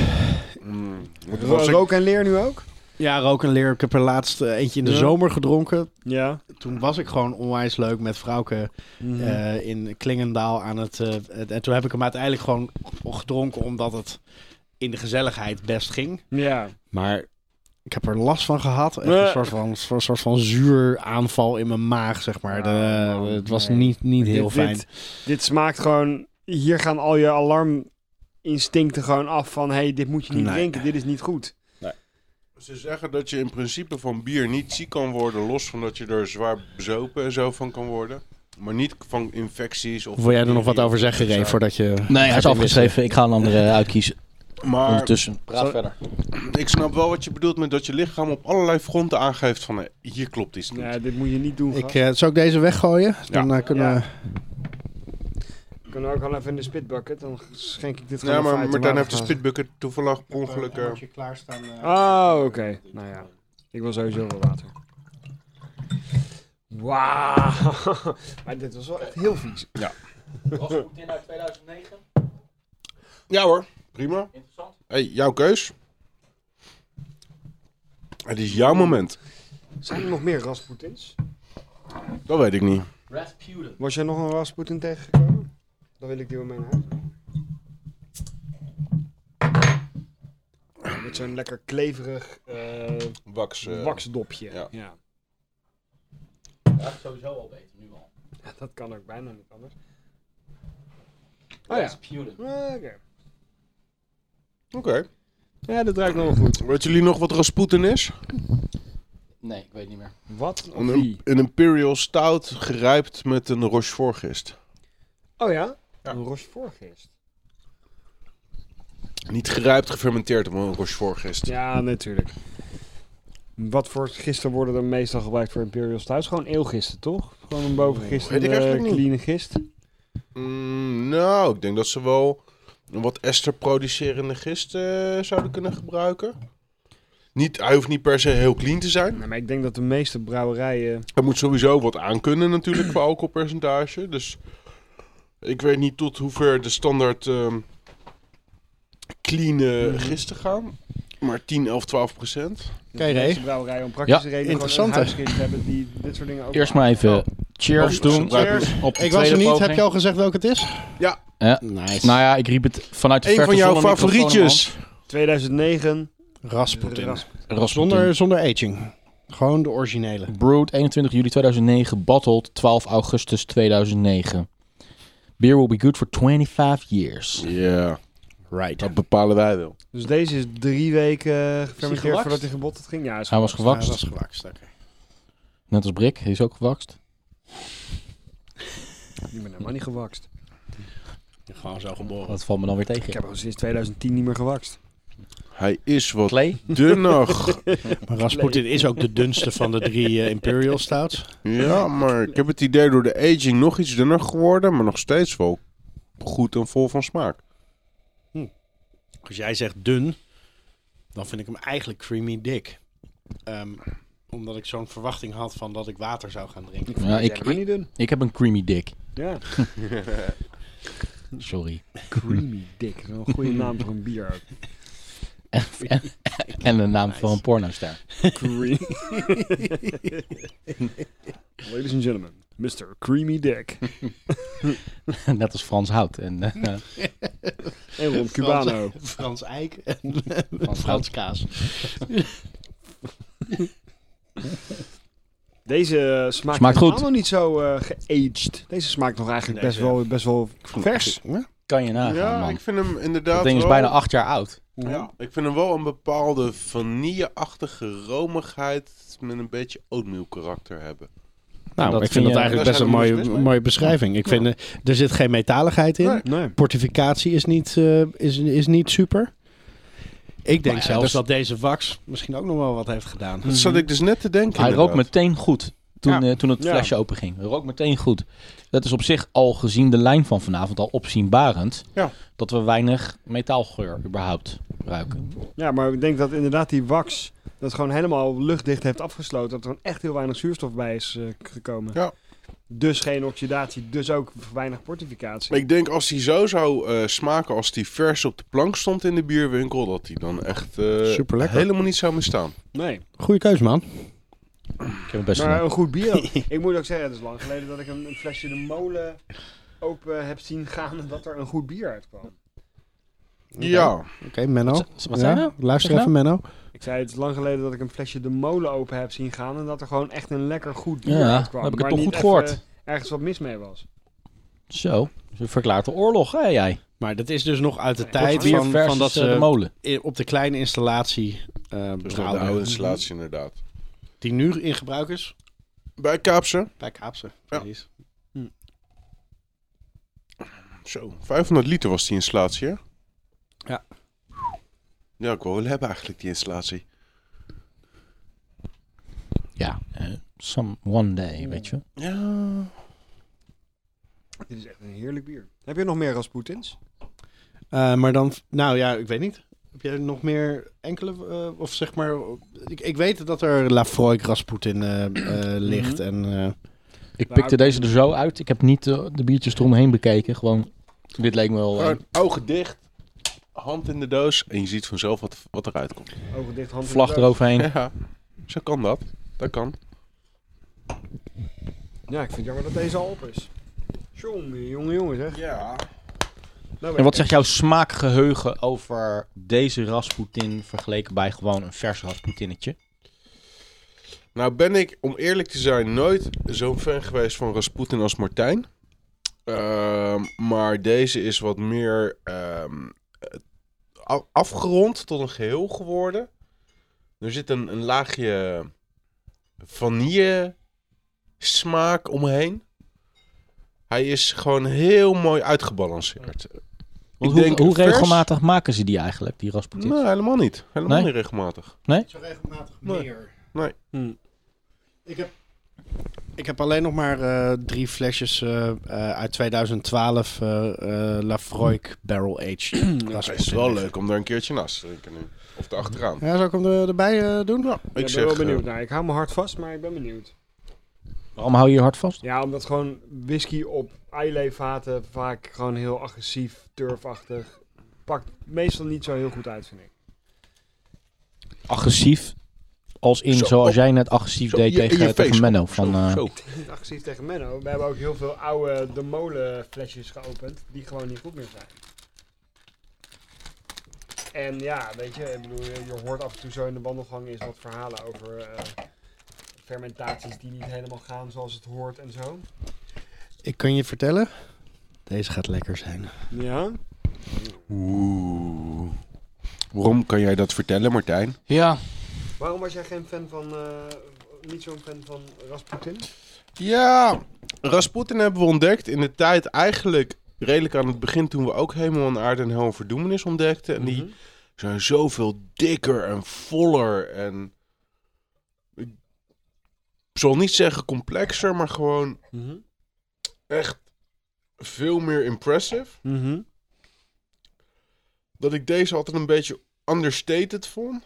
B: Mm.
C: Ro- Rook en leer nu ook?
D: Ja, rook en leer. Ik heb er laatst eh, eentje in de
C: Ja.
D: zomer gedronken.
C: Ja.
D: Toen was ik gewoon onwijs leuk met vrouwke
C: Mhm.
D: eh, in Klingendaal aan het, eh, het- En toen heb ik hem uiteindelijk gewoon gedronken omdat het in de gezelligheid best ging.
C: ja.
D: Maar ik heb er last van gehad. Echt
C: Nee.
D: een soort van, soort, soort van zuur aanval in mijn maag, zeg maar. De-
C: Ah, man,
D: het was
C: nee.
D: niet, niet heel
C: Dit-
D: fijn.
C: Dit, dit smaakt gewoon... Hier gaan al je alarminstincten gewoon af van... Hé, hey, dit moet je niet
D: Nee.
C: drinken, dit is niet goed.
B: Ze zeggen dat je in principe van bier niet ziek kan worden, los van dat je er zwaar bezopen en zo van kan worden. Maar niet van infecties of...
D: Wil jij er nog wat over zeggen, Ray,
B: Sorry.
D: voordat je...
A: Nee, hij
D: gaat
A: is afgeschreven. Ik ga een andere eh, uitkiezen
B: Maar
A: ondertussen. Praat
B: Zal-
A: verder.
B: ik snap wel wat je bedoelt met dat je lichaam op allerlei fronten aangeeft van... hé, Hier klopt iets niet.
C: Ja, dit moet je niet doen,
D: Ik,
C: gast.
D: eh, zou ik deze weggooien? Dan eh, kunnen
C: Ja.
D: we...
C: We kunnen ook al even in de spitbucket, dan schenk ik dit gewoon
B: Ja,
C: even
B: maar
C: uit
B: Martijn heeft de
C: waterglas.
B: spitbucket toevallig per ongeluk... eh,
D: klaarstaan.
C: Oh, oké. Nou ja, ik wil sowieso wel water. Wauw. Maar dit was wel echt heel vies.
A: Was goed in uit 2009?
B: Ja hoor, prima.
A: Interessant.
B: hey, jouw keus. Het is jouw moment.
C: Zijn er nog meer Rasputins?
B: Dat weet ik niet.
A: Rasputin.
C: Was jij nog een Rasputin tegengekomen? Dan wil ik die wel mee naar huis. Met zo'n lekker kleverig eh,
B: Wax. eh,
C: waksdopje.
B: ja.
C: ja.
A: sowieso al beter, nu al.
C: Ja, Dat kan ook bijna niet anders. Oh ja. Ah, Oké.
B: Oké.
C: Ja, dat ruikt nog wel goed.
B: Weet jullie nog wat Rasputin is?
A: Nee, ik weet niet meer.
C: Wat? Of
B: Een,
C: wie?
B: een Imperial Stout gerijpt met een Rochefort gist.
C: Oh ja?
B: Ja.
C: Een Rochefort gist.
B: Niet gerijpt, gefermenteerd, maar een Rochefort gist.
C: Ja, natuurlijk. Wat voor gisten worden er meestal gebruikt voor Imperial Stouts? Gewoon eeuwgisten, toch? Gewoon een bovengist
B: Weet ik
C: en een
B: eigenlijk niet.
C: clean gist.
B: Mm, nou, ik denk dat ze wel een wat ester producerende gist eh, zouden kunnen gebruiken. Niet, hij hoeft niet per se heel clean te zijn.
C: Nou, maar ik denk dat de meeste brouwerijen...
B: Er moet sowieso wat aan kunnen natuurlijk qua alcoholpercentage. Dus ik weet niet tot hoever de standaard ehm clean eh,
C: Mhm.
B: gisten gaan. Maar 10, 11, 12 procent.
D: Kijk,
C: de
D: Ray.
C: meeste brouwerijen om praktische redenen gewoon een
D: interessant, hè?
C: huisgids hebben die dit soort dingen ook...
A: Eerst maar even cheers
B: Oh,
A: doen.
B: cheers.
A: Op de
D: Ik was er
A: tweede
D: niet.
A: poging.
D: Heb je al gezegd welke het is?
B: Ja.
A: Ja.
D: Nice.
A: Nou ja, ik riep het vanuit de
B: Een
A: verte
B: van jouw
A: zonder microfoon in mijn hand.
B: favorietjes.
C: 2009.
D: Rasputin.
C: Rasputin.
A: Rasputin.
D: Zonder, zonder aging. Gewoon de originele.
A: Brewed 21 juli 2009, bottled 12 augustus 2009. Beer will be good for 25 years.
B: Ja,
D: Right.
B: dat bepalen wij wel.
C: Dus deze is drie weken eh, gefermenteerd
A: gewakst?
C: voordat hij gebotteld ging. Ja, is
A: Hij was gewakst,
D: dat is gewakst. oké.
A: net als Brik, hij is ook gewakst.
C: Ik ben helemaal niet gewakst.
D: Gewoon zo geboren.
A: Dat valt me dan weer tegen.
C: Ik heb al sinds 2010 niet meer gewakst.
B: Hij is wat
A: Clay?
B: dunnig.
D: Maar Rasputin is ook de dunste van de drie eh, Imperial Stouts.
B: ja, maar ik heb het idee door de aging nog iets dunner geworden. Maar nog steeds wel goed en vol van smaak.
D: Als jij zegt dun, dan vind ik hem eigenlijk creamy dik. Ehm, omdat ik zo'n verwachting had van dat ik water zou gaan drinken.
A: Ja, ik,
C: helemaal niet dun.
A: ik heb een creamy dick.
C: Ja.
A: Sorry.
C: Creamy Dick. Dat is wel een goede naam voor een bier ook.
A: En, en, en de naam van een pornoster.
C: Creamy. Ladies and gentlemen, Mr. Creamy Dick.
A: Net als Frans Hout. En, eh,
C: En Ron Cubano.
D: Frans, Frans Eik en
A: Frans
D: Frans,
A: Hout.
D: Kaas.
C: Deze eh, smaakt,
A: Smaakt goed.
C: helemaal niet zo eh, geaged. Deze smaakt nog eigenlijk
D: Nee,
C: best, wel, best wel vers.
A: kan je nagaan,
B: ja,
A: man.
B: ik vind hem inderdaad
A: Dat ding is
B: wel-
A: bijna acht jaar oud.
B: Ja, ik vind hem wel een bepaalde vanilleachtige romigheid met een beetje oatmeal karakter hebben.
A: Mhm.
D: Nou,
A: Dat
D: ik
A: vind
D: vind dat
A: je-
D: eigenlijk
B: Daar
D: best
B: zijn
D: een
B: we
D: mooie,
B: dus best mee.
D: mooie beschrijving. Ik vind, eh, er zit geen metaligheid in.
B: Nee.
C: Nee.
D: Portificatie is niet, eh, is, is niet super. Ik denk
A: Maar
D: zelfs
A: dus-
D: dat deze wax misschien ook nog wel wat heeft gedaan.
B: Dat zat ik dus net te denken.
A: Hij rookt
B: inderdaad.
A: meteen goed toen,
B: Ja.
A: eh, toen het
C: Ja.
A: flesje openging. Hij rookt meteen goed. Dat is op zich al gezien de lijn van vanavond al opzienbarend.
B: Ja.
A: Dat we weinig metaalgeur überhaupt ruiken.
C: Ja, maar ik denk dat inderdaad die wax dat gewoon helemaal luchtdicht heeft afgesloten. Dat er gewoon echt heel weinig zuurstof bij is eh, gekomen.
B: Ja.
C: Dus geen oxidatie, dus ook weinig portificatie.
B: Ik denk als hij zo zou eh, smaken als die vers op de plank stond in de bierwinkel, dat hij dan echt eh,
D: Superlekker.
B: helemaal niet zou misstaan.
C: Nee.
D: Goeie keus, man.
A: Ik heb het best gedaan.
C: Maar een goed bier. ook. ik moet ook zeggen, het is lang geleden dat ik een, een flesje de molen open heb zien gaan en dat er een goed bier uitkwam.
B: Ja,
D: Oké, Menno.
A: Wat ze- wat zei je nou?
D: Luister
A: Zeg
D: even, Menno.
C: Ik zei, het is lang geleden dat ik een flesje de molen open heb zien gaan en dat er gewoon echt een lekker goed bier
A: Ja,
C: uitkwam.
A: heb ik het
C: waar
A: toch
C: niet
A: goed
C: even
A: gehoord.
C: Ergens wat mis mee was.
A: Zo, ze verklaart de oorlog, hè jij?
D: Maar dat is dus nog uit de
C: Nee,
D: tijd
A: Bier
D: van,
A: versus,
D: van dat
A: eh, de
D: ze
A: molen.
D: i- op de kleine installatie eh
B: dus dat de oude
D: brouwen.
B: installatie inderdaad.
D: Die nu in gebruik is
B: Bij Kaapse,
D: bij Kaapse.
B: Ja.
D: precies.
B: zo, 500 liter was die installatie, hè?
D: Ja.
B: Ja, ik wil wel hebben eigenlijk die installatie.
A: Ja, eh, some one day, weet je.
B: Ja.
C: Dit is echt een heerlijk bier. Heb je nog meer Rasputins?
D: Eh, maar dan, nou ja, ik weet niet. Heb jij nog meer enkele, eh, of zeg maar... Ik, ik weet dat er Lafroy Rasputin eh, eh,
B: Mhm.
D: ligt en... eh,
A: Ik
C: Nou,
A: pikte deze er zo uit. Ik heb niet eh, de biertjes eromheen bekeken. Gewoon, dit leek me wel... eh,
B: Gewoon ogen dicht. hand in de doos en je ziet vanzelf wat, wat eruit komt.
C: Ogen dicht, hand in de
A: Vlag
C: doos.
A: eroverheen.
B: Ja, zo kan dat. Dat kan.
C: Ja, ik vind het jammer dat deze al op is. Jongen, jongen, jongen zeg.
B: Ja.
C: Nou,
A: En wat zegt jouw smaakgeheugen over deze Rasputin vergeleken bij gewoon een vers Rasputinnetje?
B: Nou ben ik, om eerlijk te zijn, nooit zo'n fan geweest van Rasputin als Martijn. Ehm, maar deze is wat meer ehm, eh, af- afgerond tot een geheel geworden. Er zit een, een laagje vanille smaak omheen. Hij is gewoon heel mooi uitgebalanceerd.
A: Want
B: Ik
A: hoe
B: denk
A: hoe
B: vers- Nou.
A: regelmatig maken ze die eigenlijk, die Rasputin?
B: Nee, helemaal niet. Helemaal
A: Nee?
B: niet regelmatig.
E: Niet zo regelmatig
B: Nee.
E: meer.
C: Hmm.
E: Ik heb
D: Ik heb alleen nog maar eh, drie flesjes eh, eh, uit 2012 eh eh Lafroik Barrel Aged.
B: Het
D: Rasputin.
B: Mm. is wel leuk om daar een keertje naast te drinken nu. Of erachteraan.
D: Ja, zou ik hem er, erbij eh, doen?
C: Ja,
B: Ik
C: ik
B: zeg,
C: ben wel
B: eh,
C: benieuwd. Nou, ik hou me hard vast, maar ik ben benieuwd.
A: Waarom hou je je hart vast?
C: Ja, omdat gewoon whisky op eilevaten vaak gewoon heel agressief, turfachtig. Pakt meestal niet zo heel goed uit, vind ik.
A: Agressief, als in
B: Zo,
A: zoals
B: oh.
A: jij net agressief
B: Zo,
A: deed
B: je- in je
A: tegen, tegen
B: face.
A: Menno. Van,
B: Zo,
A: eh,
B: zo.
C: Agressief tegen Menno. We hebben ook heel veel oude De Molen flesjes geopend, die gewoon niet goed meer zijn. En ja, weet je, ik bedoel, je je hoort af en toe zo in de wandelgang eens wat verhalen over eh, fermentaties die niet helemaal gaan zoals het hoort en zo.
D: Ik kan je vertellen, deze gaat lekker zijn.
C: Ja.
B: Oeh. Waarom kan jij dat vertellen, Martijn?
A: Ja,
C: Waarom was jij geen fan van, eh, niet zo'n fan van Rasputin?
B: Ja, Rasputin hebben we ontdekt in de tijd eigenlijk redelijk aan het begin toen we ook helemaal een aarde en hel en verdoemenis ontdekten. En die
C: Mhm.
B: zijn zoveel dikker en voller en... Ik zal niet zeggen complexer, maar gewoon
C: Mhm.
B: echt veel meer impressive. dat ik deze altijd een beetje understated vond.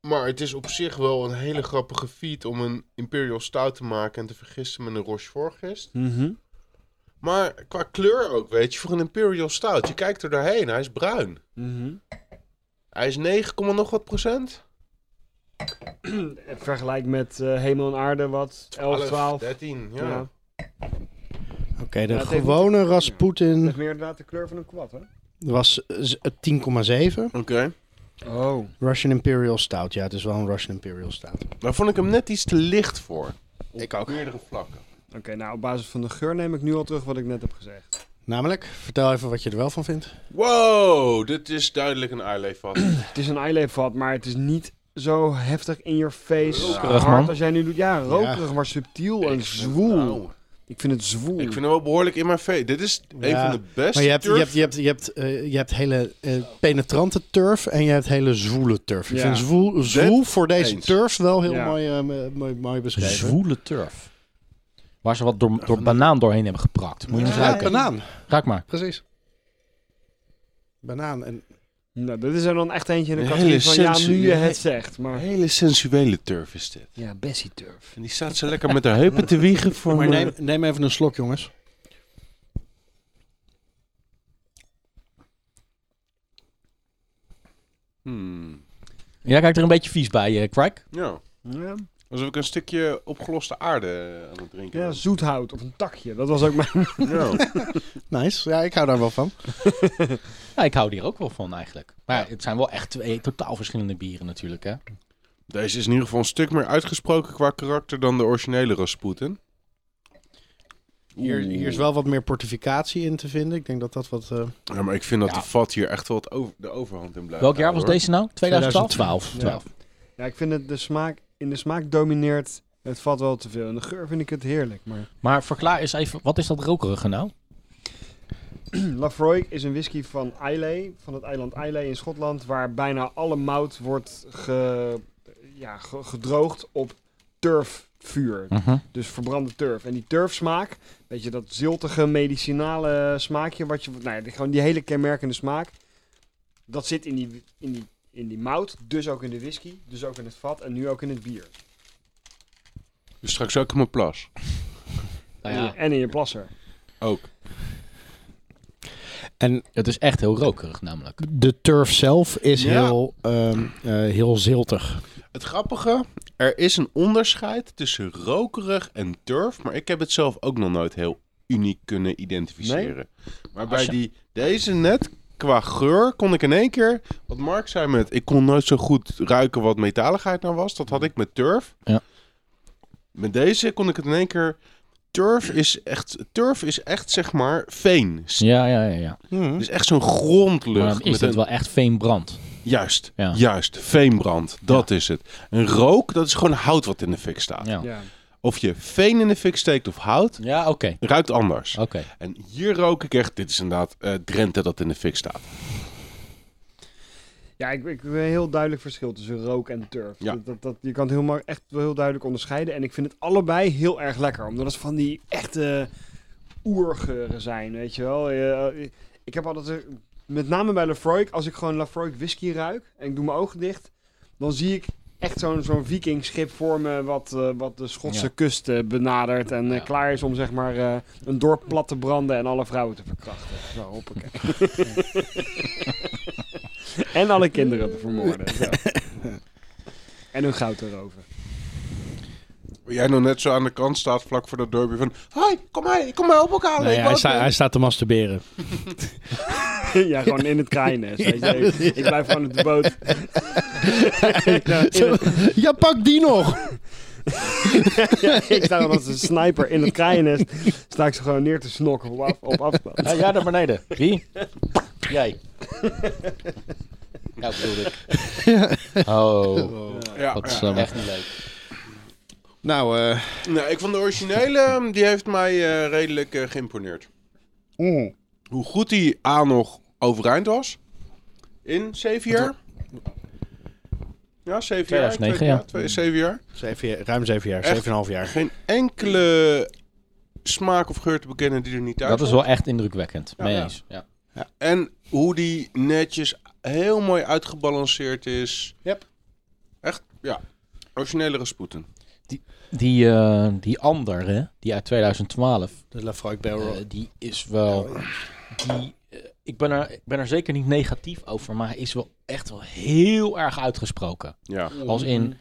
B: Maar het is op zich wel een hele grappige feat om een Imperial Stout te maken en te vergisten met een Rochefort gist. Maar qua kleur ook, weet je, voor een Imperial Stout. Je kijkt er doorheen, hij is bruin.
C: Mhm.
B: Hij is 9, komma nog wat procent.
C: En Mhm. Vergelijk met eh, Hemel en Aarde, wat? 11, 12.
B: 13, ja.
C: Ja.
D: Oké, de
C: Ja, het heeft
D: gewone
C: niet- Dat
D: Rasputin
C: is meer inderdaad de kleur van een kwad, hè?
D: was eh, z- 10,7.
B: Oké.
C: Oh.
D: Russian Imperial Stout, ja, het is wel een Russian Imperial Stout.
B: Daar vond ik hem net iets te licht voor. Op
D: Ik ook.
B: meerdere vlakken.
C: Oké, nou op basis van de geur neem ik nu al terug wat ik net heb gezegd.
D: Namelijk, vertel even wat je er wel van vindt.
B: Wow, dit is duidelijk een eilevat.
C: Het is een eileefvat, maar het is niet zo heftig in your face.
A: Rokerig,
C: hard
A: man.
C: als jij nu doet. Ja, rokerig, maar subtiel en zwoel. Ik vind het zwoel.
B: Ik vind hem wel behoorlijk in mijn face. Dit is een
D: Ja,
B: van de beste
D: Maar je hebt, je
B: turf-
D: hebt, je hebt, je hebt, eh, je hebt hele eh, penetrante turf en je hebt hele zwoele turf. Ik
C: Ja.
D: vind zwoel, zwoel voor deze
B: eens.
D: turf wel heel
C: Ja.
D: mooi, eh, m- mooi, mooi beschreven.
A: zwoele turf. Waar ze wat door, door banaan doorheen hebben geprakt. Moet je eens
D: Ja,
A: ruiken.
D: banaan,
A: Raak maar.
D: precies. Banaan. En,
C: Nou, dit is er dan echt eentje in de
B: Een
C: categorie
B: hele
C: van ja, nu je
B: sensuele-
C: het zegt. Maar...
B: Hele sensuele turf is dit.
C: Ja, Bessie Turf.
B: En die staat zo lekker met haar heupen te wiegen voor
D: maar
B: me.
D: neem, neem even een slok, jongens.
B: Hmm.
A: Jij kijkt er een beetje vies bij, eh Craig.
B: Ja,
C: Ja,
B: alsof ik een stukje opgeloste aarde eh, aan het drinken
C: ja
B: ben.
C: zoethout of een takje. Dat was ook mijn...
B: Ja.
D: Nice, ja, ik hou daar wel van.
A: Ja, ik hou hier ook wel van eigenlijk. Maar ja, het zijn wel echt twee totaal verschillende bieren natuurlijk, hè.
B: Deze is in ieder geval een stuk meer uitgesproken qua karakter dan de originele Rasputin.
D: Hier, hier is wel wat meer portificatie in te vinden. Ik denk dat dat wat... eh,
B: Ja, maar ik vind dat
A: Ja.
B: de vat hier echt wel het over, de overhand in blijft.
A: Welk jaar was
B: houden,
A: deze nou? 2012?
D: 2012.
A: 12.
C: Ja, ik vind het de smaak... In de smaak domineert het vat wel te veel. En de geur vind ik het heerlijk, maar...
A: Maar verklaar eens even, wat is dat rokerige nou?
C: Lafroy is een whisky van Islay, van het eiland Islay in Schotland, waar bijna alle mout wordt ge- ja, ge- gedroogd op turfvuur.
A: Mhm.
C: Dus verbrande turf. En die turfsmaak, weet je, dat ziltige medicinale smaakje, wat je, nou ja, die- gewoon die hele kenmerkende smaak, dat zit in die, in, die, in die mout, dus ook in de whisky, dus ook in het vat en nu ook in het bier.
B: hoor. Dus straks ook in mijn plas.
A: Nou ja,
C: En in je plasser.
B: Ook.
D: En
A: Het is echt heel rokerig namelijk.
D: de turf zelf is
B: Ja.
D: heel, ehm, eh, heel ziltig.
B: Het grappige, er is een onderscheid tussen rokerig en turf, maar ik heb het zelf ook nog nooit heel uniek kunnen identificeren. Maar bij
A: Als je-
B: die, deze net, qua geur, kon ik in één keer, wat Mark zei met, ik kon nooit zo goed ruiken wat metaligheid nou was, dat had ik met turf.
A: Ja.
B: Met deze kon ik het in één keer, turf is echt, turf is echt zeg maar veen.
A: Ja, ja, ja. ja.
B: Dus echt zo'n grondlucht.
A: Maar dan is
B: met
A: het
B: een-
A: wel echt veenbrand.
B: Juist,
A: Ja.
B: juist. Veenbrand, dat is het. Een rook, dat is gewoon hout wat in de fik staat.
A: Ja,
C: Ja.
B: Of je veen in de fik steekt of hout,
A: ja oké.
B: ruikt anders.
A: Oké.
B: En hier rook ik echt, dit is inderdaad eh, Drenthe dat in de fik staat.
C: Ja, ik, ik heb een heel duidelijk verschil tussen rook en turf.
B: Ja.
C: Dat, dat, dat- je kan het heel maar echt wel heel duidelijk onderscheiden. En ik vind het allebei heel erg lekker. Omdat het van die echte oergeuren zijn, weet je wel. Je- ik heb altijd, eh, met name bij Lafroy, als ik gewoon Lafroy whisky ruik en ik doe mijn ogen dicht, dan zie ik echt zo'n zo'n vikingschip voor me wat, eh, wat de Schotse
A: Ja.
C: kust eh, benadert en eh,
A: Ja.
C: klaar is om zeg maar eh, een dorp plat te branden en alle vrouwen te verkrachten. Zo, hoppakee. En alle kinderen te vermoorden. Zo. En hun goud erover.
B: Waar jij nou net zo aan de kant staat, vlak voor dat dorpje van... Hoi, kom mee, kom mij op elkaar.
D: Nee, hij, sta- hij staat te masturberen.
C: ja, gewoon in het kraaiennest. weet je. Ik- ik blijf gewoon op de boot. ik, sta in het-
D: ja, pak die nog!
C: ja, ik sta dan als een sniper in het kraaiennest. Sta ik ze gewoon neer te snokken op, af, op afstand.
A: Ja, naar beneden. Wie? Jij. Ja, bedoel ik. Oh,
B: Ja,
A: dat is
B: ja.
A: echt niet leuk.
D: Nou, eh,
B: Nou, ik vond de originele, ehm, die heeft mij eh, redelijk eh, geïmponeerd. Hoe goed die A nog overeind was. In zeven jaar. Ja, zeven jaar.
A: 2009,
B: twee-
A: ja.
B: twee- zeven jaar.
D: zeven jaar- ruim zeven jaar,
B: Echt?
D: zeven en een half jaar.
B: Geen enkele smaak of geur te bekennen die er niet uit
A: Dat is
B: was.
A: wel echt indrukwekkend.
B: Ja,
A: Mee
B: ja.
A: eens. Ja.
B: En hoe die netjes heel mooi uitgebalanceerd is.
D: Yep.
B: Echt, ja. Originele Rasputin.
A: Die, eh, die andere, die uit 2012,
D: De Lafroig Barrel.
A: eh, die is wel... Die, eh, ik, ben er, ik ben er zeker niet negatief over, maar hij is wel echt wel heel erg uitgesproken.
B: Ja.
A: Als in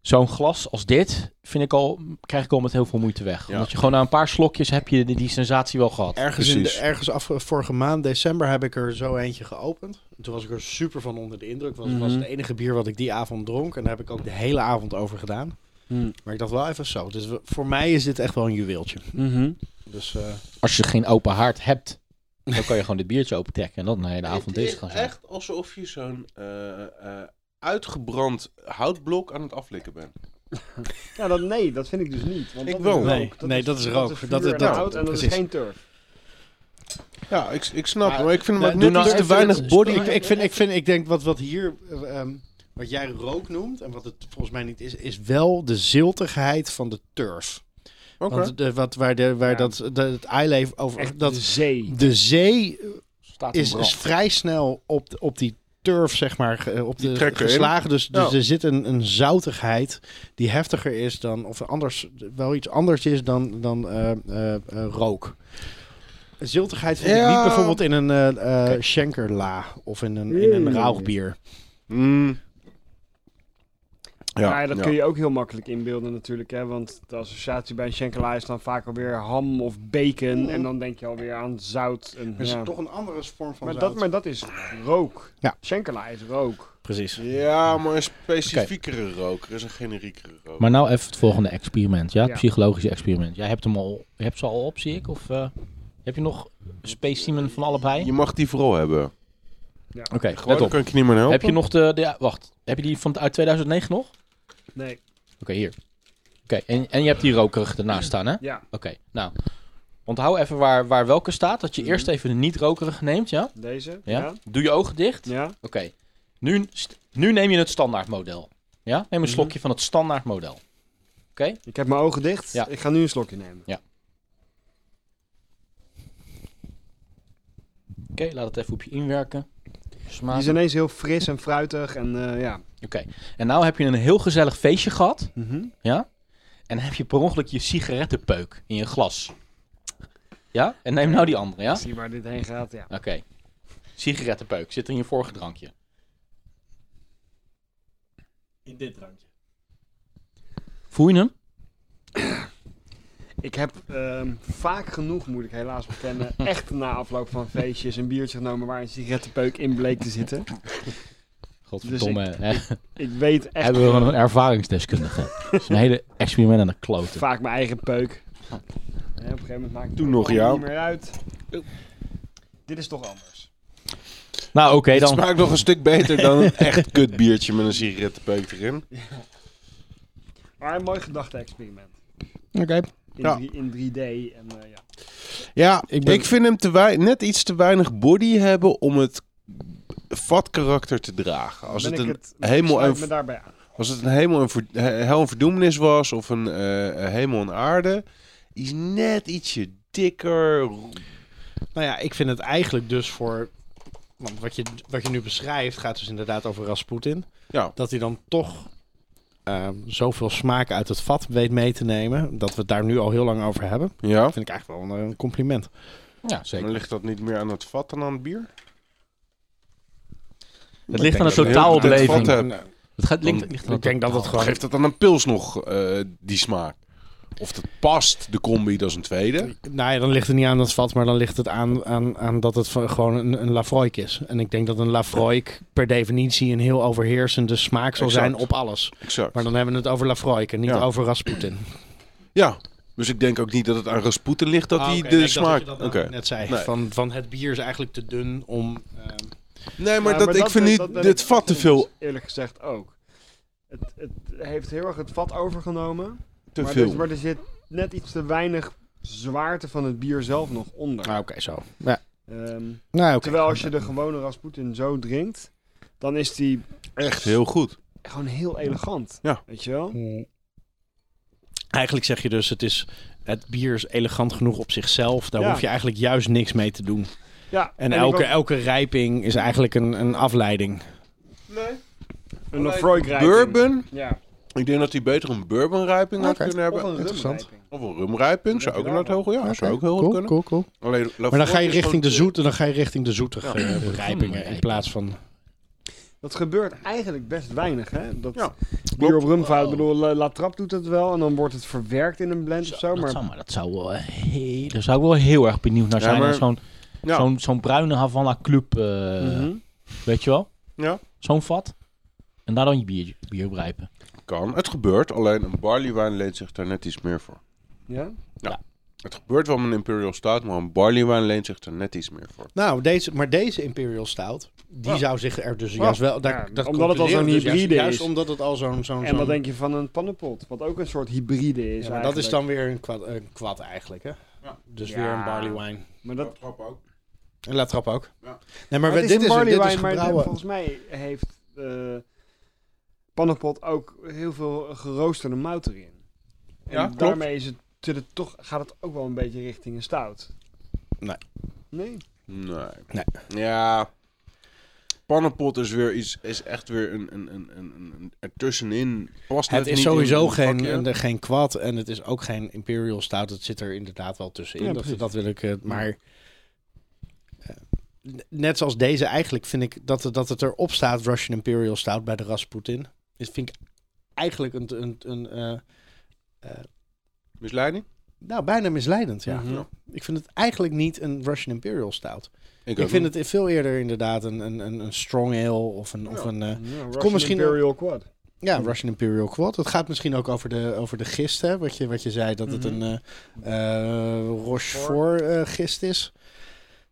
A: zo'n glas als dit, vind ik al, krijg ik al met heel veel moeite weg.
B: Ja.
A: Omdat je gewoon na een paar slokjes heb je die, die sensatie wel gehad.
D: Ergens, in de,
B: Precies.
D: ergens af, vorige maand, december, heb ik er zo eentje geopend. En toen was ik er super van onder de indruk. Want het was
C: Mhm.
D: het enige bier wat ik die avond dronk. En daar heb ik ook de hele avond over gedaan. Maar ik dacht wel even zo. Dus we- voor mij is dit echt wel een juweeltje.
A: Mm-hmm.
D: Dus eh,
A: als je geen open haard hebt, dan kan je gewoon dit biertje opentrekken en dan de hele avond
B: Het
A: deze
B: is
A: gaan zijn.
B: echt alsof je zo'n eh, eh, uitgebrand houtblok aan het aflikken bent.
C: Ja, dat, nee, dat vind ik dus niet. Want
B: Ik
C: dat
B: wel.
C: Is rook.
D: Nee, nee, dat is rook.
C: vuur
D: Dat is-
C: en
D: dat-
C: hout en dat
D: precies.
C: is geen turf.
B: Ja, ik, ik snap.
D: Maar-
B: Maar ik vind hem ook
D: doe
B: net
D: nou
B: iets te
D: even
B: weinig
D: het-
B: body.
D: Ik, ik, vind, ik, vind, ik denk wat, wat hier, eh, ehm, wat jij rook noemt, en wat het volgens mij niet is, is wel de ziltigheid van de turf.
B: nou Oké.
D: Want de, wat, waar, de, waar
C: Ja.
D: dat, de, het eileef over...
C: Echt
D: dat,
C: de zee.
D: de zee
A: Staat
D: is, is vrij snel op, de- op die turf, zeg maar, ge- op de
B: trekken in.
D: geslagen. Dus, dus
B: Ja.
D: er zit een, een zoutigheid die heftiger is dan, of anders, wel iets anders is dan, dan eh, eh, eh, rook. Ziltigheid vind ik
B: Ja.
D: niet bijvoorbeeld in een eh eh schenkerla of in een, in een
C: Mm.
D: rauwbier.
B: Mm.
C: Ja, maar ja, dat kun je ook heel makkelijk inbeelden natuurlijk. Hè? Want de associatie bij een schenkelaar is dan vaak alweer ham of bacon. En dan denk je alweer aan zout. En,
D: Er is
C: ja.
D: Dus toch een andere vorm van
C: maar, dat, maar dat is rook.
D: Ja.
C: Schenkelaar is rook.
D: Precies.
B: Ja, maar een specifiekere rook. Er is een generiekere rook.
A: Maar nou even het volgende experiment, ja? Het
C: Ja.
A: psychologische experiment. Jij hebt hem al, je hebt ze al op, zie ik? Of eh, heb je nog een specimen van allebei?
B: je mag die vooral hebben.
A: Oké,
B: Gewoon,
A: let
B: dan
A: op.
B: kan ik je niet meer helpen.
A: Heb je nog de, de- ja, wacht, heb je die van uit 2009 nog? Oké,
C: Nee,
A: hier. Oké, en, en je hebt die rokerig ernaast staan, hè? Oké,
C: ja,
A: nou. Onthoud even waar, waar welke staat, dat je eerst even de niet-rokerige neemt, ja?
C: deze.
A: Mhm. ja?
C: Ja.
A: Doe je ogen dicht.
C: ja.
A: Oké, nu, st- nu neem je het standaardmodel. Ja? Neem een slokje van het standaardmodel. Oké?
C: Ik heb mijn ogen dicht.
A: Ja.
C: Ik ga nu een slokje nemen.
A: Oké, laat het even op je inwerken.
C: Die
A: Smaak.
C: is ineens heel fris en fruitig en eh, ja.
A: Oké, en nou heb je een heel gezellig feestje gehad.
B: Mhm.
A: En heb je per ongeluk je sigarettenpeuk in je glas. Ja? En neem nou die andere, ja?
C: Zie waar dit heen gaat, ja.
A: Oké. Sigarettenpeuk zit er in je vorige drankje.
E: In dit drankje.
A: Voel je hem?
C: Ik heb ehm, vaak genoeg, moet ik helaas bekennen, echt na afloop van feestjes een biertje genomen waar een sigarettenpeuk in bleek te zitten.
A: Godverdomme. hè.
C: Ik weet echt
A: Hebben we gewoon een ervaringsdeskundige. Dat is een hele experiment aan de kloten.
C: vaak mijn eigen peuk. En op een gegeven moment maakt het
B: Toen
C: ook
B: nog
C: allemaal
B: jou.
C: niet meer uit. Dit is toch anders.
A: Nou, oké
B: Het
A: dan.
B: smaakt nog een stuk beter dan een echt kut biertje met een sigarettenpeuk erin.
C: Maar een mooi gedachte-experiment.
B: Oké.
C: In,
B: Ja.
C: drie- in 3D. En, eh, ja.
B: Ja,
D: Ik
B: ik,
D: ben-
B: vind hem te wei- net iets te weinig body hebben om het vat karakter te dragen. Als
C: Ben
B: het,
C: ik
B: een,
C: ik
B: hemel
C: sluit
B: en-
C: me daarbij aan.
B: als het een hemel en ver- he- hel en verdoemenis was of een eh, hemel en aarde, is net ietsje dikker. ro-
D: Nou ja, ik vind het eigenlijk dus voor... Want wat je, wat je nu beschrijft gaat dus inderdaad over Rasputin.
B: Ja.
D: Dat hij dan toch ehm, zoveel smaak uit het vat weet mee te nemen. Dat we het daar nu al heel lang over hebben.
B: Ja.
D: Dat vind ik eigenlijk wel een, een compliment.
A: Ja, zeker.
B: Maar ligt dat niet meer aan het vat dan aan het bier?
A: Het
D: Ik
A: ligt aan de
D: denk dat we
B: totaal
D: heel-
A: totaalbeleving.
B: vat-
D: Nou,
A: Het gaat, ligt, ligt aan
D: Ik denk dat het
A: totaal-
D: gewoon...
B: Geeft dat dan een pils nog eh, die smaak? Of dat past, de combi, dat is een tweede.
D: Nou ja, dan ligt het niet aan dat vat, maar dan ligt het aan, aan, aan dat het van- gewoon een, een Lafroik is. En ik denk dat een Lafroik per definitie een heel overheersende smaak zal
B: Exact.
D: zijn op alles.
B: Exact.
D: Maar dan hebben we het over Lafroik en niet
B: Ja.
D: over Rasputin.
B: Ja, dus ik denk ook niet dat het aan Rasputin ligt dat
D: Ah,
B: hij
D: oké,
B: de
D: ik dacht
B: smaak...
D: Dat je dat
B: Oké.
D: nou net zei,
B: Nee.
D: van, van het bier is eigenlijk te dun om... ehm,
B: Nee, maar,
C: Ja,
B: dat, ik
C: dat-
B: vind
C: dat-
B: niet
C: dat ben
B: dit
C: ik-
B: vat te
C: dat
B: veel.
C: vind ik Eerlijk gezegd ook. Het, het heeft heel erg het vat overgenomen.
B: Te
C: maar,
B: veel.
C: Er, maar er zit net iets te weinig zwaarte van het bier zelf nog onder.
D: nou, oké, zo. Ja.
C: Ehm,
D: Nou, oké.
C: Terwijl als je de gewone Rasputin zo drinkt, dan is die
B: Echt heel goed.
C: gewoon heel elegant.
B: Ja.
C: Weet je wel?
D: Mm. Eigenlijk zeg je dus, het, is, het bier is elegant genoeg op zichzelf. Daar
C: Ja.
D: hoef je eigenlijk juist niks mee te doen.
C: Ja,
D: En,
C: ik
D: elke,
C: wou-
D: elke rijping is eigenlijk een, een afleiding.
C: een Lafroy
B: Bourbon.
C: Ja,
B: Ik denk dat hij beter een bourbonrijping had
D: Oké.
B: kunnen
C: of
B: hebben.
C: een
D: Interessant.
C: rumrijping.
B: Of een rumrijping. Zou ook
C: Ja,
B: inderdaad heel goed, ja, zou ook heel goed kunnen.
D: cool, cool.
B: Alleen,
D: Maar dan ga je
B: Lafroy is
D: richting de
B: gewoon-
D: zoete, dan ga je richting de zoete eh, rijpingen in plaats van...
C: Dat gebeurt eigenlijk best weinig, hè? Dat
B: Ja,
C: bier op rumvaart, ik bedoel, La, La Trappe doet dat wel en dan wordt het verwerkt in een blend of zo,
A: Dat
C: maar...
A: zou, maar dat zou wel heel, daar zou ik wel heel erg benieuwd naar
B: Ja,
A: zijn.
B: maar-
A: als Zo'n
B: Ja,
A: zo'n zo'n bruine Havana Club, eh,
C: Mhm.
A: weet je wel?
B: Ja.
A: Zo'n vat. En daar dan je bier, bier op rijpen.
B: kan. Het gebeurt. Alleen een barleywijn leent zich daar net iets meer voor.
C: Ja?
B: Het gebeurt wel met een Imperial Stout, maar een barleywijn leent zich daar net iets meer voor.
D: Nou, deze, maar deze Imperial Stout, die zou zich er dus
B: Ja.
D: juist wel... Daar,
C: Ja, omdat het
D: dat
C: al zo'n
D: concluderen we dus juist-
C: hybride
D: Juist
C: is.
D: omdat het al zo'n... zo'n
C: En
D: zo'n-
C: wat denk je van een pannenpot, wat ook een soort hybride is
D: Ja, maar dat is
C: eigenlijk.
D: dan weer een kwad, een kwad eigenlijk, hè?
B: Ja.
D: Dus
C: Ja.
D: weer een barley wine.
C: Maar dat...
B: ook.
D: En La Trappe ook.
B: Ja.
D: Nee, maar,
C: Maar
D: we-
C: het een
D: dit, is, dit
C: barley
D: is
C: wine, maar
D: gebrouwen-
C: volgens mij heeft eh pannenpot ook heel veel geroosterde mout erin. En
B: Ja, klopt.
C: daarmee is het, zit het toch, gaat het ook wel een beetje richting een stout.
D: Nee.
C: Nee?
B: Nee.
D: Nee.
B: Ja. Pannenpot is weer iets, is echt weer een, een, een, een, een ertussenin. Past
D: Het
B: net
D: is
B: niet in
D: sowieso
B: een
D: geen,
B: vakje.
D: en- geen kwad en het is ook geen Imperial Stout. Het zit er inderdaad wel tussenin.
C: Ja,
D: dat,
C: precies.
D: dat wil ik, eh, maar... eh, n- Net zoals deze eigenlijk vind ik dat, het- dat het erop staat Russian Imperial Stout bij de Rasputin. Is vind ik eigenlijk een, een, een eh,
B: Misleiding?
D: nou bijna misleidend ja.
C: Mhm.
B: Ja.
D: Ik vind het eigenlijk niet een Russian Imperial Stout. Ik
B: ook
D: vind
B: niet.
D: het veel eerder inderdaad een, een, een, een strong ale of een, of
B: Ja.
D: een eh,
C: Kom
D: misschien-
C: misschien Imperial Quad.
D: ja, Russian Imperial Quad. Het gaat misschien ook over de, over de gist, hè? Wat, je, wat je zei, dat het
C: Mhm.
D: een eh, eh, Rochefort eh, gist is.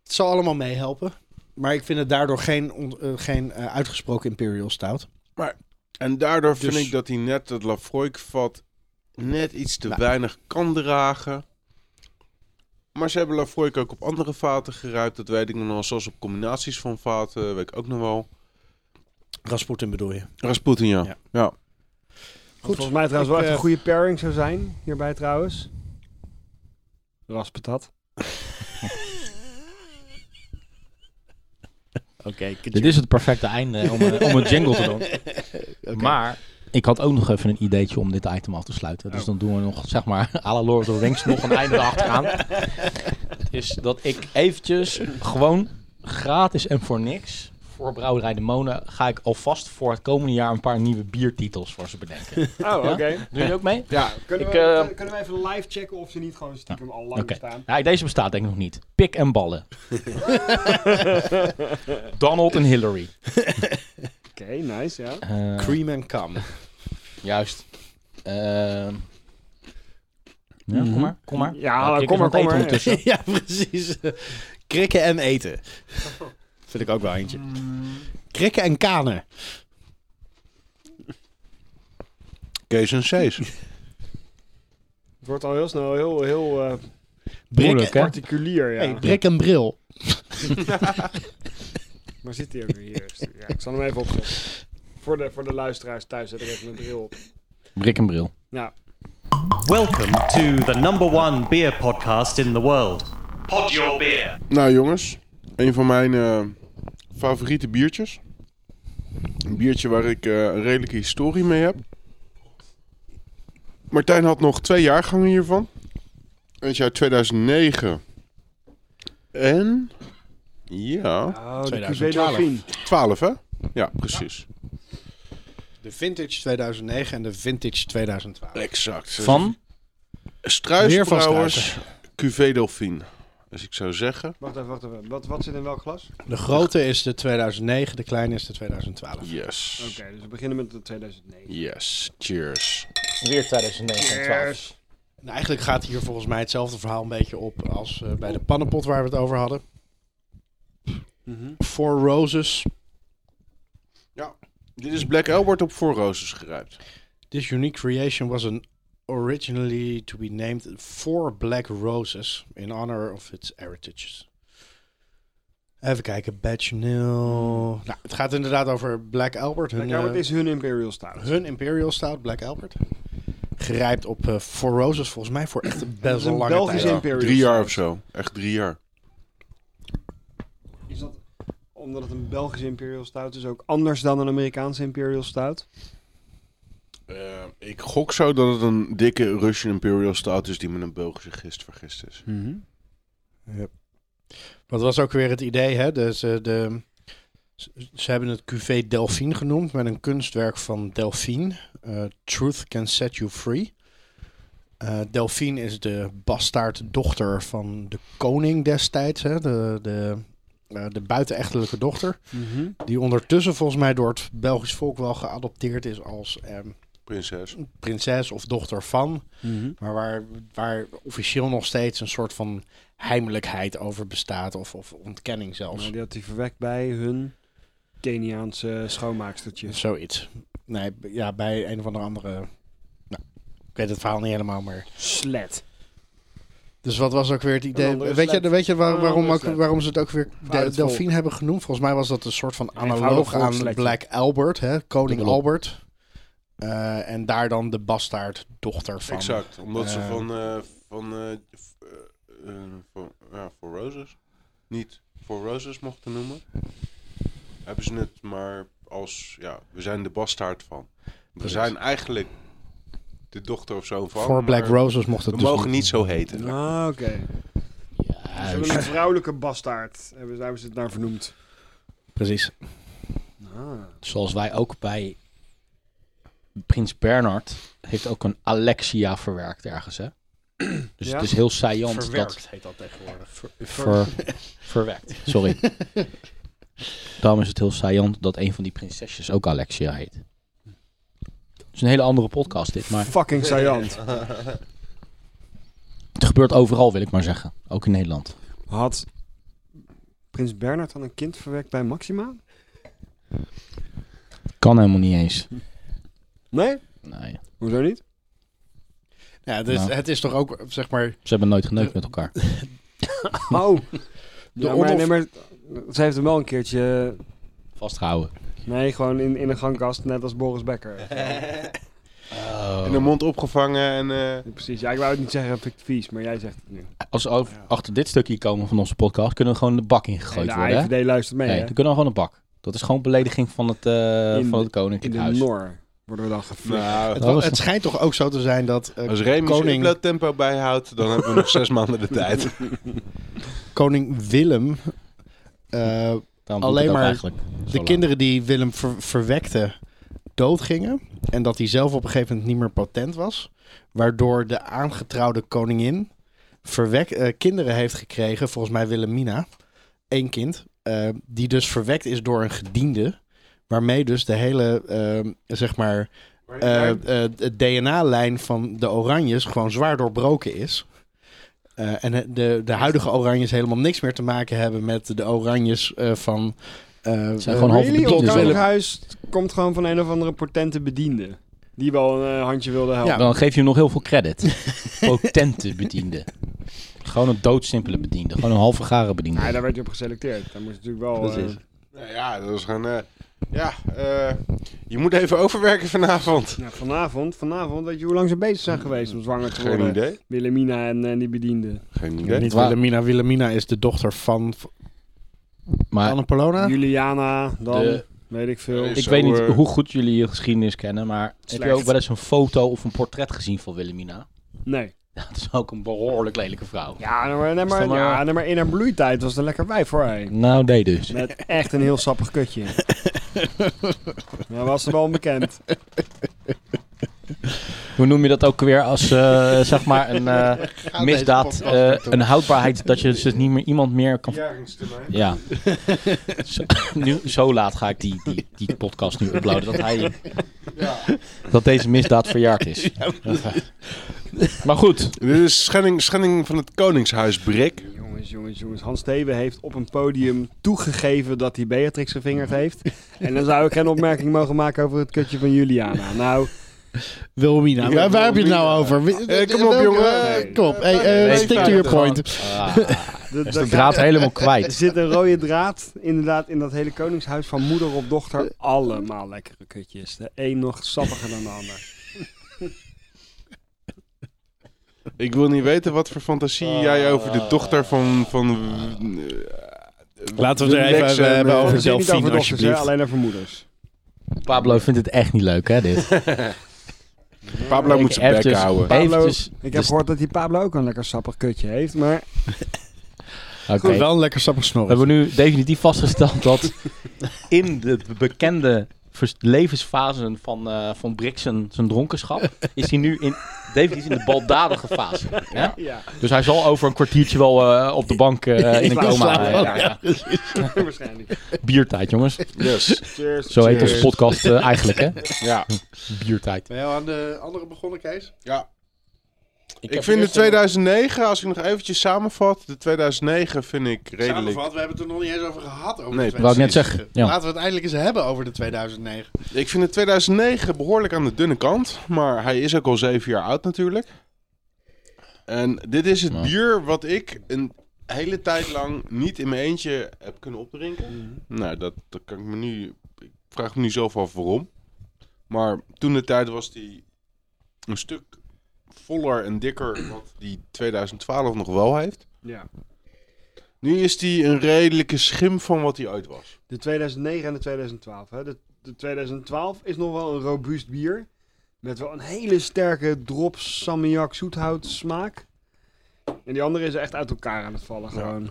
D: Het zal allemaal meehelpen. Maar ik vind het daardoor geen, on- eh, geen eh, uitgesproken Imperial Stout.
B: En daardoor
D: Dus-
B: vind ik dat hij net dat Lafroik-vat net iets te
D: Nou.
B: weinig kan dragen. Maar ze hebben Lafroik ook op andere vaten geruimd. Dat weet ik nog wel. Zoals op combinaties van vaten, weet ik ook nog wel.
D: Rasputin bedoel je.
B: Rasputin, ja.
D: Ja.
B: ja.
C: Goed. Volgens mij trouwens
D: Ik,
C: wel echt
D: eh,
C: een goede pairing zou zijn, hierbij trouwens. Raspatat.
D: Oké.
A: Dit is het perfecte einde om, eh, om een jingle te doen. Maar ik had ook nog even een ideetje om dit item af te sluiten. Dus dan doen we nog, zeg maar, à la Lord of the Rings nog een einde erachteraan. is dat ik eventjes gewoon gratis en voor niks voor Brouwerij de Monen ga ik alvast voor het komende jaar een paar nieuwe biertitels voor ze bedenken.
C: Oh, oké.
A: Doe je ook mee?
C: Ja, kunnen,
A: Ik,
C: we,
A: eh,
C: kun- kunnen we even live checken of ze niet gewoon stiekem al lang
A: Oké.
C: staan?
A: Nou, deze bestaat denk ik nog niet. Pik en ballen. Donald en Hillary.
C: Oké, nice, ja.
A: Eh,
D: Cream and cum.
A: juist. Ehm, ja, kom maar, kom maar.
C: Ja,
A: Nou,
C: nou,
A: ik
C: kom
A: is
C: maar,
A: aan het eten
C: kom maar.
A: ondertussen.
D: ja, precies. Krikken en eten. Vind ik ook wel eentje. Krikken en kanen.
B: Kees en C's.
C: Het wordt al heel snel heel, heel eh,
A: Moeilijk, hè?
C: particulier, ja.
D: Hey, brik en bril.
C: Maar zit hij ook weer hier? Ja, ik zal hem even opzetten. Voor de, voor de luisteraars thuis zet ik even een bril op.
A: Brik en bril.
C: Nou,
F: Welcome to the number one beer podcast in the world. Pod your beer.
B: Nou jongens, een van mijn eh, favoriete biertjes. Een biertje waar ik eh, een redelijke historie mee heb. Martijn had nog twee jaargangen hiervan. Het jaar 2009. En... Ja,
C: oh, de
D: 2012.
C: Q2
B: 12 hè? Ja, precies.
D: De vintage 2009 en de vintage 2012.
B: Exact.
A: Van?
B: Struisbrouwers Cuvée Delphine. Dus ik zou zeggen...
C: Wacht even, wacht even. Wat, wat zit in welk glas?
D: De grote is de 2009, de kleine is de 2012.
B: Yes.
C: Oké, dus we beginnen met de 2009.
B: Yes. Cheers.
A: Weer 2009 en 12.
D: Nou, eigenlijk gaat hier volgens mij hetzelfde verhaal een beetje op als eh, bij de pannenpot waar we het over hadden.
C: Mhm.
D: Four Roses.
B: Dit is Black Elbert op voorrozes geruimd.
D: This unique creation was an originally to be named Four Black Roses in honor of its heritage. Even kijken, Batch Nil. Nou, het gaat inderdaad over Black Albert. Hun,
C: Hmm. Black Albert
D: eh,
C: is hun Imperial Stout.
D: hun Imperial Stout, Black Albert. Gerijpt op eh, Four Roses, volgens mij voor echt
C: Dat
D: best
C: is
D: wel
C: een
D: lange
C: Belgische
D: tijd.
C: Imperial
B: Drie jaar of
C: Stout.
B: zo. Echt drie jaar.
C: Is dat omdat het een Belgische Imperial Stout is ook anders dan een Amerikaanse Imperial Stout?
B: Eh, ik gok zo dat het een dikke Russian Imperial Stout is die met een Belgische gist vergist is.
D: Wat was ook weer het idee, hè? Dus, eh, de, ze- ze hebben het QV Delphine genoemd met een kunstwerk van Delphine. Eh, Truth Can Set You Free. Eh, Delphine is de bastaarddochter van de koning destijds, hè? De, de, eh, de buitenechtelijke dochter.
C: Mhm.
D: Die ondertussen volgens mij door het Belgisch volk wel geadopteerd is als eh,
B: Prinses.
D: prinses of dochter van.
C: Mhm.
D: Maar waar, waar officieel nog steeds een soort van heimelijkheid over bestaat. Of, of ontkenning zelfs.
C: Maar Nou, die had hij verwekt bij hun Keniaanse schoonmaakstertjes.
D: Zoiets. Nee, b- ja, bij een of andere andere... Nou, ik weet het verhaal niet helemaal, maar...
C: Slet.
D: Dus wat was ook weer het idee?
C: andere
D: Weet je,
C: slet.
D: weet je waar-
C: Een
D: waarom,
C: andere
D: ook,
C: slet.
D: waarom ze het ook weer
C: Vanuit
D: de,
C: het
D: Delphine hebben genoemd? Volgens mij was dat een soort van
C: Eenvoudig
D: analoog aan
C: volksletje.
D: Black Albert, hè? koning
A: Dubbelop.
D: Albert. Eh, en daar dan de bastaarddochter van.
B: Exact. Omdat ze
D: Eh.
B: van, eh, van, eh, f- eh, eh, van ja, voor Roses niet voor Roses mochten noemen. Hebben ze het maar als, ja, we zijn de bastaard van. We
D: Precies.
B: zijn eigenlijk de dochter of zo van.
D: Voor Black
B: maar
D: Roses mocht het
B: We
D: dus Nou.
B: mogen niet zo heten.
C: Ah, oké. Ze hebben een vrouwelijke bastaard. Hebben ze, daar hebben ze het naar vernoemd. Ah.
D: Precies.
A: Zoals wij ook bij Prins Bernhard heeft ook een Alexia verwerkt ergens, hè? Dus
C: Ja?
A: het is heel saillant dat
D: Verwerkt heet dat tegenwoordig.
A: ver, verwerkt. Sorry. Daarom is het heel saillant dat een van die prinsesjes ook Alexia heet. Het is een hele andere podcast dit, maar
C: Fucking saillant.
A: het gebeurt overal, wil ik maar zeggen. Ook in Nederland.
C: Had prins Bernhard dan een kind verwekt bij Maxima?
A: Kan helemaal niet eens.
C: Nee?
A: Nee,
C: Hoezo niet?
D: Ja, dus
A: Nou.
D: het is toch ook, zeg maar...
A: ze hebben nooit geneukt met elkaar.
C: Oh. ja, maar,
D: onof-
C: nee, maar ze heeft hem wel een keertje...
A: Vastgehouden.
C: Nee, gewoon in, in een gangkast, net als Boris Becker.
B: In de mond opgevangen en... eh,
C: Precies, ja, ik wou het niet zeggen vind ik het vies, maar jij zegt het nu.
A: Als we over- achter dit stukje komen van onze podcast, kunnen we gewoon de bak ingegooid
C: de
A: worden. hè?
C: AIVD luistert mee,
A: Nee,
C: hè?
A: dan kunnen we gewoon een bak. Dat is gewoon belediging van het, eh,
C: In
A: van het
C: In
A: koninklijk
C: de
A: huis.
C: Noor. Worden we dan geflikt.
B: Nou,
D: Het,
A: Dat was-
D: het schijnt toch ook zo te zijn dat eh,
B: als Remy zijn
D: koning,
B: uploadtempo bijhoudt, dan hebben we nog zes maanden de tijd.
D: koning Willem... eh,
A: Daarom
D: Alleen
A: doe ik het ook
D: maar
A: eigenlijk zo
D: de
A: lang.
D: kinderen die Willem ver- verwekte doodgingen. En dat hij zelf op een gegeven moment niet meer patent was. Waardoor de aangetrouwde koningin verwek, eh, kinderen heeft gekregen. Volgens mij Willemina. Eén kind. eh, die dus verwekt is door een gediende. Waarmee dus de hele, eh, zeg maar, eh, eh, het DNA-lijn van de Oranjes gewoon zwaar doorbroken is. Eh, en het- de, de huidige Oranjes helemaal niks meer te maken hebben met de Oranjes eh, van. eh,
A: zijn gewoon halve
C: Really? Ons
A: bedienden.
D: Willem.
C: koningshuis komt gewoon van een of andere potente bediende. Die wel een eh, handje wilde helpen.
A: Dan geef je hem nog heel veel credit. Potente bediende. Gewoon een doodsimpele bediende. Gewoon een halve garen bediende.
C: Ja, daar werd je op geselecteerd. Daar moest natuurlijk wel... eh,
A: Precies.
B: Nou ja, dat is gewoon... eh, ja, eh, je moet even overwerken vanavond.
C: ja, vanavond, vanavond, weet je hoe lang ze bezig zijn geweest om zwanger te
B: Geen
C: worden?
B: idee.
C: Wilhelmina en eh, die bediende.
B: Geen idee.
D: Niet
A: Waar-
D: Willemina. Willemina is de dochter van
A: maar
D: Anne Polona.
A: Ah.
C: Juliana, dan
A: De-
C: weet ik veel.
B: Eh,
A: ik
B: Zo,
A: weet niet
B: eh,
A: hoe goed jullie je geschiedenis kennen, maar heb je
C: Slecht.
A: ook wel eens een foto of een portret gezien van Wilhelmina?
C: Nee.
A: Dat is ook een behoorlijk lelijke vrouw.
C: Ja, nou maar, nou maar,
A: Is dat maar-
C: ja, nou maar in haar bloeitijd was het een lekker wijf voor hij.
A: Nou, nee dus.
C: Met echt een heel sappig kutje. ja, was er wel bekend.
A: Hoe noem je dat ook weer als, eh, zeg maar, een eh, misdaad, eh, een houdbaarheid dat je dus niet meer iemand meer kan... Ja. Zo, nu, zo laat ga ik die, die, die podcast nu uploaden, dat hij... Dat deze misdaad verjaard is. Maar goed,
B: Dit is schending, schending van het Koningshuis, Brik.
C: Jongens, jongens, jongens. Hans Steven heeft op een podium toegegeven dat hij Beatrix gevingerd heeft. En dan zou ik geen opmerking mogen maken over het kutje van Juliana. Nou,
D: Wilhelmina. Waar, waar heb je het nou over? Wie-
B: Eh, kom op,
D: welke-
B: jongen.
D: Eh, Kom op. Hey, eh,
A: Nee,
D: stick to
A: vijftig.
D: your point.
A: ah,
C: dat-
A: is de
C: dat-
A: draad helemaal
C: er
A: kwijt.
C: zit een rode draad inderdaad in dat hele koningshuis van moeder op dochter. Allemaal lekkere kutjes. De een nog sappiger dan de ander.
B: Ik wil niet weten wat voor fantasie jij over de dochter van... van
D: Laten we het er even
B: Relax en,
D: hebben
B: eh,
D: over
C: Het is niet
D: Delphine,
C: over dochters, hè,
D: alsjeblieft.
C: alleen over moeders.
A: Pablo vindt het echt niet leuk, hè, dit.
B: eh, Pablo moet zijn bek
D: dus-
B: houden.
C: Pablo-
A: Eventjes,
C: Ik heb
A: Dus-
C: gehoord dat die Pablo ook een lekker sappig kutje heeft, maar...
A: Oké.
D: Goed, Wel een lekker sappig
A: We
D: snorren.
A: hebben nu definitief vastgesteld dat in de bekende vers- levensfasen van, eh van Brix zijn, zijn dronkenschap, is hij nu in, definitief in de baldadige fase. hè?
C: Ja,
A: Dus hij zal over een kwartiertje wel eh, op de bank eh, in een coma. eh, ja, ja.
C: waarschijnlijk.
A: Biertijd, jongens.
B: Yes.
C: Cheers.
A: Zo heet onze podcast eh, eigenlijk, hè?
B: Ja.
A: Biertijd.
D: Ben je al aan de andere begonnen, Kees?
B: ja. Ik,
D: dus
B: vind de 2009, als ik nog eventjes samenvat, de 2009 vind ik redelijk.
D: Samenvat, we hebben het er nog niet eens over gehad. Over
B: Nee,
D: de
A: wou ik net
D: 2009.
A: zeggen, ja.
D: Laten we het eindelijk eens hebben over de 2009.
B: Ik vind de 2009 behoorlijk aan de dunne kant, maar hij is ook al zeven jaar oud natuurlijk. En dit is het
A: Nou.
B: bier wat ik een hele tijd lang niet in mijn eentje heb kunnen opdrinken. Nou, dat, dat kan ik me nu. Ik vraag me nu zelf af waarom. Maar toen de tijd was die een stuk voller en dikker wat die 2012 nog wel heeft.
C: Ja.
B: Nu is die een redelijke schim van wat hij ooit was.
C: De 2009 en de 2012. Hè? De, de 2012 is nog wel een robuust bier. Met wel een hele sterke drop salmiak zoethout smaak. En die andere is echt uit elkaar aan het vallen gewoon.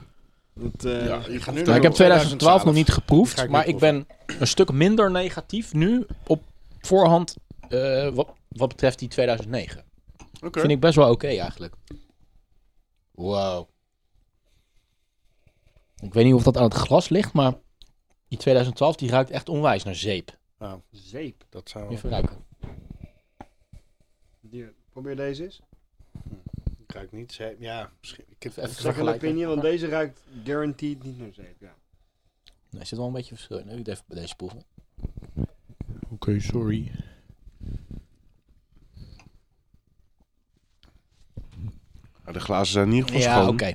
C: Dat, eh,
B: Ja, je gaat nu
A: Nou, ik heb 2012 nog niet geproefd,
D: Ga ik
A: maar
D: niet
A: ik ben een stuk minder negatief nu op voorhand eh, wat, wat betreft die 2009.
B: Oké.
A: Vind ik best wel oké eigenlijk. Wow. Ik weet niet of dat aan het glas ligt, maar die 2012 die ruikt echt onwijs naar zeep.
C: Zeep.
D: Dat zou...
A: Even ruiken.
C: Hier, probeer deze eens.
D: Hm, Ik ruik niet zeep. Ja, misschien. Ik heb
A: Even
C: Zeg een
A: vergelijken.
C: opinie, want deze ruikt guaranteed niet naar zeep. Ja.
A: Nee, er zit wel een beetje verschil in. hè. Ik doe even bij deze proeven.
D: Oké, sorry.
B: Ja, de glazen zijn in ieder geval
A: Ja,
B: schoon.
A: oké.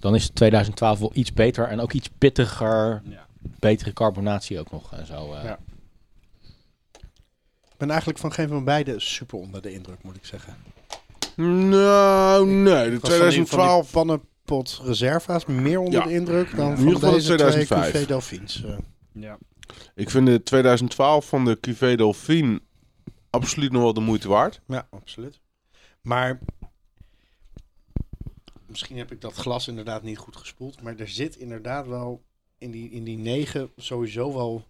A: Dan is 2012 wel iets beter en ook iets pittiger.
C: Ja.
A: Betere carbonatie ook nog en zo. eh.
D: Ja. Ik ben eigenlijk van geen van beide super onder de indruk, moet ik zeggen.
B: Nou, nee. De
D: Ik was van die-
B: 2012
D: Van die pannenpot reserva's meer onder
B: Ja.
D: de indruk dan
B: In
D: van
B: ieder geval
D: deze
B: de 2005.
D: twee Cuvée Dauphins. eh.
C: Ja.
B: Ik vind de 2012 van de Cuvée Delphine absoluut nog wel de moeite waard.
D: Ja, absoluut. Maar misschien heb ik dat glas inderdaad niet goed gespoeld. Maar er zit inderdaad wel in die, in die negen sowieso wel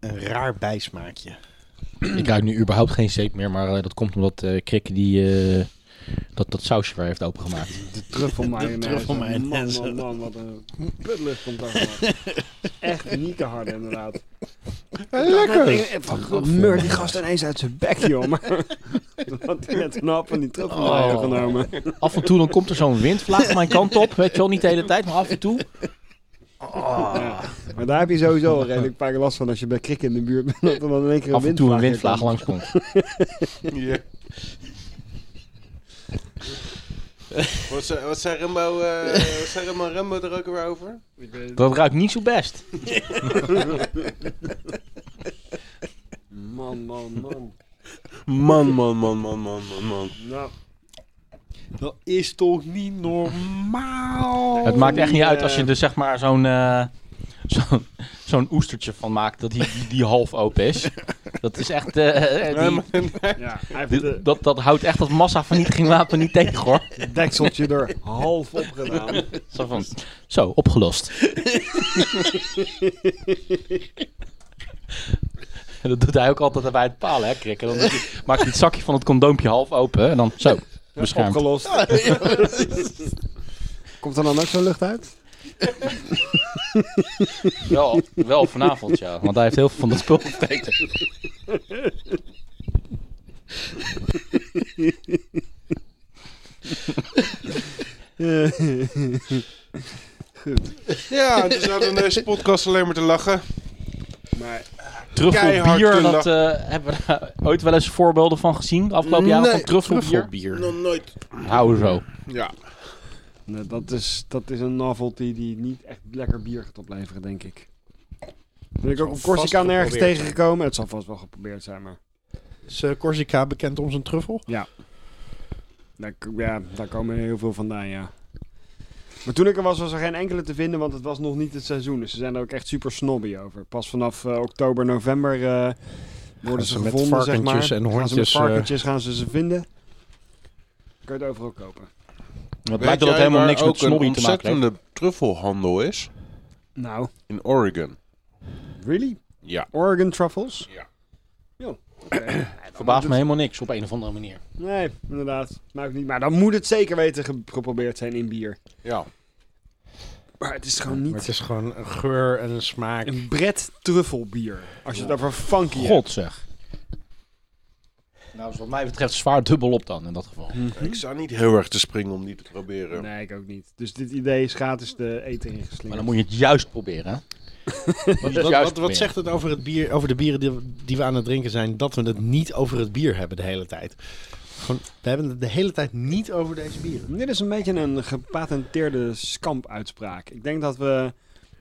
D: een raar bijsmaakje.
A: Ik ruik nu überhaupt geen zeep meer, maar eh, dat komt omdat eh Krikke die, eh, dat, dat sausje weer heeft opengemaakt.
C: De truffel mayonaise. Man,
D: truffel-mayonaise.
C: man, man, wat een putlucht komt daar vanaf. Echt niet te hard, inderdaad. Lekker! Meur die gast ineens uit zijn bek, joh. Maar had hij net een hap van die truffel
A: Oh.
C: genomen.
A: Af en toe dan komt er zo'n windvlaag mijn kant op, weet je wel, niet de hele tijd, maar af en toe.
C: Maar daar heb je sowieso al redelijk paar last van als je bij krikken in de buurt bent. Dat er dan in één keer een
A: af en toe een windvlaag
C: windvlaag
A: langs komt.
B: Ja. wat, zei, wat, zei Rembo, eh, wat zei Rembo, Rembo er ook weer over?
A: Dat ruikt niet zo best.
C: Man, man, man.
B: Man, man, man, man, man, man, man.
C: Nou,
D: Dat is toch niet normaal?
A: Het maakt echt niet uit als je er zeg maar zo'n eh, zo'n zo'n oestertje van maakt, dat die, die, die half open is. Dat is echt, eh, eh, die-
C: ja, hij heeft
A: die-
C: de
A: dat, dat houdt echt dat massavernietigingswapen niet tegen hoor.
C: dekseltje er half op gedaan.
A: Zo, van, zo opgelost. En dat doet hij ook altijd bij het palen, hè, Krik? En dan doet hij- maakt hij het zakje van het condoompje half open en dan zo, beschermd.
C: Opgelost. Komt er dan ook zo'n lucht uit?
A: Wel, wel vanavond, ja. Want hij heeft heel veel van dat spul getekend.
B: Ja, dus hadden we deze podcast alleen maar te lachen.
C: Maar
B: Keihard
A: Truffelbier,
B: kunnen
A: dat eh, hebben we daar ooit wel eens voorbeelden van gezien? De afgelopen jaren
B: Nee,
A: van truffelbier.
B: Nog nooit.
A: Hou zo.
B: Ja.
C: nee, dat, is, dat is een novelty die niet echt lekker bier gaat opleveren, denk ik. Ben ik ook op
B: vast
C: Corsica nergens
B: geprobeerd.
C: tegengekomen. Het zal vast wel geprobeerd zijn, maar...
D: Is eh, Corsica bekend om zijn truffel?
C: Daar, k- ja, daar komen heel veel vandaan, ja. Maar toen ik er was, was er geen enkele te vinden, want het was nog niet het seizoen. Dus ze zijn er ook echt super snobby over. Pas vanaf eh, oktober, november eh, worden
D: ze
C: ze
D: met
C: gevonden, zeg maar.
D: varkentjes en
C: Gaan ze met
D: hondjes, eh,
C: varkentjes gaan ze ze vinden. Kun je het overal kopen.
A: Het lijkt dat het helemaal niks met snobby te maken heeft.
B: ontzettende truffelhandel is?
C: Nou,
B: In Oregon.
C: really?
B: Ja.
C: Oregon truffles?
B: Ja.
C: Jo,
A: Verbaast me helemaal niks, op een of andere manier.
C: Nee, inderdaad. Maakt niet. Maar dan moet het zeker weten ge- geprobeerd zijn in bier.
B: Ja.
C: Maar het is gewoon
D: Maar het
C: niet
D: is gewoon een geur en een smaak.
C: een bret truffelbier. Als je het over funky hebt.
A: God zeg. Nou, is wat mij betreft zwaar dubbel op dan in dat geval.
D: Hmm.
B: Ik zou niet heel erg te springen om die te proberen.
C: Nee, ik ook niet. Dus dit idee is gratis de eten ingeslingerd.
A: Maar dan moet je het juist proberen. hè?
D: Wat,
A: Juist
D: wat, wat,
A: proberen.
D: wat zegt het over, het bier, over de bieren die, we- die we aan het drinken zijn, dat we het niet over het bier hebben de hele tijd? Gewoon, we hebben het de hele tijd niet over deze bieren.
C: Dit is een beetje een gepatenteerde skamp-uitspraak. Ik denk dat we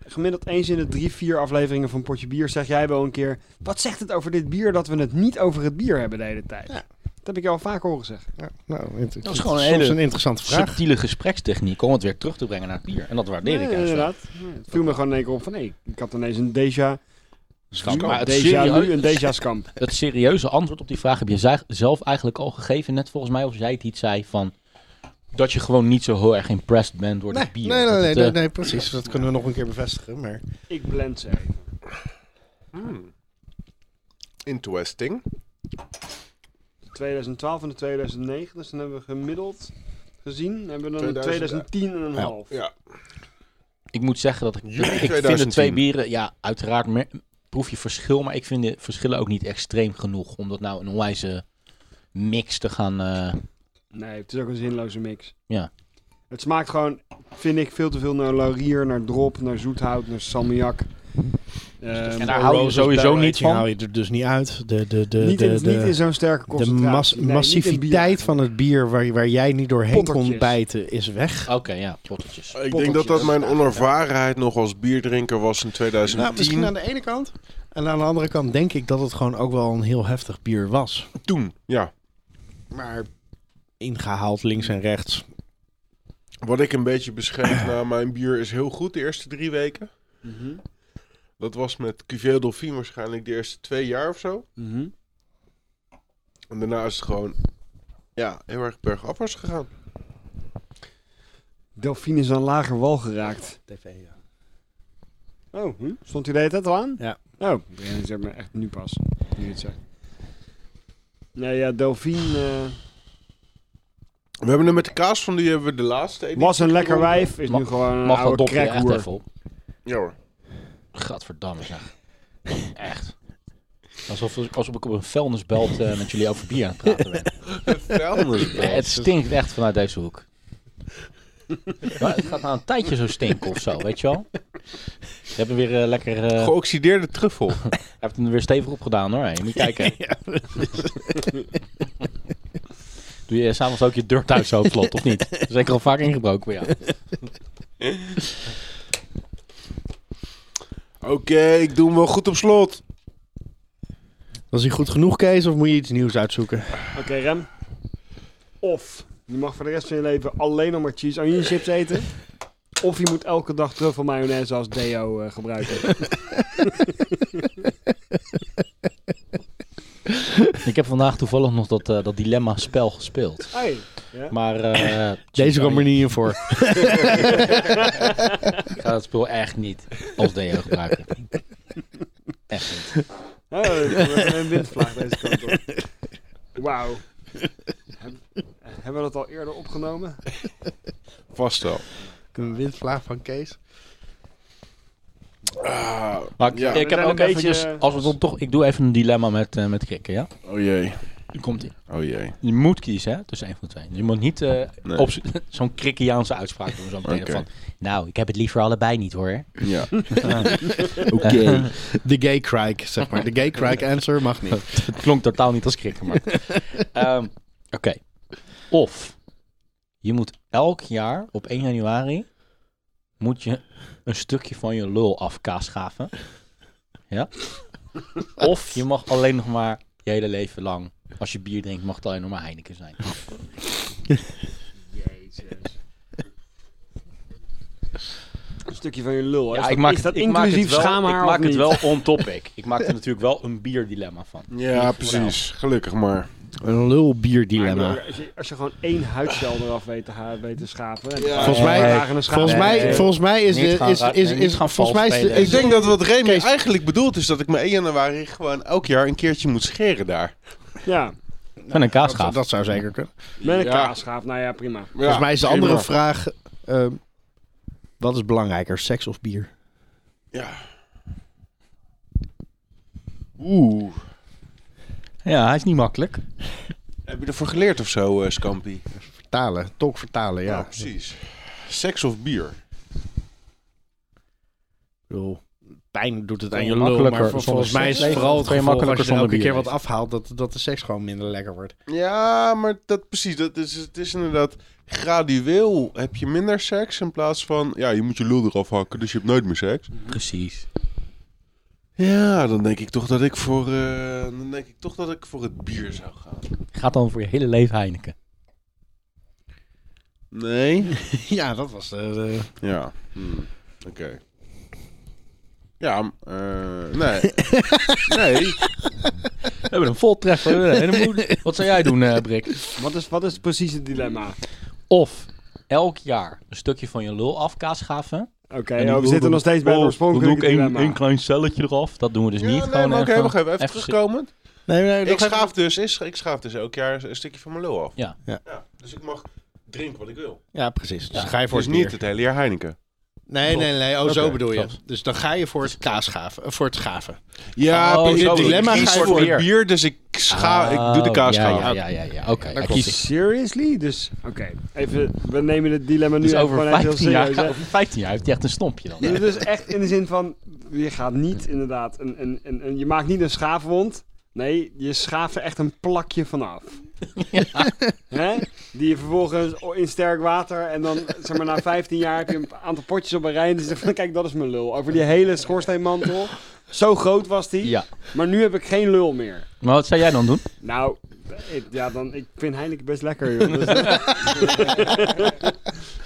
C: gemiddeld eens in de drie, vier afleveringen van Potje Bier zeg jij wel een keer... Wat zegt het over dit bier dat we het niet over het bier hebben de hele tijd?
D: Ja.
C: Dat heb ik je al vaak horen zeggen.
D: Ja, nou, het, dat
A: is gewoon een
D: soms
A: hele
D: een interessante vraag.
A: Subtiele gesprekstechniek om het weer terug te brengen naar het bier. En dat waardeer ik
C: Nee,
A: juist wel.
C: inderdaad. Nee, Het viel me gewoon in één keer op van... Nee, ik had ineens een déjà...
A: Skamp.
C: nu,
A: Maar het
C: déjà
A: serieus-
C: nu, een déjà skamp.
A: Het serieuze antwoord op die vraag heb je zij- zelf eigenlijk al gegeven. Net volgens mij, of jij het iets zei van... Dat je gewoon niet zo heel erg impressed bent door
D: Nee,
A: het
D: nee,
A: bier.
D: nee,
A: Dat
D: nee,
A: het,
D: nee,
A: eh,
D: nee, precies. Dat kunnen we nog een keer bevestigen. Maar
C: Ik blend ze even.
B: Hmm. Interesting.
C: 2012 en de 2009, dus dan hebben we gemiddeld gezien... hebben we dan
B: 2000.
C: 2010 en een
A: Ja.
C: half.
B: Ja.
A: Ik moet zeggen dat ik...
B: Juli
A: ik vind de
B: 2010.
A: twee bieren... Ja, uiteraard mer- proef je verschil. Maar ik vind de verschillen ook niet extreem genoeg. Om dat nou een onwijze mix te gaan... eh,
C: Nee, het is ook een zinloze mix.
A: Ja.
C: Het smaakt gewoon, vind ik, veel te veel naar laurier, naar drop, naar zoethout, naar salmiak.
A: Dus
C: Ehm,
A: En daar hou je
D: Roses
A: sowieso
D: Barrel
A: niet
D: Aging
A: van?
D: hou je er dus niet uit. De, de, de,
C: niet,
D: de,
C: in,
D: de,
C: niet in zo'n sterke
D: de
C: concentratie.
D: mas-
C: Nee, niet in
D: massiviteit
C: bier.
D: van het bier waar, waar jij niet doorheen kon
C: Pottertjes.
D: bijten is weg.
A: Oké, ja, pottetjes.
B: Ik denk dat dat mijn onervarenheid nog als bierdrinker was in 2010.
D: Nou, misschien aan de ene kant. En aan de andere kant denk ik dat het gewoon ook wel een heel heftig bier was.
B: Toen, ja.
D: Maar ingehaald links en rechts.
B: nou, Wat ik een beetje beschrijf na mijn bier is heel goed de eerste drie weken.
C: Mhm.
B: Dat was met Cuvée Dauphine waarschijnlijk de eerste twee jaar of zo.
A: Mhm.
B: En daarna is het gewoon ja, heel erg bergafwaarts gegaan.
C: Delphine is aan lager wal geraakt.
D: TV, ja.
C: Oh, hm? stond hij de hele tijd al aan?
D: Ja.
C: Oh, ik realiseer me echt nu pas. Nu je het zegt. Nee, ja, Delphine eh,
B: We hebben er met de kaas van die hebben we de laatste. editie
C: eh, was een lekker
B: gewonnen.
C: wijf, is
A: Ma-
C: nu gewoon een
A: Mag dat
C: oude
A: dopje er echt
C: krekhoer.
A: even op?
B: Ja hoor.
A: Gadverdamme zeg. Echt. Alsof, alsof ik op een vuilnisbelt eh, met jullie over bier aan het praten ben. Eh, het stinkt echt vanuit deze hoek. Maar het gaat na een tijdje zo stinken of zo, weet je wel? Je hebt hem weer eh, lekker... eh, je
B: Geoxideerde truffel.
A: hebt hem er weer stevig op gedaan hoor. Hey, moet je kijken. Doe je s'avonds ook je deur thuis zo vlot, of niet? Dat is Zeker al vaak ingebroken voor jou.
B: Oké, ik doe hem wel goed op slot.
D: Was hij goed genoeg, Kees, of moet je iets nieuws uitzoeken?
C: Oké, Rem. Of je mag voor de rest van je leven alleen nog maar cheese onion chips eten. Of je moet elke dag truffel mayonaise als deo eh, gebruiken.
A: Ik heb vandaag toevallig nog dat, eh, dat dilemma-spel gespeeld.
C: Hey, ja?
A: Maar... eh,
D: Deze kwam er niet in voor.
A: Ik ga dat spul echt niet als deo gebruiken. Echt niet.
C: Oh, er komt een windvlaag deze kant op. Wauw. Heb- Hebben we dat al eerder opgenomen?
B: Vast wel.
D: Een windvlaag van Kees.
B: Ah,
A: Maar ik, ik
B: Ja.
C: We
A: heb
C: zijn
A: ook
C: een
A: eventjes...
C: beetje- eh,
A: Als we dan toch... Ik doe even een dilemma met, eh, met krikken, ja?
B: oh jee.
A: Nu komt ie.
B: Oh jee.
A: Je moet kiezen, hè? Tussen één van de twee. Je moet niet eh,
B: Nee.
A: op z- zo'n krikkiaanse uitspraak doen. Zo meteen
B: Oké.
A: van... Nou, ik heb het liever allebei niet, hoor.
B: Ja.
A: Oké.
D: De gay crike, zeg maar. De gay crike answer mag niet.
A: het klonk totaal niet als krikken, maar... Ehm, Oké. Of... Je moet elk jaar, op 1 januari... Moet je een stukje van je lul afkaaschaven. Ja? Of je mag alleen nog maar je hele leven lang... Als je bier drinkt, mag het alleen nog maar Heineken zijn.
C: Een stukje van je lul. hè?
A: Ja, ik
C: Is dat-
A: maak
C: is
A: het,
C: dat
A: ik maak het
C: inclusief
A: wel,
C: schaamhaar
A: ik
C: of
A: maak het
C: niet?
A: wel on topic. Ik maak er natuurlijk wel een bierdilemma van.
B: Ja, precies. Gelukkig maar.
D: Een lulbierdilemma.
C: Als je, als je gewoon één huidcel eraf weet te, ha- weet te schapen. en
B: Ja.
D: Volgens mij-
C: een paar dagen een schaap-
D: Volgens mij,
C: Eh,
D: volgens mij is
A: Niet
D: de,
A: gaan
D: is,
A: ra-
D: is,
A: nee,
D: is,
A: niet gaan vals
D: volgens mij is, de-
A: spelen.
D: is
B: Ik
D: de-
B: denk dat wat Remy
D: Kees.
B: eigenlijk bedoelt is dat ik me 1 januari gewoon elk jaar een keertje moet scheren daar.
C: Ja,
A: Van een
D: dat,
A: kaasgaaf.
D: dat zou zeker kunnen.
C: met een
B: Ja.
C: kaasschaap. Nou ja, prima.
D: Volgens mij is de andere vraag: ehm, wat is belangrijker, seks of bier?
B: Oeh.
A: Ja, hij is niet makkelijk.
B: Heb je ervoor geleerd of zo, eh Scampi?
D: Vertalen, tolk vertalen, ja.
B: Ja, precies. Seks of bier?
D: Ik bedoel, pijn doet het
A: Kan
D: aan je
A: je
D: lul,
A: makkelijker
D: maar vol-
A: zonder
D: volgens mij is
A: seks
D: het vooral het
A: leven? Kan je
D: geval als
A: makkelijker
D: je er elke
A: zonder
D: keer
A: bier
D: wat afhaalt, dat, dat de seks gewoon minder lekker wordt.
B: Ja, maar dat precies. Dat is, het is inderdaad gradueel heb je minder seks in plaats van... Ja, je moet je lul eraf hakken, dus je hebt nooit meer seks.
A: Precies.
B: Ja, dan denk ik toch dat ik voor, eh, dan denk ik toch dat ik voor het bier zou gaan.
A: Gaat dan voor je hele leven Heineken.
B: Nee?
D: ja, dat was de, de-
B: Ja. Hmm. Oké. Ja, m- eh, nee. nee.
A: We hebben een voltreffer. eh, we hebben een moeder. Wat zou jij doen, eh, Brik?
C: Wat is, wat is precies het dilemma?
A: Of elk jaar een stukje van je lul af kaasgaven.
C: Oké, oh, we zitten nog
A: Dan
C: steeds bij het
A: doe ik
C: oorspronkelijke
A: één,
C: dilemma.
A: één klein celletje eraf. Dat doen we dus
B: Ja,
A: niet.
B: nee,
A: Gewoon
B: maar oké,
A: even-
B: wacht even. Even
A: even-
B: terugkomen.
D: Nee, nee, nog
B: Ik
D: even-
B: schaaf, dus, is- ik schaaf dus elk jaar een stukje van mijn lul af.
A: Ja.
D: Ja.
B: dus ik mag drinken wat ik wil.
D: Ja, precies. Dus ga je voor
B: Dus
D: het
B: niet
D: bier.
B: het hele jaar Heineken.
D: Nee, nee, nee. Oh, zo
B: Oké,
D: bedoel je.
A: klopt.
D: Dus dan ga je voor het kaasgaven. eh, Voor het schaven.
B: Ja,
A: Oh,
B: precies.
A: zo bedoel
B: het
A: je.
B: dilemma
A: Ik kies
B: gaat voor het bier. dus ik, scha ik doe de
A: Oh,
B: kaas
A: ja,
B: schaaf.
A: ja, ja, ja, ja. Oké, hij
D: klopt.
A: kiest.
C: Seriously? Dus, oké. Even, we nemen het dilemma nu
A: Dus
C: even
A: over
C: gewoon even heel
A: 15 jaar,
C: serieus. hè.
A: over 15 jaar heeft hij echt een stompje dan.
C: Ja, Dus echt in de zin van, je gaat niet inderdaad, een, een, een, een- je maakt niet een schaafwond. Nee, je schaaft er echt een plakje vanaf. Hè? Die je vervolgens o- in sterk water en dan, zeg maar, na 15 jaar heb je een aantal potjes op een rij. En die zegt van, kijk, dat is mijn lul. Over die hele schoorsteenmantel. Zo groot was die.
A: Ja.
C: Maar nu heb ik geen lul meer.
A: Maar wat zou jij dan doen?
C: Nou, ik, ja, dan, ik vind Heineken best lekker, joh. Dus, eh,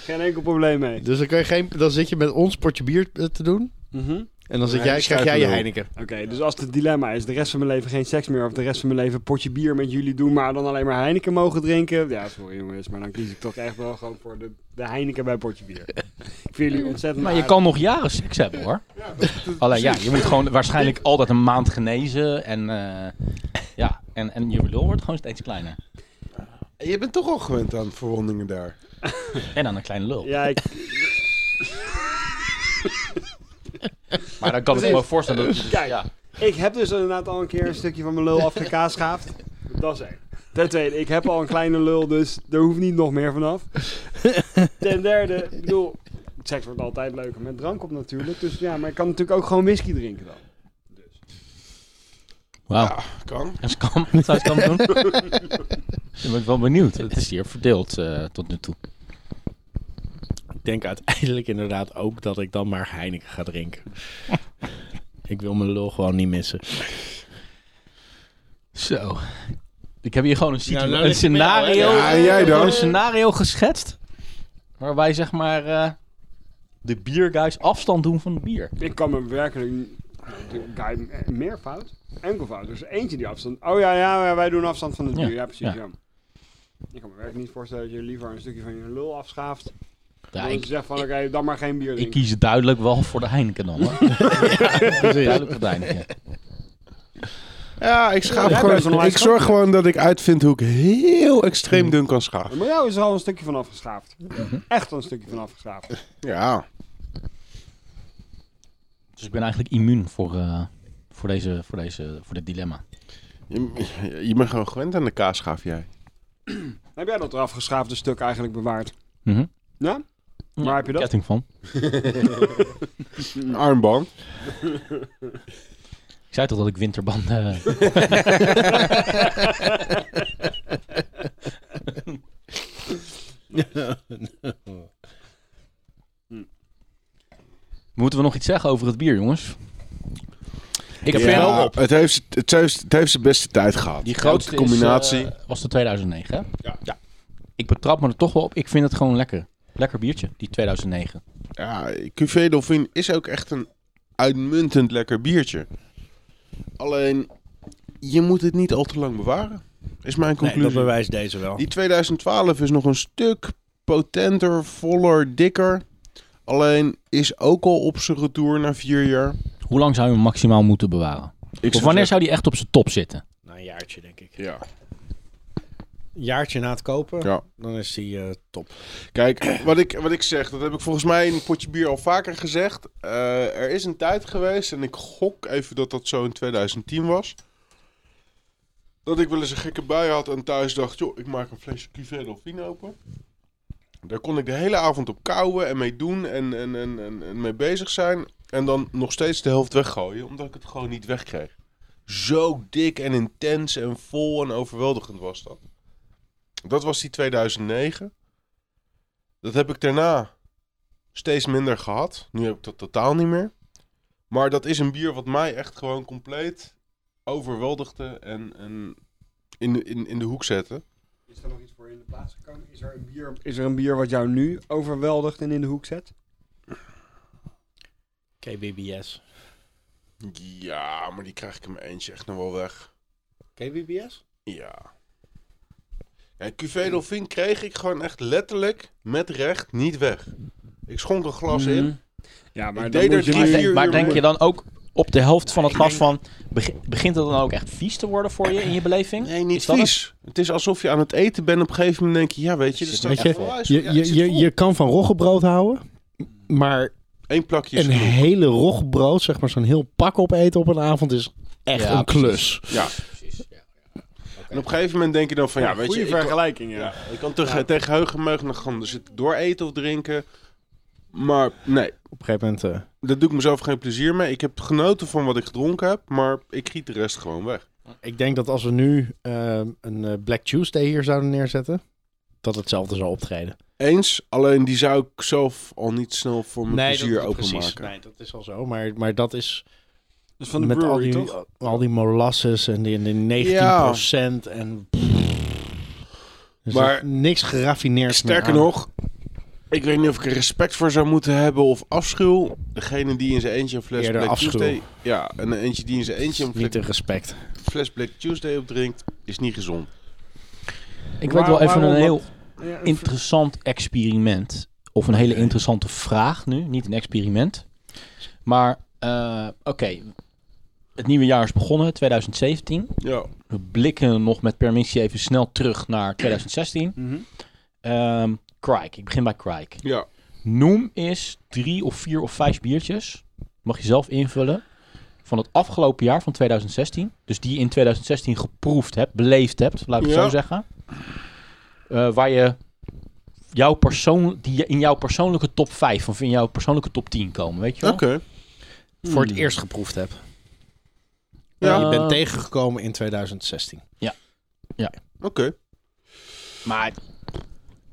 C: geen enkel probleem mee.
D: Dus dan, kun je geen, dan zit je met ons potje bier eh, te doen.
C: Mhm.
D: En dan zit
B: Ja,
D: jij,
B: die
D: krijg jij je
B: schuiven
D: Heineken.
C: Oké, dus als het dilemma is, de rest van mijn leven geen seks meer... of de rest van mijn leven potje bier met jullie doen... maar dan alleen maar Heineken mogen drinken... Ja, sorry jongens, maar dan kies ik toch echt wel gewoon voor de, de Heineken bij potje bier. Ik vind jullie ontzettend
A: Maar je
C: aardig.
A: kan nog jaren seks hebben hoor. Alleen ja, je moet gewoon waarschijnlijk altijd een maand genezen. En, eh, ja, en, en je lul wordt gewoon steeds kleiner.
B: Je bent toch al gewend aan verwondingen daar.
A: En dan een kleine lul.
C: Ja, ik,
A: Maar dan kan ik me wel voorstellen dat...
C: Kijk.
A: Ja.
C: ik heb dus inderdaad al een keer een stukje van mijn lul afgekaaschaafd. Dat is één. Ten tweede, ik heb al een kleine lul, dus er hoeft niet nog meer vanaf. Ten derde, ik bedoel, seks wordt altijd leuker met drank op natuurlijk. Dus ja, maar ik kan natuurlijk ook gewoon whisky drinken dan.
A: Wauw.
B: Kan.
A: En Skam, wat zou Skam doen? Ik ben ik wel benieuwd. Het is hier verdeeld eh, tot nu toe.
G: Ik denk uiteindelijk inderdaad ook dat ik dan maar Heineken ga drinken. ik wil mijn lul gewoon niet missen.
A: Zo. Ik heb hier gewoon een, situ-
G: Nou, nou
A: een
G: ligt het met jou, hè?
A: scenario...
B: Ja, en jij dan?
A: Een scenario geschetst. Waarbij zeg maar... eh, de bierguys afstand doen van het bier.
C: Ik kan me werkelijk n- de guy m- eh, meer fout. Enkel fout. Dus eentje die afstand. Oh ja, ja, ja, wij doen afstand van de
A: Ja,
C: duur. Ja, precies.
A: ja.
C: Ja. Ik kan me werkelijk niet voorstellen dat je liever een stukje van je lul afschaaft.
A: Ja,
C: dan
A: ik,
C: je zegt van oké, dan maar geen bier
A: ik
C: drinken.
A: kies duidelijk wel voor de Heineken dan. Hoor. duidelijk voor de Heineken.
B: Ja, ik schaap
C: Ja, best wel een
B: gewoon. Ik
C: wijs
B: zorg
C: grapje.
B: gewoon dat ik uitvind hoe ik heel extreem dun kan schaven.
C: Maar jou is er al een stukje van afgeschaafd.
A: Mhm.
C: Echt een stukje van afgeschaafd.
B: Ja.
A: Dus ik ben eigenlijk immuun voor, eh, voor, deze, voor, deze, voor dit dilemma.
B: Je, je bent gewoon gewend aan de kaasschaaf, jij.
C: Heb jij dat afgeschaafde stuk eigenlijk bewaard?
A: Mhm.
C: Ja? Waar heb je dat?
A: Ketting van.
B: Een armband.
A: Ik zei toch dat ik winterbanden... eh, nou. Moeten we nog iets zeggen over het bier, jongens? Ik heb
B: Ja,
A: wel op.
B: Het heeft, het, heeft, het heeft zijn beste tijd gehad.
A: Die grootste
B: Elke combinatie.
A: combinatie. was de 2009, hè? Ja. Ik betrap me er toch wel op. Ik vind het gewoon lekker. Lekker biertje, die 2009.
B: Ja, QV Dolfin is ook echt een uitmuntend lekker biertje. Alleen, je moet het niet al te lang bewaren. Is
G: Nee,
B: mijn
G: dat
B: conclusie.
G: bewijst deze wel.
B: Die 2012 is nog een stuk potenter, voller, dikker. Alleen is ook al op zijn retour na vier jaar.
A: Hoe lang zou je hem maximaal moeten bewaren?
B: Ik
A: of wanneer zou die echt op zijn top zitten?
G: Na een jaartje, denk ik.
B: Ja.
G: Een jaartje na het kopen,
B: ja.
G: dan is die eh, top.
B: Kijk, wat ik, wat ik zeg, dat heb ik volgens mij in een potje bier al vaker gezegd. Eh, er is een tijd geweest, en ik gok even dat dat zo in 2010 was. Dat ik wel eens een gekke bui had en thuis dacht, joh, ik maak een flesje cuvée Dauphine open. Daar kon ik de hele avond op kouwen en mee doen en, en, en, en, en mee bezig zijn. En dan nog steeds de helft weggooien, omdat ik het gewoon niet wegkreeg. Zo dik en intens en vol en overweldigend was dat. Dat was die 2009. Dat heb ik daarna steeds minder gehad. Nu heb ik dat totaal niet meer. Maar dat is een bier wat mij echt gewoon compleet overweldigde en, en in, in, in de hoek zette.
C: Is er nog iets voor je in de plaats gekomen? Is er, een bier... is er een bier wat jou nu overweldigt en in de hoek zet?
G: KBBS.
B: Ja, maar die krijg ik in mijn eentje echt nog wel weg.
G: KBBS?
B: Ja. En Cuvée Dauphine kreeg ik gewoon echt letterlijk met recht niet weg. Ik schonk een glas
D: Mhm.
B: in.
C: Mhm. Ja, maar
B: Ik
C: dan
B: deed
C: moet
B: er
C: je
B: drie,
A: Maar,
C: nu...
B: vier
A: denk, maar
B: uur
A: denk je
B: moet-
A: dan ook op de helft van het glas van... beg- begint het dan ook echt vies te worden voor je in je beleving?
B: Nee, niet
A: Is dat
B: vies. Het? is alsof je aan het eten bent. Op een gegeven moment denk je, ja weet je, er
A: Zit
B: staat
A: er
B: echt
A: echt
B: wel
A: vol.
B: ijs op. Ja,
D: Je,
B: het
D: je,
B: zit
D: je,
B: vol.
D: je kan van roggebrood houden, maar
B: Eén plakje is
D: een
B: genoeg.
D: hele roggebrood, zeg maar zo'n heel pak opeten op een avond is echt
A: Ja,
D: een klus.
B: Ja. En op een gegeven moment denk je dan van, ja, weet je,
C: Goeie
B: ik kan,
C: vergelijking, ja.
B: ik kan tegen, tegen heugen meugen nog gaan dus door eten of drinken. Maar nee,
G: Op een gegeven moment... eh,
B: daar doe ik mezelf geen plezier mee. Ik heb genoten van wat ik gedronken heb, maar ik giet de rest gewoon weg.
G: ik
D: Ik denk dat als we nu ehm, een eh, Black Tuesday hier zouden neerzetten, dat hetzelfde zou optreden.
B: Eens, alleen die zou ik zelf al niet snel voor mijn
G: nee,
B: plezier
G: dat, precies.
B: openmaken.
G: Nee, dat is al zo. Maar, maar dat is
C: Dus van de
D: met al
C: brewery,
D: die,
C: toch?
D: al die molasses en die, die 19% en... Dus
B: Maar-
D: er niks geraffineerd meer
B: Sterker
D: aan.
B: nog, Ik weet niet of ik er respect voor zou moeten hebben of afschuw. Degene die in zijn eentje een fles
G: Eerder
B: Black
G: afschuw.
B: Tuesday... Ja, en eentje die in zijn eentje een
G: Niet
B: fle-
G: te respect.
B: fles Black Tuesday opdrinkt, is niet gezond.
A: Ik weet
C: Waar-
A: wel even
C: waarom
A: een heel
C: Ja,
A: interessant experiment. Of een hele interessante vraag nu. Niet een experiment. Maar, eh, oké. Het nieuwe jaar is begonnen, 2017.
B: Ja.
A: We blikken nog met permissie even snel terug naar 2016.
C: Mhm.
A: Ehm Crike, ik begin bij Crike.
B: Ja.
A: Noem is drie of vier of vijf biertjes. Mag je zelf invullen. Van het afgelopen jaar van 2016. Dus die je in 2016 geproefd hebt, beleefd hebt, laat ik het
B: Ja.
A: zo zeggen. Eh, waar je jouw persoon, die je in jouw persoonlijke top 5 of in jouw persoonlijke top 10 komen, weet je
B: Oké.
A: wel?
G: Voor het eerst geproefd heb.
B: Ja.
G: Je bent tegengekomen in 2016.
B: Oké.
A: Maar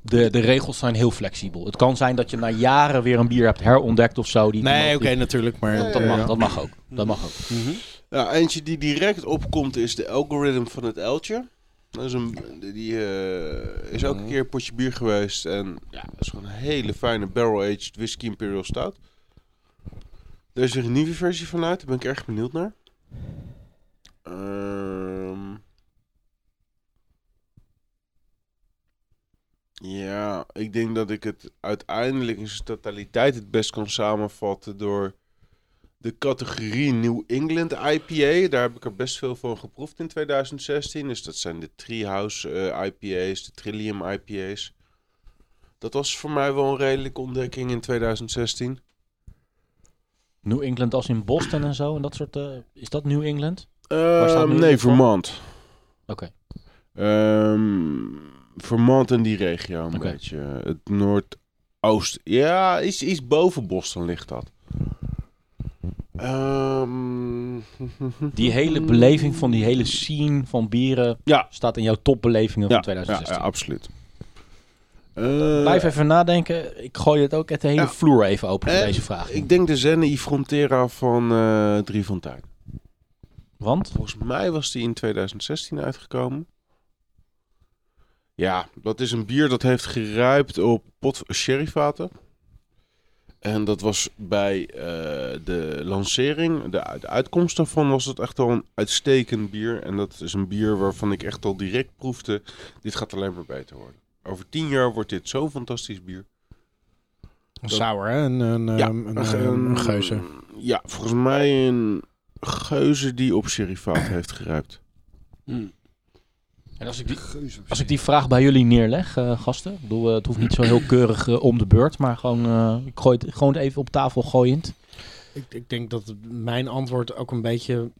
A: de, de regels zijn heel flexibel. Het kan zijn dat je na jaren weer een bier hebt herontdekt of zo. Die
G: Nee,
A: die-
G: oké, natuurlijk. Maar
A: Dat, dat mag, dat mag ook. Dat mag ook.
B: Ja, eentje die direct opkomt is de algoritme van het uiltje. Dat is een, die eh, is
A: Mhm.
B: ook een keer een potje bier geweest. En ja, dat is gewoon een hele fijne barrel-aged whisky imperial stout. Er is weer een nieuwe versie van uit. Daar ben ik erg benieuwd naar. Ehm. ja, ik denk dat ik het uiteindelijk in zijn totaliteit het best kan samenvatten door de categorie New England IPA. Daar heb ik er best veel van geproefd in 2016. Dus dat zijn de Treehouse eh, IPA's, de Trillium IPA's. Dat was voor mij wel een redelijke ontdekking in 2016.
A: New England als in Boston en zo en dat soort. eh, is dat New England? staat
B: Ehm
A: New
B: nee,
A: England voor?
B: Vermont.
A: Oké.
B: Ehm Vermont en die regio een
A: Oké.
B: beetje. Het Noordoost. Ja, iets, iets boven Boston ligt dat. Ehm
A: Die hele beleving van die hele scene van bieren
B: Ja.
A: staat in jouw topbelevingen van
B: ja,
A: 2016.
B: ja, absoluut. Eh,
A: Blijf even nadenken. Ik gooi het ook het hele
B: Ja.
A: vloer even open met
B: Eh,
A: deze vraag.
B: Ik denk de Zenne y Frontera van eh Driefontein.
A: Want
B: Volgens mij was die in 2016 uitgekomen. Ja, dat is een bier dat heeft geruipt op pot sherryvaten. En dat was bij eh, de lancering, de, de uitkomst daarvan, was het echt al een uitstekend bier. En dat is een bier waarvan ik echt al direct proefde, dit gaat alleen maar beter worden. Over tien jaar wordt dit zo'n fantastisch bier.
G: Een sour, hè? Een, een,
B: Ja,
G: ehm, een,
B: Een ge-
D: eh,
G: ehm, een geuze.
B: Ja, volgens mij een geuze die op serifaat heeft geruipt.
A: en als, ik die,
C: Geuze.
A: als ik die vraag bij jullie neerleg, eh, gasten. Ik bedoel, eh, het hoeft niet zo heel keurig eh, om de beurt, maar gewoon, eh, ik gooi het gewoon het even op tafel gooiend.
G: Ik, ik denk dat mijn antwoord ook een beetje...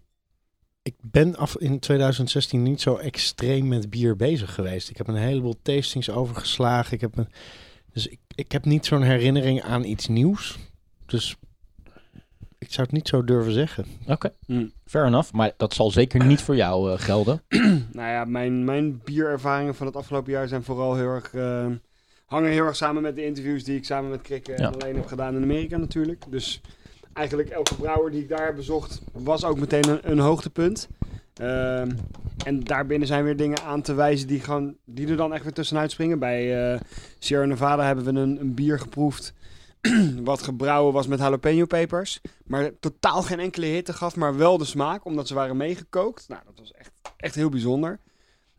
G: Ik ben af in 2016 niet zo extreem met bier bezig geweest. Ik heb een heleboel tastings overgeslagen. Ik heb een, dus ik, ik heb niet zo'n herinnering aan iets nieuws. Dus ik zou het niet zo durven zeggen.
A: Oké,
C: Mm.
A: fair enough. Maar dat zal zeker niet voor jou eh, gelden.
C: Nou ja, mijn, mijn bierervaringen van het afgelopen jaar zijn vooral heel erg. eh, hangen heel erg samen met de interviews die ik samen met Krik en
A: Ja.
C: alleen heb gedaan in Amerika natuurlijk. Dus eigenlijk elke brouwer die ik daar heb bezocht, was ook meteen een, een hoogtepunt. Ehm, en daarbinnen zijn weer dingen aan te wijzen die, gewoon, die er dan echt weer tussenuit springen. Bij eh Sierra Nevada hebben we een, een bier geproefd. wat gebrouwen was met jalapeno pepers. Maar totaal geen enkele hitte gaf, maar wel de smaak, omdat ze waren meegekookt. Nou, dat was echt echt heel bijzonder.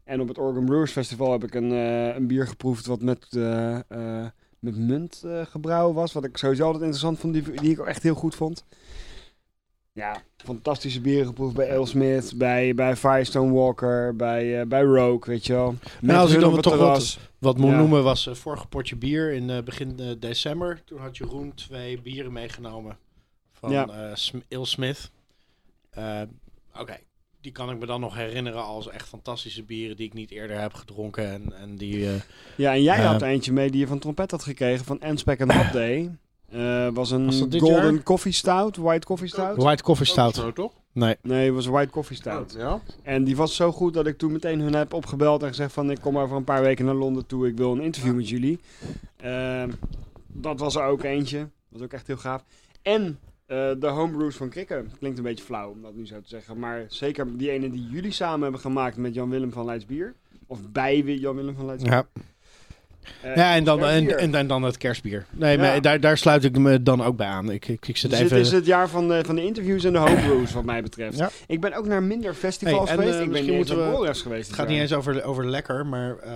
C: En op het Oregon Brewers Festival heb ik een, eh, een bier geproefd wat met, eh, eh, met munt eh, gebrouwen was. Wat ik sowieso altijd interessant vond, die, die ik ook echt heel goed vond. Ja, fantastische bieren geproefd bij Ale Smith, bij, bij Firestone Walker, bij, eh, bij Rogue, weet je wel. Met
G: Nou, als ik
C: hun
G: dan
C: op
G: maar
C: het
G: toch wat-
C: terras.
G: Wat moet
C: Ja.
G: noemen was eh vorige potje bier in eh, begin eh, december. Toen had Jeroen twee bieren meegenomen van
C: Ja.
G: eh, Sm- Il Smith. Eh, Oké, die kan ik me dan nog herinneren als echt fantastische bieren die ik niet eerder heb gedronken. En, en die, eh,
C: Ja, en jij
G: Ja.
C: had er eentje mee die je van Trompet had gekregen van Anspec and Hop Day. Eh, was een
G: Was dat dit
C: golden
G: jaar?
C: coffee stout, white coffee stout.
G: White Coffee Oh. Stout.
B: Nou, toch?
G: Nee,
C: Nee, het was een white coffee stout.
B: Ja.
C: En die was zo goed dat ik toen meteen hun heb opgebeld en gezegd van ik kom over een paar weken naar Londen toe, ik wil een interview met jullie. Ehm, dat was er ook eentje, was ook echt heel gaaf. En eh, de homebrews van Krikken, klinkt een beetje flauw om dat nu zo te zeggen, maar zeker die ene die jullie samen hebben gemaakt met Jan-Willem van Leidsbier, of bij Jan-Willem van Leidsbier.
G: ja.
C: Eh,
G: Ja, en dan,
C: er
G: en,
C: bier.
G: en, en dan het kerstbier. Nee,
C: Ja.
G: maar daar, daar sluit ik me dan ook bij aan. Ik, ik, ik zit
C: Dus
G: even...
C: dit is het jaar van de, van de interviews en de homebrews, wat mij betreft.
G: Ja.
C: Ik ben ook naar minder festivals
G: Hey, en,
C: geweest.
G: eh,
C: ik ben
G: misschien
C: niet eens
G: moeten
C: naar
G: we-
C: Borrelefs geweest.
G: Het
C: dit
G: gaat niet
C: jaar.
G: eens over, over lekker, maar ehm,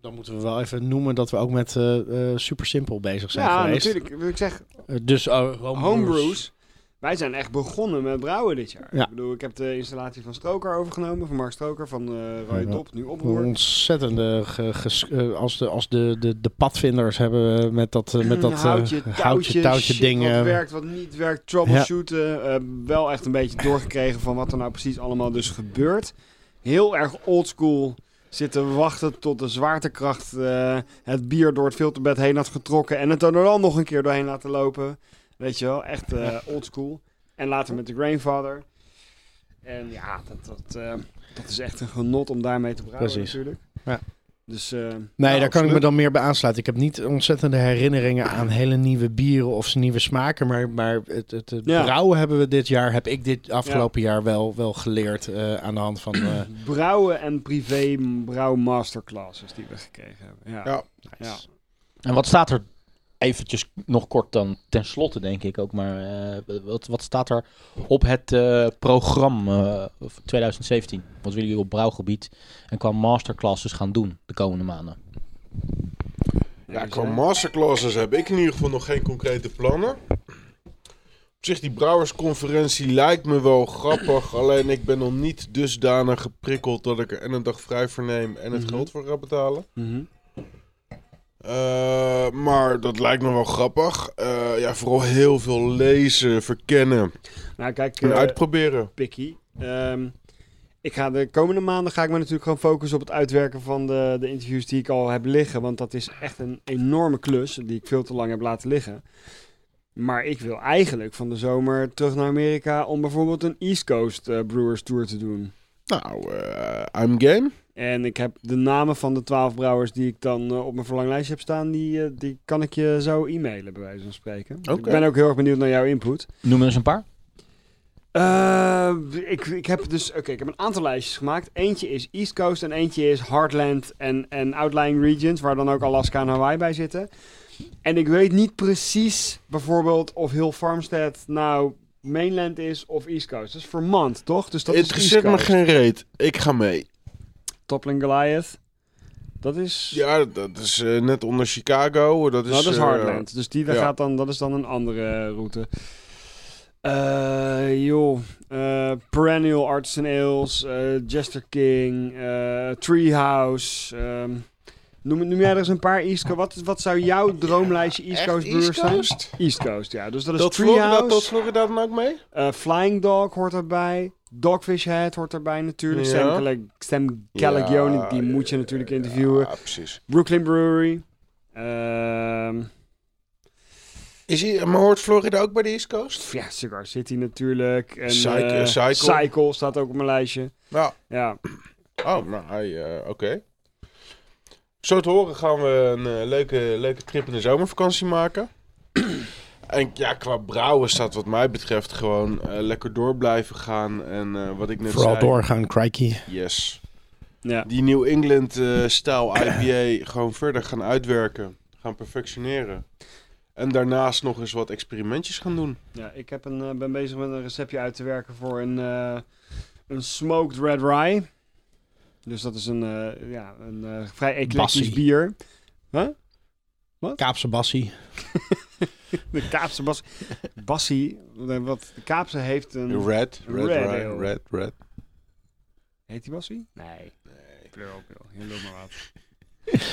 G: dan moeten we wel even noemen dat we ook met eh, eh, Super Simpel bezig zijn
C: Ja,
G: geweest.
C: natuurlijk. Ik zeg,
G: Eh, dus eh, homebrews.
C: homebrews. Wij zijn echt begonnen met brouwen dit jaar.
G: Ja.
C: Ik bedoel, ik heb de installatie van Stroker overgenomen, van Mark Stroker, van eh Roy
G: Ja.
C: Dop, nu Oproer.
G: Ontzettende ge- ges- eh, als, de, als de, de, de padvinders hebben we met dat, eh, met dat eh,
C: Mm, houtje, touwtje,
G: touwtje
C: shit,
G: ding. eh,
C: Wat werkt, wat niet werkt, troubleshooten. eh, wel echt een beetje doorgekregen van wat er nou precies allemaal dus gebeurt. Heel erg oldschool zitten wachten tot de zwaartekracht eh, het bier door het filterbed heen had getrokken. En het er dan nog een keer doorheen laten lopen. Weet je wel, echt eh oldschool. En later met de Grainfather. En ja, dat, dat, eh, dat is echt een genot om daarmee te brouwen
G: Precies.
C: natuurlijk.
G: Ja.
C: Dus, eh,
G: Nee, daar
C: nou,
G: kan ik me
C: absoluut.
G: dan meer bij aansluiten. Ik heb niet ontzettende herinneringen aan hele nieuwe bieren of nieuwe smaken. Maar, maar het, het, het
C: Ja.
G: brouwen hebben we dit jaar, heb ik dit afgelopen jaar wel, wel geleerd eh, aan de hand van... eh,
C: Brouwen en privé brouw masterclasses die we gekregen hebben. Ja.
B: Ja.
C: Ja.
A: En wat staat er eventjes nog kort dan ten slotte, denk ik ook, maar eh, wat, wat staat er op het eh, programma eh, 2017? Wat willen jullie op brouwgebied en qua masterclasses gaan doen de komende maanden?
B: Ja,
C: dus,
B: qua
C: eh,
B: masterclasses heb ik in ieder geval nog geen concrete plannen. Op zich, die brouwersconferentie lijkt me wel grappig. Alleen ik ben nog niet dusdanig geprikkeld dat ik er en een dag vrij voor neem en het
C: Mhm.
B: geld voor ga betalen.
C: mhm.
B: Eh, maar dat lijkt me wel grappig. Eh, ja, vooral heel veel lezen, verkennen
C: Nou, kijk,
B: en
C: eh,
B: uitproberen.
C: Pikkie. Ehm, ik ga de komende maanden ga ik me natuurlijk gewoon focussen op het uitwerken van de, de interviews die ik al heb liggen. Want dat is echt een enorme klus die ik veel te lang heb laten liggen. Maar ik wil eigenlijk van de zomer terug naar Amerika om bijvoorbeeld een East Coast eh, Brewers Tour te doen.
B: Nou, eh, I'm game.
C: En ik heb de namen van de twaalf brouwers die ik dan eh, op mijn verlanglijstje heb staan, die, eh, die kan ik je zo e-mailen bij wijze van spreken. Ik
B: Oké.
C: ben ook heel erg benieuwd naar jouw input.
A: Noem er eens een paar.
C: Eh, ik, ik heb dus, oké, ik heb een aantal lijstjes gemaakt. Eentje is East Coast en eentje is Heartland en, en Outlying Regions, waar dan ook Alaska en Hawaii bij zitten. En ik weet niet precies bijvoorbeeld of heel Farmstead nou mainland is of East Coast. Dat is Vermont, toch? Dus dat
B: Interesseert
C: is
B: me
C: East Coast.
B: geen reet. Ik ga mee.
C: Toppling Goliath. Dat is...
B: Ja, dat is eh, net onder Chicago. Dat is,
C: nou, dat is
B: eh,
C: Hardland. dus die, daar
B: ja.
C: gaat dan, dat is dan een andere route. Eh, joh. eh, perennial Artisan Ales. eh, Jester King. eh, Treehouse. ehm, noem, noem jij er eens een paar East Coast. Wat, wat zou jouw droomlijstje East
B: Echt
C: Coast brewers
B: East
C: zijn?
B: Coast?
C: East Coast, ja. Dus dat is
B: Dat Florida,
C: Treehouse.
B: dat Florida dan ook mee?
C: eh, Flying Dog hoort erbij. Dogfish Head hoort erbij natuurlijk.
B: Ja.
C: Sam, Cala- Sam Calagione, die
B: ja,
C: moet je
B: ja,
C: natuurlijk
B: ja,
C: interviewen.
B: Ja, precies.
C: Brooklyn Brewery. Ehm
B: Is hij, maar hoort Florida ook bij de East Coast?
C: Ja, Cigar City natuurlijk. En,
B: Cycle-
C: eh,
B: Cycle.
C: Cycle staat ook op mijn lijstje.
B: Ja.
C: Ja,
B: Nou, Oh, nou, hij, eh, oké. Zo te horen gaan we een eh, leuke, leuke trip in de zomervakantie maken. En ja, qua brouwen staat wat mij betreft gewoon eh, lekker door blijven gaan. En eh, wat ik net
G: vooral
B: zei...
G: doorgaan, crikey.
B: Yes.
C: ja.
B: Die New eh, England-stijl IPA gewoon verder gaan uitwerken. Gaan perfectioneren. En daarnaast nog eens wat experimentjes gaan doen.
C: ja ik heb een, eh, ben bezig met een receptje uit te werken voor een, eh, een smoked red rye. Dus dat is een, eh, ja, een eh, vrij eclectisch
G: Bassie.
C: bier.
G: Kaapse Bassie.
C: De Kaapse bas Bassie. eh, Wat, de Kaapse heeft een...
B: Red, red,
C: Red
B: red,
C: ale.
B: red, red.
C: Heet die Bassie? Nee. Nee. Pleur op, joh. Je loopt maar wat.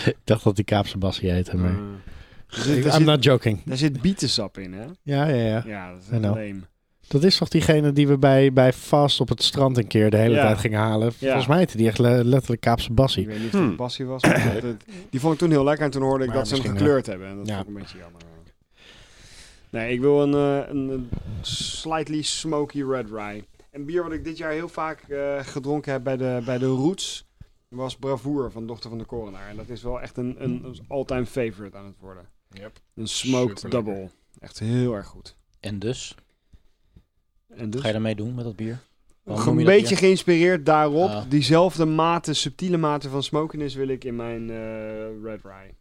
G: Ik dacht dat die Kaapse Bassie heette, maar...
C: Mm. Er zit- er
G: I'm
C: zit-
G: not joking.
C: Daar zit bietensap in, hè?
G: Ja, ja, ja.
C: Ja, dat is
G: I know.
C: leem.
G: Dat is toch diegene die we bij, bij Fast op het strand een keer de hele
C: Ja.
G: tijd gingen halen? Volgens mij heette die echt le- letterlijk Kaapse Bassie.
C: Ik weet niet of het
B: Hmm.
C: Bassie was. maar dat- dat- die vond ik toen heel lekker. En toen hoorde ik
G: Maar
C: dat ze hem
G: misschien,
C: gekleurd hebben. En dat
G: Ja.
C: vond ik een beetje jammer. Nee, ik wil een, eh, een, een slightly smoky red rye. Een bier wat ik dit jaar heel vaak eh, gedronken heb bij de, bij de Roots... was Bravoer van Dochter van de Korenaar. En dat is wel echt een, een all-time favorite aan het worden.
B: Yep.
C: Een smoked
B: Superlekker.
C: double. Echt heel erg goed.
A: En dus,
C: En dus...
A: ga je daarmee doen met dat bier? Waarom
C: Een
A: noem je dat
C: beetje geïnspireerd daarop.
A: Ah.
C: Diezelfde mate, subtiele mate van smokiness wil ik in mijn eh, Red Rye.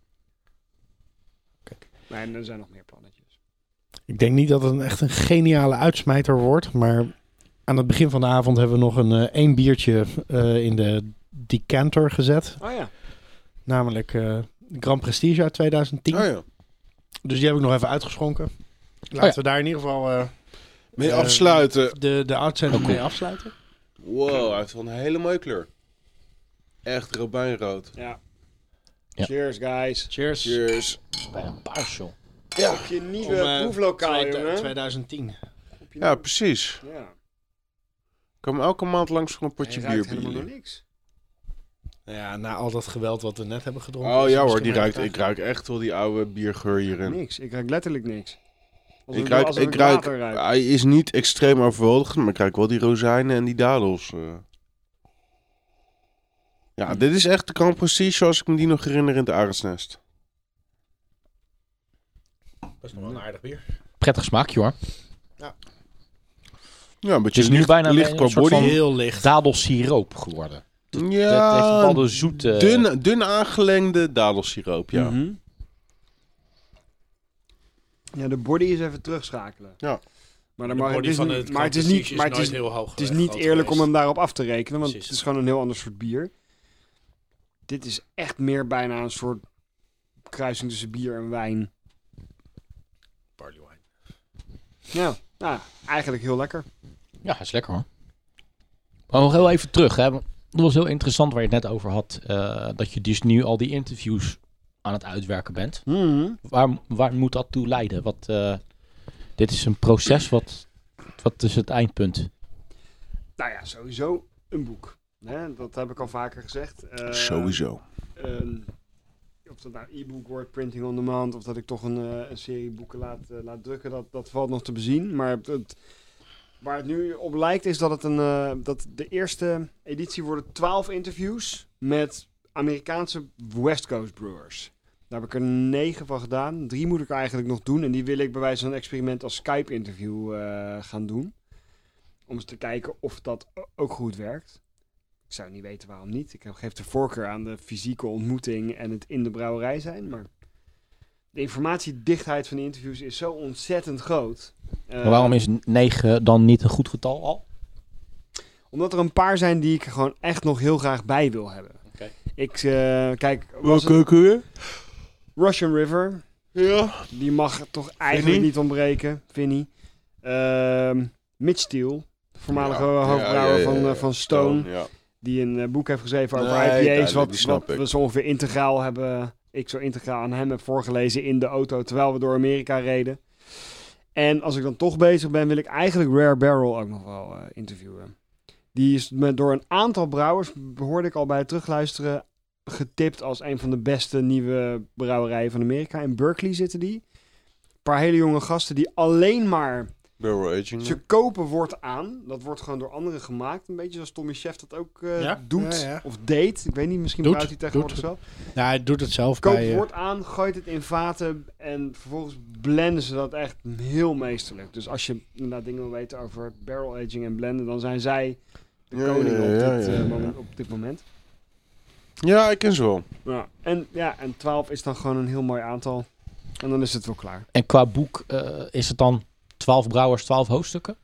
C: Nee, en er zijn nog meer plannetjes.
G: Ik denk niet dat het een, echt een geniale uitsmijter wordt, maar aan het begin van de avond hebben we nog een eh, één biertje eh, in de decanter gezet.
C: Oh ja.
G: Namelijk eh Grand Prestige uit 2010.
B: Oh ja.
G: Dus die heb ik nog even uitgeschonken. Laten
A: Oh ja.
G: we daar in ieder geval eh,
B: Mee
G: Eh,
B: afsluiten.
G: de, de uitzending mee afsluiten.
B: Wow, hij heeft wel een hele mooie kleur. Echt robijnrood.
C: ja.
A: Ja.
C: Cheers, guys.
G: Cheers.
B: Cheers.
A: Bij een paars, joh.
C: Op je nieuwe
G: Om, eh,
C: proeflokaal,
G: Twee-
C: jongen.
G: 2010.
C: Op je
B: Ja, precies.
C: nieuwe- ja.
B: Ik kom elke maand langs voor een
C: Hij
B: potje bier
C: ruikt
B: bij
C: helemaal
B: jullie.
C: naar niks.
G: Ja, na al dat geweld wat we net hebben gedronken.
B: Oh
G: is
B: ja
G: het
B: hoor, die
G: misschien
B: ruikt,
G: wel
B: ik ruik echt wel die oude biergeur hierin.
C: Niks. Ik ruik letterlijk niks. Alsof
B: Ik ruik,
C: alsof
B: ik ruik,
C: water ruik.
B: hij is niet extreem overweldigend, maar ik ruik wel die rozijnen en die dadels. eh. Ja, dit is echt de Grand Prestige zoals ik me die nog herinner in het Arendsnest.
G: Best nog wel een aardig bier.
A: Prettig smaakje, hoor.
B: Ja, een
A: Het
B: beetje
A: is nu
B: licht,
A: bijna
B: licht
A: een
B: qua
A: soort
B: body.
G: Heel licht.
A: Dadelsiroop geworden. Het heeft
B: Ja,
A: wel de zoete...
B: dun, dun aangelengde dadelsiroop, ja.
C: Mhm. Ja, de body is even terugschakelen.
B: Ja.
C: Maar, dan mag, het is, niet- maar het is niet, maar het is,
G: heel hoog.
C: het is niet eerlijk om hem daarop af te rekenen, want
G: Precies.
C: het is gewoon een heel ander soort bier. Dit is echt meer bijna een soort kruising tussen bier en wijn. Ja, nou, eigenlijk heel lekker.
A: Ja, is lekker, hoor. Maar nog heel even terug, hè. want Dat was heel interessant waar je het net over had. eh, dat je dus nu al die interviews aan het uitwerken bent. waar, waar moet dat toe leiden? Wat, eh, dit is een proces, wat, wat is het eindpunt?
C: Nou ja, sowieso een boek. Hè, dat heb ik al vaker gezegd. Eh,
B: Sowieso.
C: ehm, of dat nou e-book wordt, printing on demand, of dat ik toch een, eh, een serie boeken laat, eh, laat drukken, dat, dat valt nog te bezien. Maar het, het- waar het nu op lijkt is dat, het een, eh, dat de eerste editie worden 12 interviews met Amerikaanse West Coast brewers. Daar heb ik er negen van gedaan. Drie moet ik eigenlijk nog doen. En die wil ik bij wijze van een experiment als Skype-interview eh, gaan doen. Om eens te kijken of dat o- ook goed werkt. Ik zou niet weten waarom niet. Ik geef de voorkeur aan de fysieke ontmoeting en het in de brouwerij zijn. Maar de informatiedichtheid van de interviews is zo ontzettend groot. Eh,
A: Maar waarom is 9 dan niet een goed getal al?
C: Omdat er een paar zijn die ik er gewoon echt nog heel graag bij wil hebben.
A: Oké.
C: Ik eh, kijk, was het
B: Welke keur?
C: Russian River,
B: Ja.
C: die mag toch eigenlijk
B: Vinnie?
C: niet ontbreken, Vinnie. Ehm Mitch Steele, voormalige
B: Ja,
C: hoofdbrouwer
B: ja, ja, ja,
C: Van,
B: ja.
C: eh, van Stone.
B: Ja.
C: die een eh, boek heeft geschreven over
B: Nee,
C: IPA's.
B: duidelijk, die
C: Wat,
B: snap
C: wat
B: ik.
C: we zo ongeveer integraal hebben. Ik zo integraal aan hem heb voorgelezen in de auto terwijl we door Amerika reden. En als ik dan toch bezig ben, wil ik eigenlijk Rare Barrel ook nog wel eh, interviewen. Die is me door een aantal brouwers, hoorde ik al bij het terugluisteren, getipt als een van de beste nieuwe brouwerijen van Amerika. In Berkeley zitten die. Een paar hele jonge gasten die alleen maar
B: Barrel aging.
C: ze kopen wordt aan. Dat wordt gewoon door anderen gemaakt. Een beetje zoals Tommy Chef dat ook eh,
G: Ja.
C: doet.
G: Ja, ja.
C: Of deed. Ik weet niet, misschien
G: Doet,
C: brouwt hij tegenwoordig
G: doet.
C: zelf.
G: Ja, hij doet het zelf
C: Koopt
G: bij... eh,
C: wordt aan, gooit het in vaten. En vervolgens blenden ze dat echt heel meesterlijk. Dus als je inderdaad dingen wil weten over barrel aging en blenden, dan zijn zij de
B: Ja,
C: koning
B: ja,
C: op,
B: ja,
C: dit,
B: ja,
C: eh,
B: ja.
C: moment- op dit moment.
B: Ja, ik ken ze wel.
C: Ja. En, ja, en 12 is dan gewoon een heel mooi aantal. En dan is het wel klaar.
A: En qua boek eh, is het dan 12 brouwers, 12 hoofdstukken?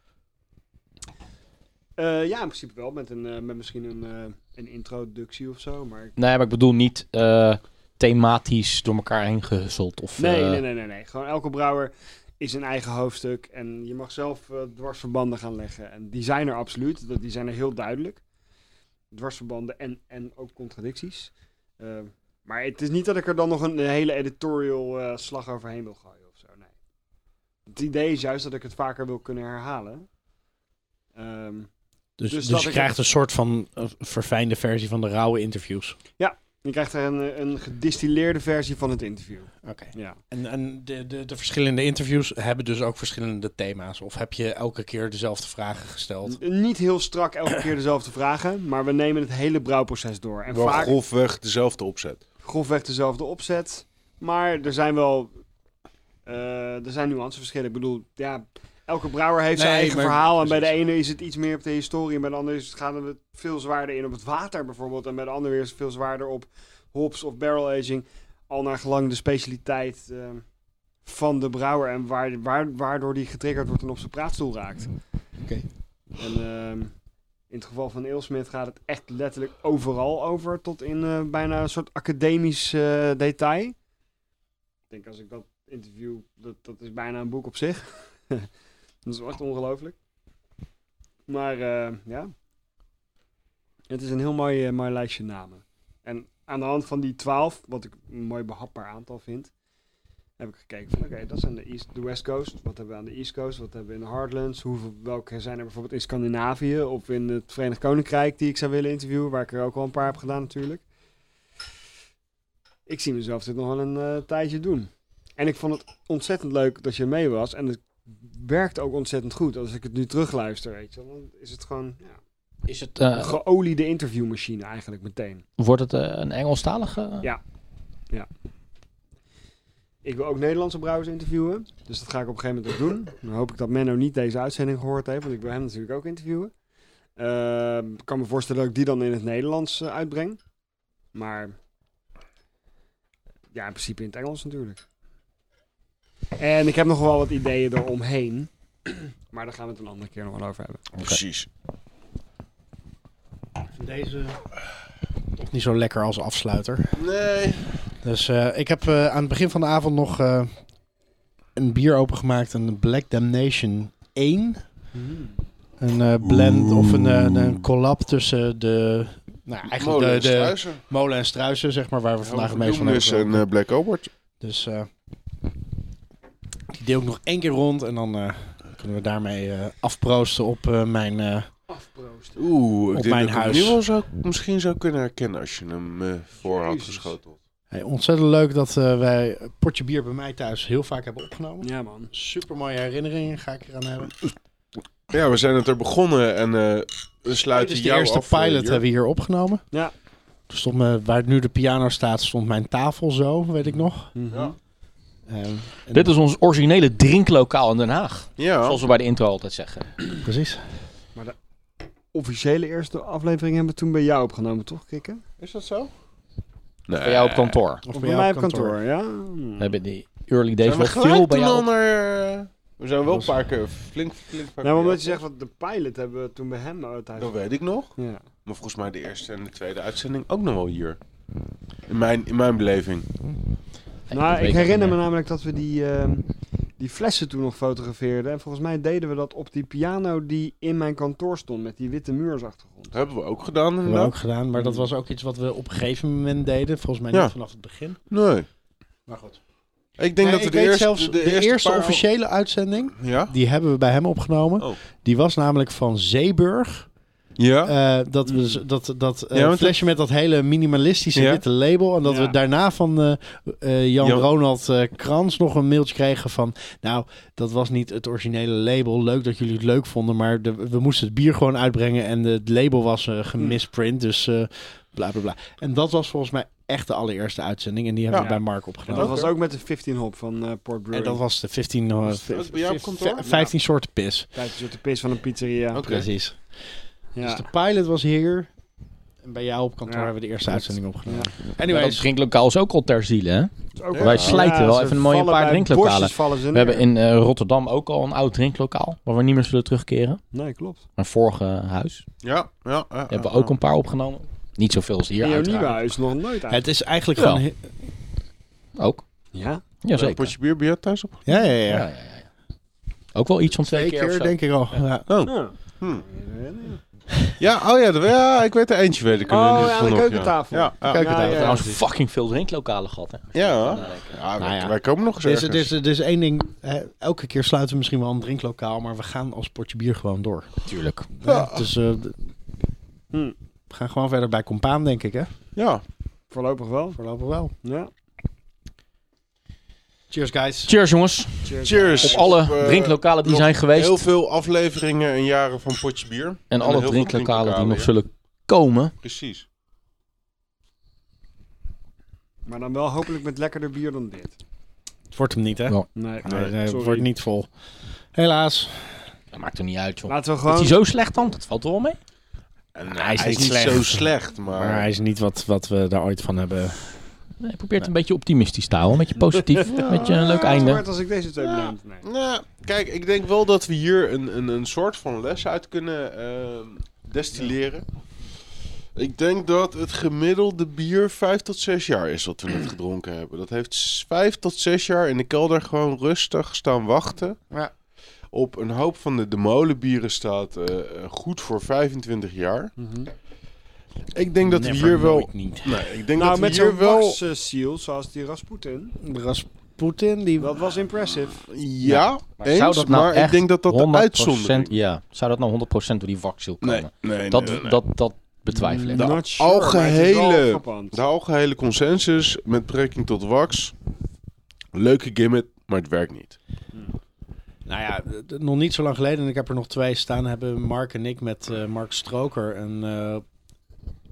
C: Eh, ja, in principe wel. Met, een, eh, met misschien een, eh, een introductie of zo. Maar
A: Nee, maar ik bedoel niet eh, thematisch door elkaar heen gehusteld. Of,
C: Nee,
A: eh,
C: nee, nee, nee, nee. Gewoon elke brouwer is een eigen hoofdstuk. En je mag zelf eh, dwarsverbanden gaan leggen. En die zijn er absoluut. dat- Die zijn er heel duidelijk. Dwarsverbanden en, en ook contradicties. Eh, maar het is niet dat ik er dan nog een, hele editorial eh, slag overheen wil gooien of zo. Nee. Het idee is juist dat ik het vaker wil kunnen herhalen. Ehm,
G: Dus,
C: Dus
G: dus,
C: dat
G: je
C: ik-
G: krijgt een soort van eh, verfijnde versie van de rauwe interviews.
C: je krijgt er een, eh, een gedistilleerde versie van het interview.
G: Oké.
C: Ja.
G: En, en de, de, de verschillende interviews hebben dus ook verschillende thema's. Of heb je elke keer dezelfde vragen gesteld?
C: N- Niet heel strak elke keer dezelfde vragen, maar we nemen het hele brouwproces door. En
B: Wel
C: vaak,
B: grofweg dezelfde opzet.
C: grofweg dezelfde opzet. Maar er zijn wel eh, er zijn nuanceverschillen. Ik bedoel, ja, elke brouwer heeft zijn
G: Nee,
C: eigen
G: maar-
C: verhaal. En bij de
G: precies.
C: ene is het iets meer op de historie. En bij de andere is het, gaan we veel zwaarder in op het water bijvoorbeeld. En bij de andere weer is het veel zwaarder op hops of barrel aging. Al naar gelang de specialiteit eh, van de brouwer en waar, waar, waardoor die getriggerd wordt en op zijn praatstoel raakt.
A: Oké.
C: En ehm, in het geval van Eelsmith gaat het echt letterlijk overal over, tot in eh, bijna een soort academisch eh, detail. Ik denk als ik dat interview, dat, dat is bijna een boek op zich. dat is wel echt ongelooflijk. Maar eh, ja, het is een heel mooi, eh, mooi lijstje namen. En aan de hand van die 12, wat ik een mooi behapbaar aantal vind, heb ik gekeken van oké, dat zijn de, East, de West Coast. Wat hebben we aan de East Coast? Wat hebben we in de Hardlands? Hoeveel, welke zijn er bijvoorbeeld in Scandinavië of in het Verenigd Koninkrijk die ik zou willen interviewen, waar ik er ook al een paar heb gedaan natuurlijk. Ik zie mezelf dit nog wel een eh, tijdje doen. En ik vond het ontzettend leuk dat je mee was. En het werkt ook ontzettend goed als ik het nu terugluister, weet je. wel. Dan is het gewoon ja,
A: Is het, eh,
C: een geoliede interviewmachine eigenlijk meteen.
A: wordt het eh, een Engelstalige?
C: Ja. Ik wil ook Nederlandse brouwers interviewen. Dus dat ga ik op een gegeven moment ook doen. Dan hoop ik dat Menno niet deze uitzending gehoord heeft. Want ik wil hem natuurlijk ook interviewen. Ehm, Ik kan me voorstellen dat ik die dan in het Nederlands eh, uitbreng. Maar ja, in principe in het Engels natuurlijk. En ik heb nog wel wat ideeën eromheen. Maar daar gaan we het een andere keer nog wel over hebben.
B: Precies.
D: Deze toch niet zo lekker als afsluiter.
B: Nee.
D: Dus eh, ik heb eh, aan het begin van de avond nog eh, een bier opengemaakt. Een Black Damnation 1. Een eh, blend of een, eh, een collab tussen de... Nou, eigenlijk
B: Molen en
D: de, de
B: struisen.
D: molen en struisen, zeg maar, waar we vandaag het meest van
B: Doemnis
D: hebben.
B: en eh, Black Obert.
D: Dus eh die deel ik nog één keer rond. En dan eh, kunnen we daarmee eh, afproosten op eh, mijn... eh,
C: Afproosten.
B: Oeh,
D: Op
B: ik denk
D: mijn
B: dat ik hem
D: huis.
B: nu wel zou, misschien zou kunnen herkennen als je hem eh, voor had
C: Jezus.
B: geschoteld.
D: hey, ontzettend leuk dat eh, wij een potje bier bij mij thuis heel vaak hebben opgenomen.
C: Ja man.
D: Super mooie herinneringen ga ik eraan hebben.
B: Ja, we zijn het er begonnen en eh, we
D: Dit
B: sluiten
D: is de
B: jou
D: eerste
B: af eh, voor
D: pilot
B: hier.
D: hebben we hier opgenomen.
C: Ja.
D: Toen stond me, waar nu de piano staat, stond mijn tafel zo, weet ik nog.
C: Ja.
D: Ehm, en-
A: Dit is ons originele drinklokaal in Den Haag.
B: Ja,
A: Zoals we bij de intro altijd zeggen.
D: Precies.
C: Officiële eerste aflevering hebben we toen bij jou opgenomen, toch Kikken?
D: Is dat zo?
B: nee.
A: Bij jou op kantoor.
D: Of
C: Of
D: bij
C: bij
D: jou
C: mij op kantoor, ja. Hmm.
A: We hebben die early days
B: zijn we
A: wel veel
B: gelijk
A: bij
B: toen
A: jou.
B: al
A: op-
B: naar... eh, we zijn wel een paar keer flink, flink... paar
C: Nou,
B: keer-
C: omdat je zegt, wat de pilot hebben we toen bij hem uit huis.
B: Dat weet ik nog.
C: Ja.
B: Maar volgens mij de eerste en de tweede uitzending ook nog wel hier. In mijn, in mijn beleving.
A: Nee, dat
C: nou,
A: weet
C: ik herinner
A: niet
C: me
A: meer.
C: namelijk dat we die, ehm, die flessen toen nog fotografeerden. En volgens mij deden we dat op die piano die in mijn kantoor stond met die witte muursachtergrond.
B: Dat hebben we ook gedaan
D: Hebben we
B: inderdaad.
D: ook gedaan, maar dat was ook iets wat we op een gegeven moment deden. Volgens mij
B: Ja.
D: niet vanaf het begin.
B: Nee.
D: Maar goed.
B: Ik denk dat we
D: ik
B: de
D: weet
B: eerste,
D: zelfs, de, eerste,
B: paar-
D: officiële uitzending,
B: Ja?
D: die hebben we bij hem opgenomen.
B: Oh.
D: Die was namelijk van Zeeburg.
B: Ja?
D: Eh, dat we z- dat, dat eh,
B: Ja, want-
D: flesje met dat hele minimalistische
B: Ja.
D: witte label. En dat
C: Ja.
D: we daarna van eh, eh, Jan
B: Ja.
D: Ronald eh, Krans nog een mailtje kregen van... Nou, dat was niet het originele label. Leuk dat jullie het leuk vonden, maar de- we moesten het bier gewoon uitbrengen. En de- het label was eh, gemisprint, dus eh, bla bla bla. En dat was volgens mij echt de allereerste uitzending. En die hebben
C: Ja.
D: we bij Mark
C: En
D: opgenomen.
C: dat was ook met de 15 hop van eh Port
D: En
C: Brewing.
D: dat was de 15, eh,
B: Was het ook bij jou op kantoor?
D: v- 15 soorten pis.
C: Kijk, een soort de pis van een pizzeria.
B: Oké.
D: Precies.
C: Ja.
D: Dus de pilot was hier. En bij jou op kantoor
C: Ja.
D: hebben we de eerste uitzending opgenomen.
A: Ja, dat
D: Anyways,
A: drinklokaal is ook al ter ziele, hè?
C: Het is ook
B: Ja.
A: Wij
C: wel-
A: slijten wel
C: ze
A: even een mooie
C: vallen
A: paar
C: bij
A: drinklokalen.
C: bosjes vallen ze
A: We
C: neer.
A: hebben in eh, Rotterdam ook al een oud drinklokaal, waar we niet meer zullen terugkeren.
C: Nee, klopt.
A: Mijn vorige huis. Daar
B: Ja, ja, ja, ja.
A: hebben we ook een paar opgenomen. Niet zoveel als hier,
C: in jouw
A: uiteraard.
C: nieuwe huis nog nooit uit.
D: het is eigenlijk
A: Ja.
D: gewoon... he-
A: Ook.
C: Ja?
B: Een
A: Jazeker.
B: potje bier bij jou thuis op?
D: Ja, ja, ja.
A: Ja, ja, ja, ja. Ook wel iets van twee,
D: Twee
A: keer, of
D: keer
A: zo.
D: denk ik al. Ja.
B: Oh.
C: Ja.
B: Hm.
C: Ja, ja.
B: Ja, oh ja, dat- ja, ik weet er eentje, weet ik. er
C: Oh,
B: nu
C: ja,
B: vanaf,
C: de keukentafel.
B: Ja, ja, ja.
D: Keukentafel.
A: We
C: Ja,
A: hebben trouwens fucking veel drinklokalen gehad, hè?
B: Ja, Ja,
D: Nou ja.
B: wij komen nog eens
D: Dus het
B: ergens.
D: is, het is één ding. hè, elke keer sluiten we misschien wel een drinklokaal, maar we gaan als potje bier gewoon door.
A: Tuurlijk.
D: Ja. Dus eh, d-
C: Hm.
D: we gaan gewoon verder bij Compaan, denk ik, hè?
B: Ja,
C: Voorlopig wel.
D: Voorlopig wel.
C: Ja.
D: Cheers, guys.
A: Cheers, jongens.
B: cheers.
A: Op alle
B: Op, eh,
A: drinklokalen die
B: nog
A: zijn geweest.
B: Heel veel afleveringen en jaren van potje bier.
A: en
B: heel
A: alle
B: veel
A: drinklokalen die
B: drinklokalen,
A: nog
B: ja.
A: zullen komen.
B: Precies.
C: Maar dan wel hopelijk met lekkerder bier dan dit.
D: Het wordt hem niet, hè?
A: Ja.
C: Nee,
D: Nee, nee,
A: eh,
D: het
C: sorry.
D: wordt niet vol. Helaas.
A: Dat maakt er niet uit, joh.
C: Laten we
A: Is
C: gewoon...
A: hij zo slecht dan? Dat valt er wel mee.
B: En,
D: hij is niet
B: niet
D: slecht.
B: zo slecht, maar...
D: Maar hij is niet wat, wat we daar ooit van hebben
A: Nee, probeer het een beetje optimistisch te houden. Met je positief, met je een leuk einde.
C: Als ik deze twee
B: Ja.
C: bedenk. Nee.
B: Nou, kijk, ik denk wel dat we hier een, een, een soort van les uit kunnen ehm, destilleren. Ik denk dat het gemiddelde bier 5 tot 6 jaar is wat we net gedronken hebben. Dat heeft 5 tot 6 jaar in de kelder gewoon rustig staan wachten.
D: Ja.
B: Op een hoop van de, de molenbieren staat eh, eh, goed voor 25 jaar.
C: Mhm.
B: Ik denk dat we hier wel.
A: niet.
B: Nee, ik denk
C: Nou,
B: dat we
C: met
B: hier
C: zo'n
B: wel.
C: wax eh, seal zoals die Rasputin.
G: Rasputin, die...
C: Dat was impressive.
B: Ja,
A: Maar
B: eens,
A: zou dat nou
B: maar ik
A: echt
B: denk dat dat de
A: 100%,
B: uitzondering
A: Ja, zou dat nou 100% door die wakziel komen?
B: Nee, nee,
A: dat,
B: nee, nee, nee.
A: Dat, dat betwijfel ik.
B: Nou, De
C: Not sure,
B: algehele- Nou,
C: maar het is wel frappant.
B: De algehele consensus met betrekking tot wax. Leuke gimmick, maar het werkt niet.
G: Nou ja, d- d- nog niet zo lang geleden, en ik heb er nog twee staan, hebben Mark en ik met eh, Mark Stroker een eh,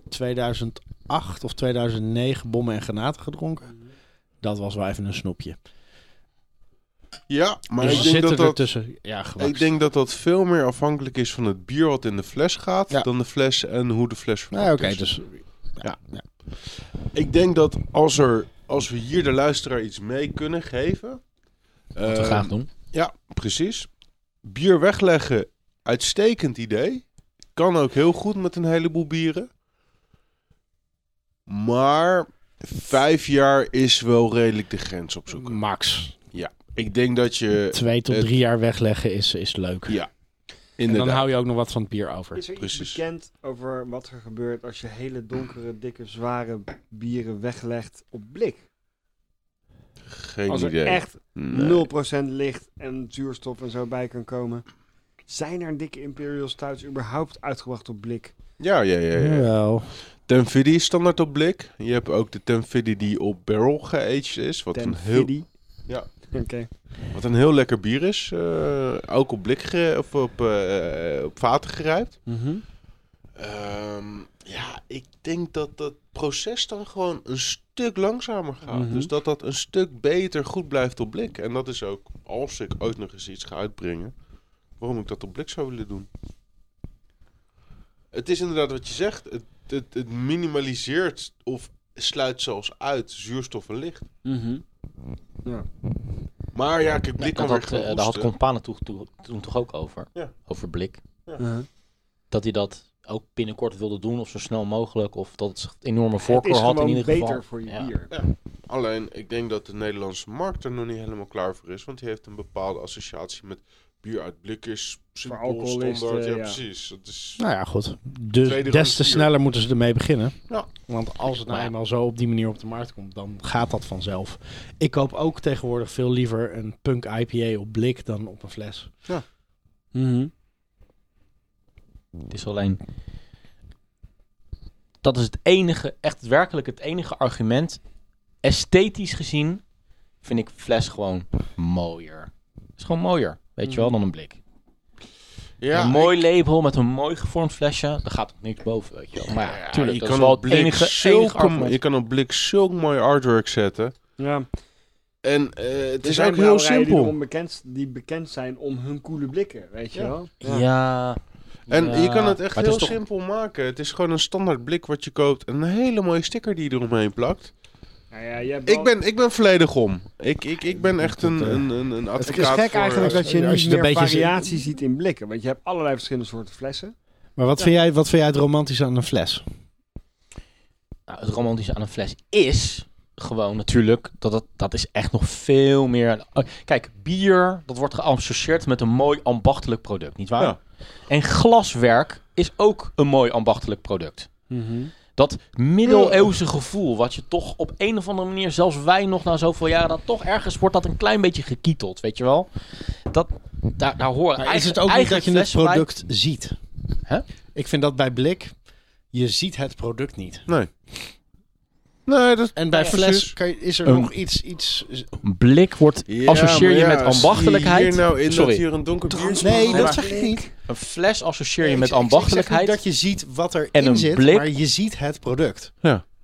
G: 2008 of 2009 bommen en granaten gedronken. Dat was wel even een snoepje.
B: Ja, maar
G: dus
B: ik,
G: we
B: denk dat
G: zitten er
B: dat,
G: tussen. Ja, gewakst.
B: ik denk dat dat veel meer afhankelijk is van het bier wat in de fles gaat...
G: Ja.
B: dan de fles en hoe de fles
G: Nou, oké,
B: verpakt is.
G: dus
B: Ik denk dat als, er, als we hier de luisteraar iets mee kunnen geven...
A: Wat we
B: ehm,
A: graag doen.
B: Ja, precies. Bier wegleggen, uitstekend idee. Kan ook heel goed met een heleboel bieren. Maar vijf jaar is wel redelijk de grens opzoeken.
G: max
B: Ik denk dat je
G: twee tot
B: het-
G: drie jaar wegleggen is, is leuk.
B: Ja,
G: en dan
B: inderdaad...
G: hou je ook nog wat van het bier over.
C: Is er iets
B: Precies.
C: bekend over wat er gebeurt als je hele donkere, dikke, zware bieren weglegt op blik?
B: Geen
C: Als
B: idee.
C: er echt
B: Nee.
C: 0% licht en zuurstof en zo bij kan komen. Zijn er dikke Imperial Stouts überhaupt uitgebracht op blik?
B: Ja, ja, ja. ja.
G: Wel.
B: Tenfiddy is standaard op blik. Je hebt ook de Tenfiddy die op barrel geaged is. Wat een, heel,
C: Tenfiddy?
B: Ja.
C: Oké.
B: wat een heel lekker bier is. eh, ook op blik ge- of op, eh, op vaten gerijpt.
A: Mhm.
B: Ehm, ja, ik denk dat dat proces dan gewoon een stuk langzamer gaat.
C: Mhm.
B: Dus dat dat een stuk beter goed blijft op blik. En dat is ook, als ik ooit nog eens iets ga uitbrengen, waarom ik dat op blik zou willen doen. Het is inderdaad wat je zegt. Het, het, het minimaliseert of sluit zelfs uit zuurstof en licht.
A: Mhm.
B: Maar ja, kijk, blik
A: dat
B: kan
A: had,
B: weer
A: eh,
B: gaan
A: daar had
B: hoesten.
A: Compaan het toen- toen- toen toch ook over.
B: Ja.
A: Over blik.
C: Uh-huh.
A: Dat hij dat ook binnenkort wilde doen of zo snel mogelijk. Of dat het zich enorme
C: Het
A: voorkeur
C: is
A: had
C: gewoon
A: in ieder
C: beter
A: geval.
C: voor je
A: Ja.
C: bier.
B: Alleen, ik denk dat de Nederlandse markt er nog niet helemaal klaar voor is. Want die heeft een bepaalde associatie met bier uit blik is simpel,
C: Voor alcoholisten,
B: standaard. Ja,
C: ja.
B: precies. Dat is...
G: Nou ja, goed.
B: Tweede
G: Dus
B: rond
G: des te
B: bier.
G: sneller moeten ze ermee beginnen.
B: Ja.
G: Want als het nou
A: Maar ja.
G: eenmaal zo op die manier op de markt komt, dan gaat dat vanzelf. Ik koop ook tegenwoordig veel liever een punk IPA op blik dan op een fles.
A: Mhm. Het is alleen. Dat is het enige, echt werkelijk het enige argument. Esthetisch gezien vind ik fles gewoon mooier. Het is gewoon mooier, weet
B: Mhm.
A: je wel, dan een blik.
B: Ja,
A: een mooi label met een mooi gevormd flesje, daar gaat ook niks boven, weet je wel. Maar ja, tuurlijk,
B: je
A: dat
B: kan
A: is wel
B: op
A: het
B: blik
A: enige,
B: zulke-
A: enige argument.
B: Je kan op blik zulk mooi artwork zetten.
C: Ja.
B: En eh, het
C: Er
B: is
C: zijn
B: ook heel
C: brouwerijen Die,
B: simpel.
C: erom bekend, die bekend zijn om hun coole blikken, weet je
B: Ja.
C: wel?
A: ja. ja.
B: En je kan het echt
A: Maar
B: heel
A: is toch-
B: simpel maken. Het is gewoon een standaard blik wat je koopt. En een hele mooie sticker die je eromheen plakt.
C: Nou ja, je hebt wel-
B: Ik ben, ik ben volledig om. Ik, ik, ik ben echt een, een,
A: eh,
B: een, een
C: Het
B: advocaat
C: is gek
B: voor,
C: eigenlijk
B: eh,
C: dat je
G: als
C: niet
G: je het
C: meer
G: een beetje-
C: variatie ziet in blikken. Want je hebt allerlei verschillende soorten flessen.
G: Maar wat, vind, jij, wat vind jij het romantisch aan een fles?
A: Nou, het romantische aan een fles is gewoon natuurlijk dat het, dat is echt nog veel meer. oh, Kijk, bier dat wordt geassocieerd met een mooi ambachtelijk product, niet waar?
B: Ja.
A: En glaswerk is ook een mooi ambachtelijk product.
C: Mhm.
A: Dat middeleeuwse gevoel, wat je toch op een of andere manier, zelfs wij nog na zoveel jaren, dat toch ergens wordt dat een klein beetje gekieteld, weet je wel? Dat, daar, daar hoor
G: Maar is het ook niet dat je het product ziet?
A: Hè?
G: Ik vind dat bij blik, je ziet het product niet.
B: Nee, dat...
G: En bij
B: Ja, precies.
G: fles kan je- is er
A: Een-
G: nog iets, iets...
A: Blik wordt,
B: Ja,
A: associeer je
B: maar ja,
A: met ambachtelijkheid.
B: zie je hier nou in
A: Sorry.
B: dat hier een donker bier...
G: Nee,
B: Maar-
G: dat zeg ik niet.
A: Een fles associeer
G: Ik-
A: je
G: ik- ik
A: met
G: zeg niet
A: ambachtelijkheid.
G: dat je ziet wat er
A: En
G: in
A: een
G: zit,
A: blik.
G: maar je ziet het product.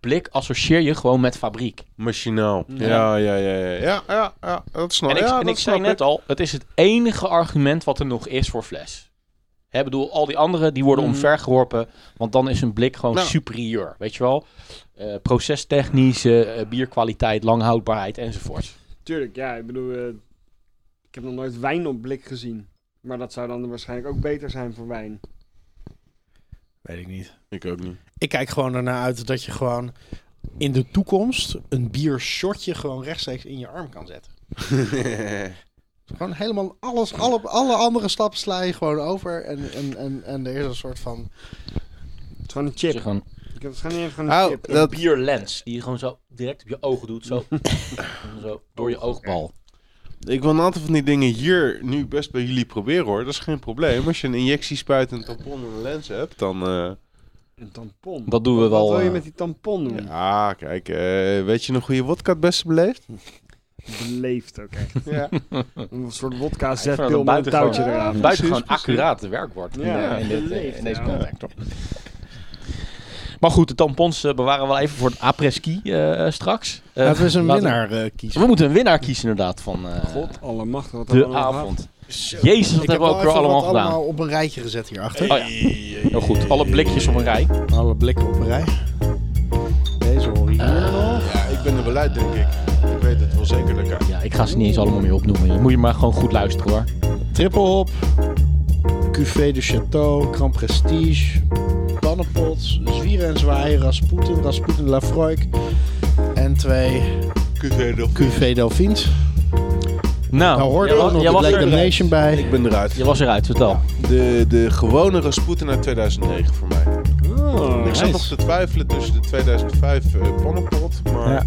A: blik associeer je gewoon met fabriek.
B: Oh, Machinaal. Ja, ja, ja, ja. Ja, ja, ja, dat snap
A: en ik,
B: ja,
A: en
B: dat
A: ik zei
B: snap
A: net al, het is het enige argument wat er nog is voor fles. Hè, bedoel, al die anderen die worden
C: Mhm.
A: omvergeworpen, want dan is hun blik gewoon
B: Nou.
A: superieur. Weet je wel? Eh, procestechnisch, eh, bierkwaliteit, langhoudbaarheid enzovoort.
C: Tuurlijk, ja. Ik bedoel, eh, ik heb nog nooit wijn op blik gezien. Maar dat zou dan waarschijnlijk ook beter zijn voor wijn.
D: Weet ik niet.
B: Ik ook niet.
D: Ik kijk gewoon ernaar uit dat je gewoon in de toekomst een biershotje gewoon rechtstreeks in je arm kan zetten. Gewoon helemaal alles, alle, alle andere stappen sla je gewoon over. En, en, en, en er is een soort van...
C: Het is gewoon een
A: Dus je
C: chip.
A: gewoon
C: Ik heb het gewoon even gewoon een
B: nou,
C: chip.
A: een
B: dat,
A: bierlens die je gewoon zo direct op je ogen doet. Zo, zo door je oogbal.
B: ik wil een aantal van die dingen hier nu best bij jullie proberen hoor. Dat is geen probleem. Als je een injectie spuit, een tampon en een lens hebt, dan... eh,
C: Een tampon.
A: Dat doen we wel.
C: Wat wil je
A: eh,
C: met die tampon doen?
B: Ja, kijk, eh, weet je een goede wodka het beste beleefd?
C: Beleefd ook echt.
B: Ja.
C: Een soort wodka
A: Ik vind dat
C: zetpil
A: een
C: met een
A: buitengewoon,
C: touwtje eraan.
A: buitengewoon
B: Precies, precies.
A: accuraat werk wordt in,
C: Ja,
A: eh, in, dit, eh, in deze
C: ja.
A: context. Maar goed, de tampons eh, bewaren we wel even voor het apres-ski eh, straks. Eh,
D: Laten we eens een
A: laten-
D: winnaar eh, kiezen.
A: We moeten een winnaar kiezen inderdaad van eh,
C: God allemachtig, wat
A: de
C: hebben we allemaal
A: avond. Jezus, dat hebben we ook weer allemaal gedaan.
D: allemaal op een rijtje gezet hierachter.
A: Oh ja, heel goed. Alle blikjes op een rij.
D: Alle blikken op een rij. Deze hoor je hier nog.
B: Ja, ik ben er wel uit, denk ik. Ik weet het wel zeker lekker.
A: Ja, ik ga ze niet eens allemaal meer opnoemen. Je moet je maar gewoon goed luisteren hoor.
D: Triple hop. Cuvée de Chateau. Grand Prestige. Pannenpot. Zwieren en zwaaien. Rasputin. Rasputin Lafroik. En twee Cuvée Delphins.
A: Nou,
D: Daar hoorde
A: jij
D: ook
A: was-
D: nog
A: jij
D: de
A: was
D: Black
A: er-
D: Damnation bij.
B: Ik ben eruit.
A: Je was eruit, vertel.
B: De, de gewone Rasputin uit 2009 voor mij.
C: Oh.
B: ik zat
D: nice.
B: nog te twijfelen tussen de 2005 eh pannenpot, maar
D: Ja.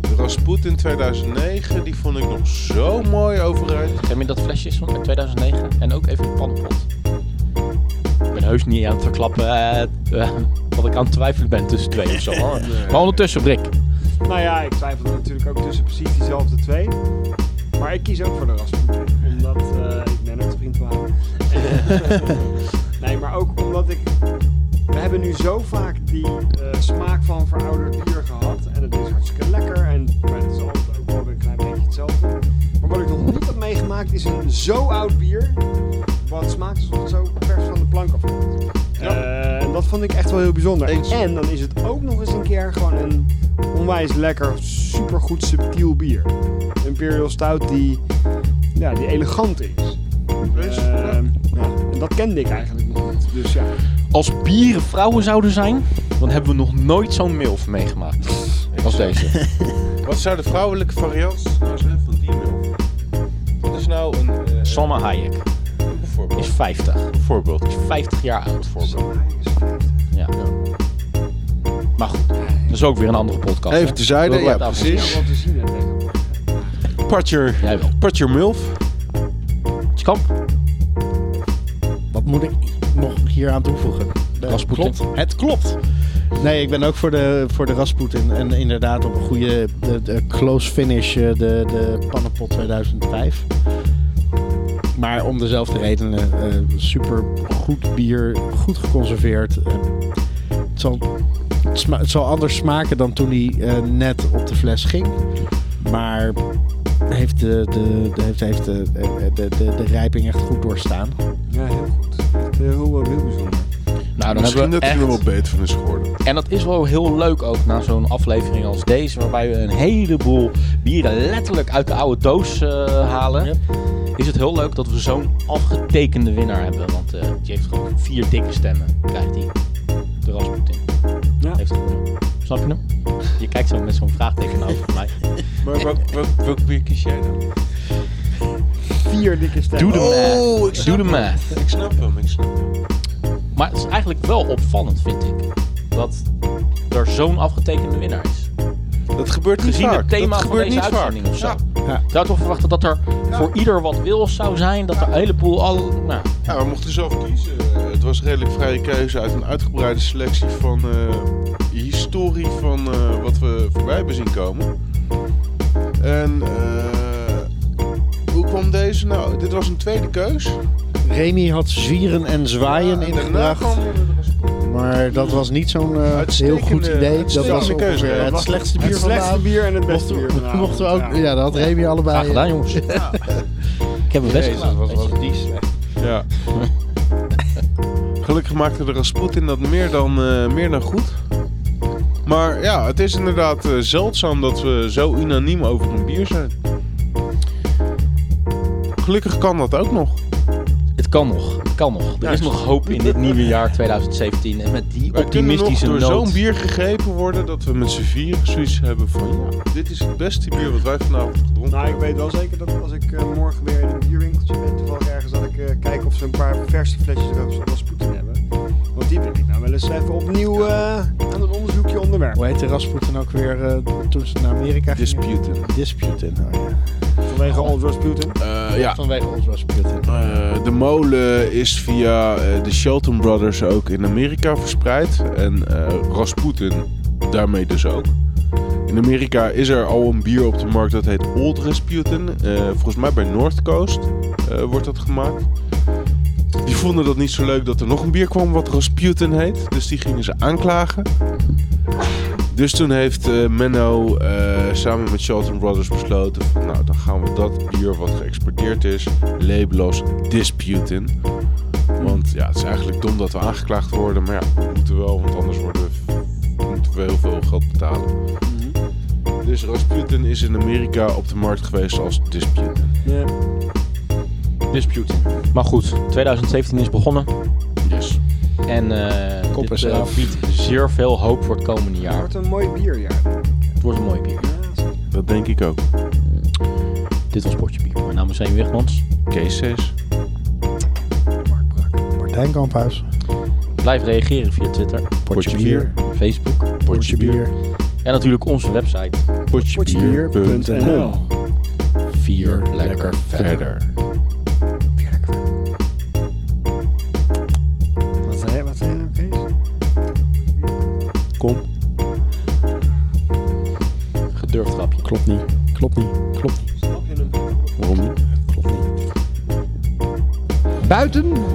B: de Rasputin 2009, die vond ik nog zo mooi overeind.
A: Geef me dat flesje is van uit 2009 en ook even een pannenpot. Ik ben heus niet aan het verklappen eh, eh, wat ik aan het twijfelen ben tussen twee of zo. hoor. Maar ondertussen, Brik.
C: Nou ja, ik twijfelde natuurlijk ook tussen precies diezelfde twee. Maar ik kies ook voor de Rasputin. Omdat eh, ik ben het vriend van haar. nee, maar ook omdat ik... We hebben nu zo vaak die eh, smaak van verouderd bier gehad. En het is hartstikke lekker. En maar het is altijd ook wel weer een klein beetje hetzelfde. Maar wat ik nog niet heb meegemaakt is een zo oud bier... Wat smaakt alsof het zo vers van de plank afkomt. Eh, en dat vond ik echt wel heel bijzonder.
B: Eens.
C: En dan is het ook nog eens een keer gewoon een onwijs lekker, supergoed subtiel bier. Imperial Stout die, ja, die elegant is.
A: Eh.
C: Ehm, ja, en dat kende ik eigenlijk nog niet. Dus ja,
A: Als bieren vrouwen zouden zijn, dan hebben we nog nooit zo'n milf meegemaakt. Als deze.
B: Wat zou de vrouwelijke variant nou zijn van die milf? Wat is nou een... eh,
A: Salma Hayek
B: een
A: is
B: voorbeeld?
A: 50.
B: Een voorbeeld.
A: Is 50 jaar oud. Voorbeeld.
C: Salma Hayek is vijftig.
A: Ja. Maar goed, dat is ook weer een andere podcast. hè?
B: Even terzijde,
A: Dat
B: ja
A: blijft af en toe.
C: Ja,
B: precies.
C: wat te zien hè, tegenwoordig.
B: Patcher,
A: Jij wel.
B: Patcher Milf.
A: Kamp.
D: Wat moet ik nog hier aan toevoegen? De-
A: Rasputin. Nou,
D: Klopt. Het klopt. Nee, ik ben ook voor de, voor de Rasputin. En inderdaad op een goede de, de close finish eh, de, de Pannenpot 2005. Maar om dezelfde redenen. eh, super goed bier. Goed geconserveerd. eh, het, zal, het, sma- het zal anders smaken dan toen hij eh, net op de fles ging. Maar heeft de, de, de- heeft, heeft de, de, de, de, de rijping echt goed doorstaan.
C: Ja, heel goed. Echt heel, heel bijzonder.
A: Nou, dan
B: Misschien
A: hebben
B: dat
A: we
B: hij er
A: echt...
B: wel beter van is geworden.
A: En dat is wel heel leuk ook na zo'n aflevering als deze, waarbij we een heleboel bieren letterlijk uit de oude doos eh, halen.
D: Ja.
A: Is het heel leuk dat we zo'n afgetekende winnaar hebben, want eh, die heeft gewoon vier dikke stemmen, krijgt hij. De Rasputin.
C: Ja.
A: Heeft gewonnen. Snap je hem? Je kijkt zo met zo'n vraagteken over mij.
B: Maar welk, welk, welk bier kies jij dan?
C: Vier dikke
A: Doe
C: stemmen.
A: de
B: Oh,
A: math. Doe de
B: ik snap hem.
A: math.
B: Ik snap hem, ik snap hem.
A: Maar het is eigenlijk wel opvallend, vind ik, dat er zo'n afgetekende winnaar is.
B: Dat gebeurt niet
A: gezien
B: vaak.
A: het thema
B: dat
A: van
B: gebeurt
A: deze
B: niet vaak.
A: uitzending of zo.
B: Ja.
D: Ja.
A: Zou toch verwachten dat er voor ieder wat wil zou zijn, dat er een heleboel al... Nou,
B: Ja, we mochten zelf kiezen. Eh, het was redelijk vrije keuze uit een uitgebreide selectie van eh, historie van eh, wat we voorbij hebben zien komen. En eh, hoe kwam deze nou? Dit was een tweede keus.
D: Remy had zwieren en zwaaien
B: Ja, en daarna
D: ingebracht.
B: kwam weer de Rasputin.
D: Maar dat was niet zo'n eh,
B: Uitstekende-
D: heel goed idee. Dat
B: uitstekende
D: was
B: keuze.
D: ongeveer het
B: Wacht,
D: slechtste bier
C: Het
D: van de
C: slechtste
D: avond.
C: bier en het beste bier.
D: Mochten we,
C: vanavond.
D: mochten we ook,
C: Ja.
D: ja, dat had Remy allebei.
A: graag gedaan jongens. Ik heb mijn best gedaan. weet je.
D: die slecht.
B: Ja. Gelukkig maakte de Rasputin dat meer dan, eh, meer dan goed. Maar ja, het is inderdaad eh, zeldzaam dat we zo unaniem over een bier zijn. Gelukkig kan dat ook nog.
A: Het kan nog. Het kan nog. Er
B: Ja,
A: is
B: ik-
A: nog hoop in dit nieuwe jaar 2017. En met die
B: Wij kunnen nog
A: optimistische
B: door zo'n
A: noot.
B: bier gegrepen worden dat we met z'n vier zoiets hebben van... Ja, dit is het beste bier wat wij vanavond gedronken
C: Nou, ik
B: hebben.
C: weet wel zeker dat als ik eh, morgen weer in een bierwinkeltje ben, toevallig ergens, dat ik eh, kijk of ze een paar verse flesjes Rasputin hebben. Want die wil ik nou wel eens even opnieuw eh, aan een onderzoekje onderwerpen.
G: Hoe heette Rasputin ook weer eh, toen ze naar Amerika gingen?
B: Disputed.
G: Disputin. Oh, ja.
C: Vanwege Old Rasputin.
B: Eh, ja,
G: Vanwege ons Rasputin.
B: Eh, de molen is via eh, de Shelton Brothers ook in Amerika verspreid. En eh, Rasputin daarmee dus ook. In Amerika is er al een bier op de markt dat heet Old Rasputin. Eh, volgens mij bij North Coast eh, wordt dat gemaakt. Die vonden dat niet zo leuk dat er nog een bier kwam wat Rasputin heet. Dus die gingen ze aanklagen. Dus toen heeft eh, Menno eh, samen met Shelton Brothers besloten... Van, nou, dan gaan we dat bier wat geëxporteerd is label als disputing. Want ja, het is eigenlijk dom dat we aangeklaagd worden. Maar ja, we moeten wel, want anders worden we, moeten we heel veel geld betalen. Dus Rasputin is in Amerika op de markt geweest als disputing.
C: Ja.
A: Dispute. Maar goed, 2017 is begonnen.
B: Yes.
A: En eh
D: Kop
A: dit
D: is
A: eh,
D: eraf.
A: biedt zeer veel hoop voor het komende
C: Het
A: jaar.
C: wordt een mooi bierjaar.
A: Het wordt een mooi bier.
B: Dat denk ik ook.
A: Dit was Potje Bier. Mijn naam is Eén Wigmans.
B: Cases.
G: Martijn Kamphuis.
A: Blijf reageren via Twitter,
B: Potje bier.
A: Facebook
B: Potje bier.
A: en natuurlijk onze website.
B: Potje bier. Punt
C: Potjebier.nl.
A: Vier lekker verder.
B: Verder.
C: Wat zei wat zei je nou, Kees?
B: Kom.
A: Gedurfd grapje.
D: Klopt niet. Klopt niet. Klopt niet.
B: Waarom niet?
D: Klopt niet.
H: Buiten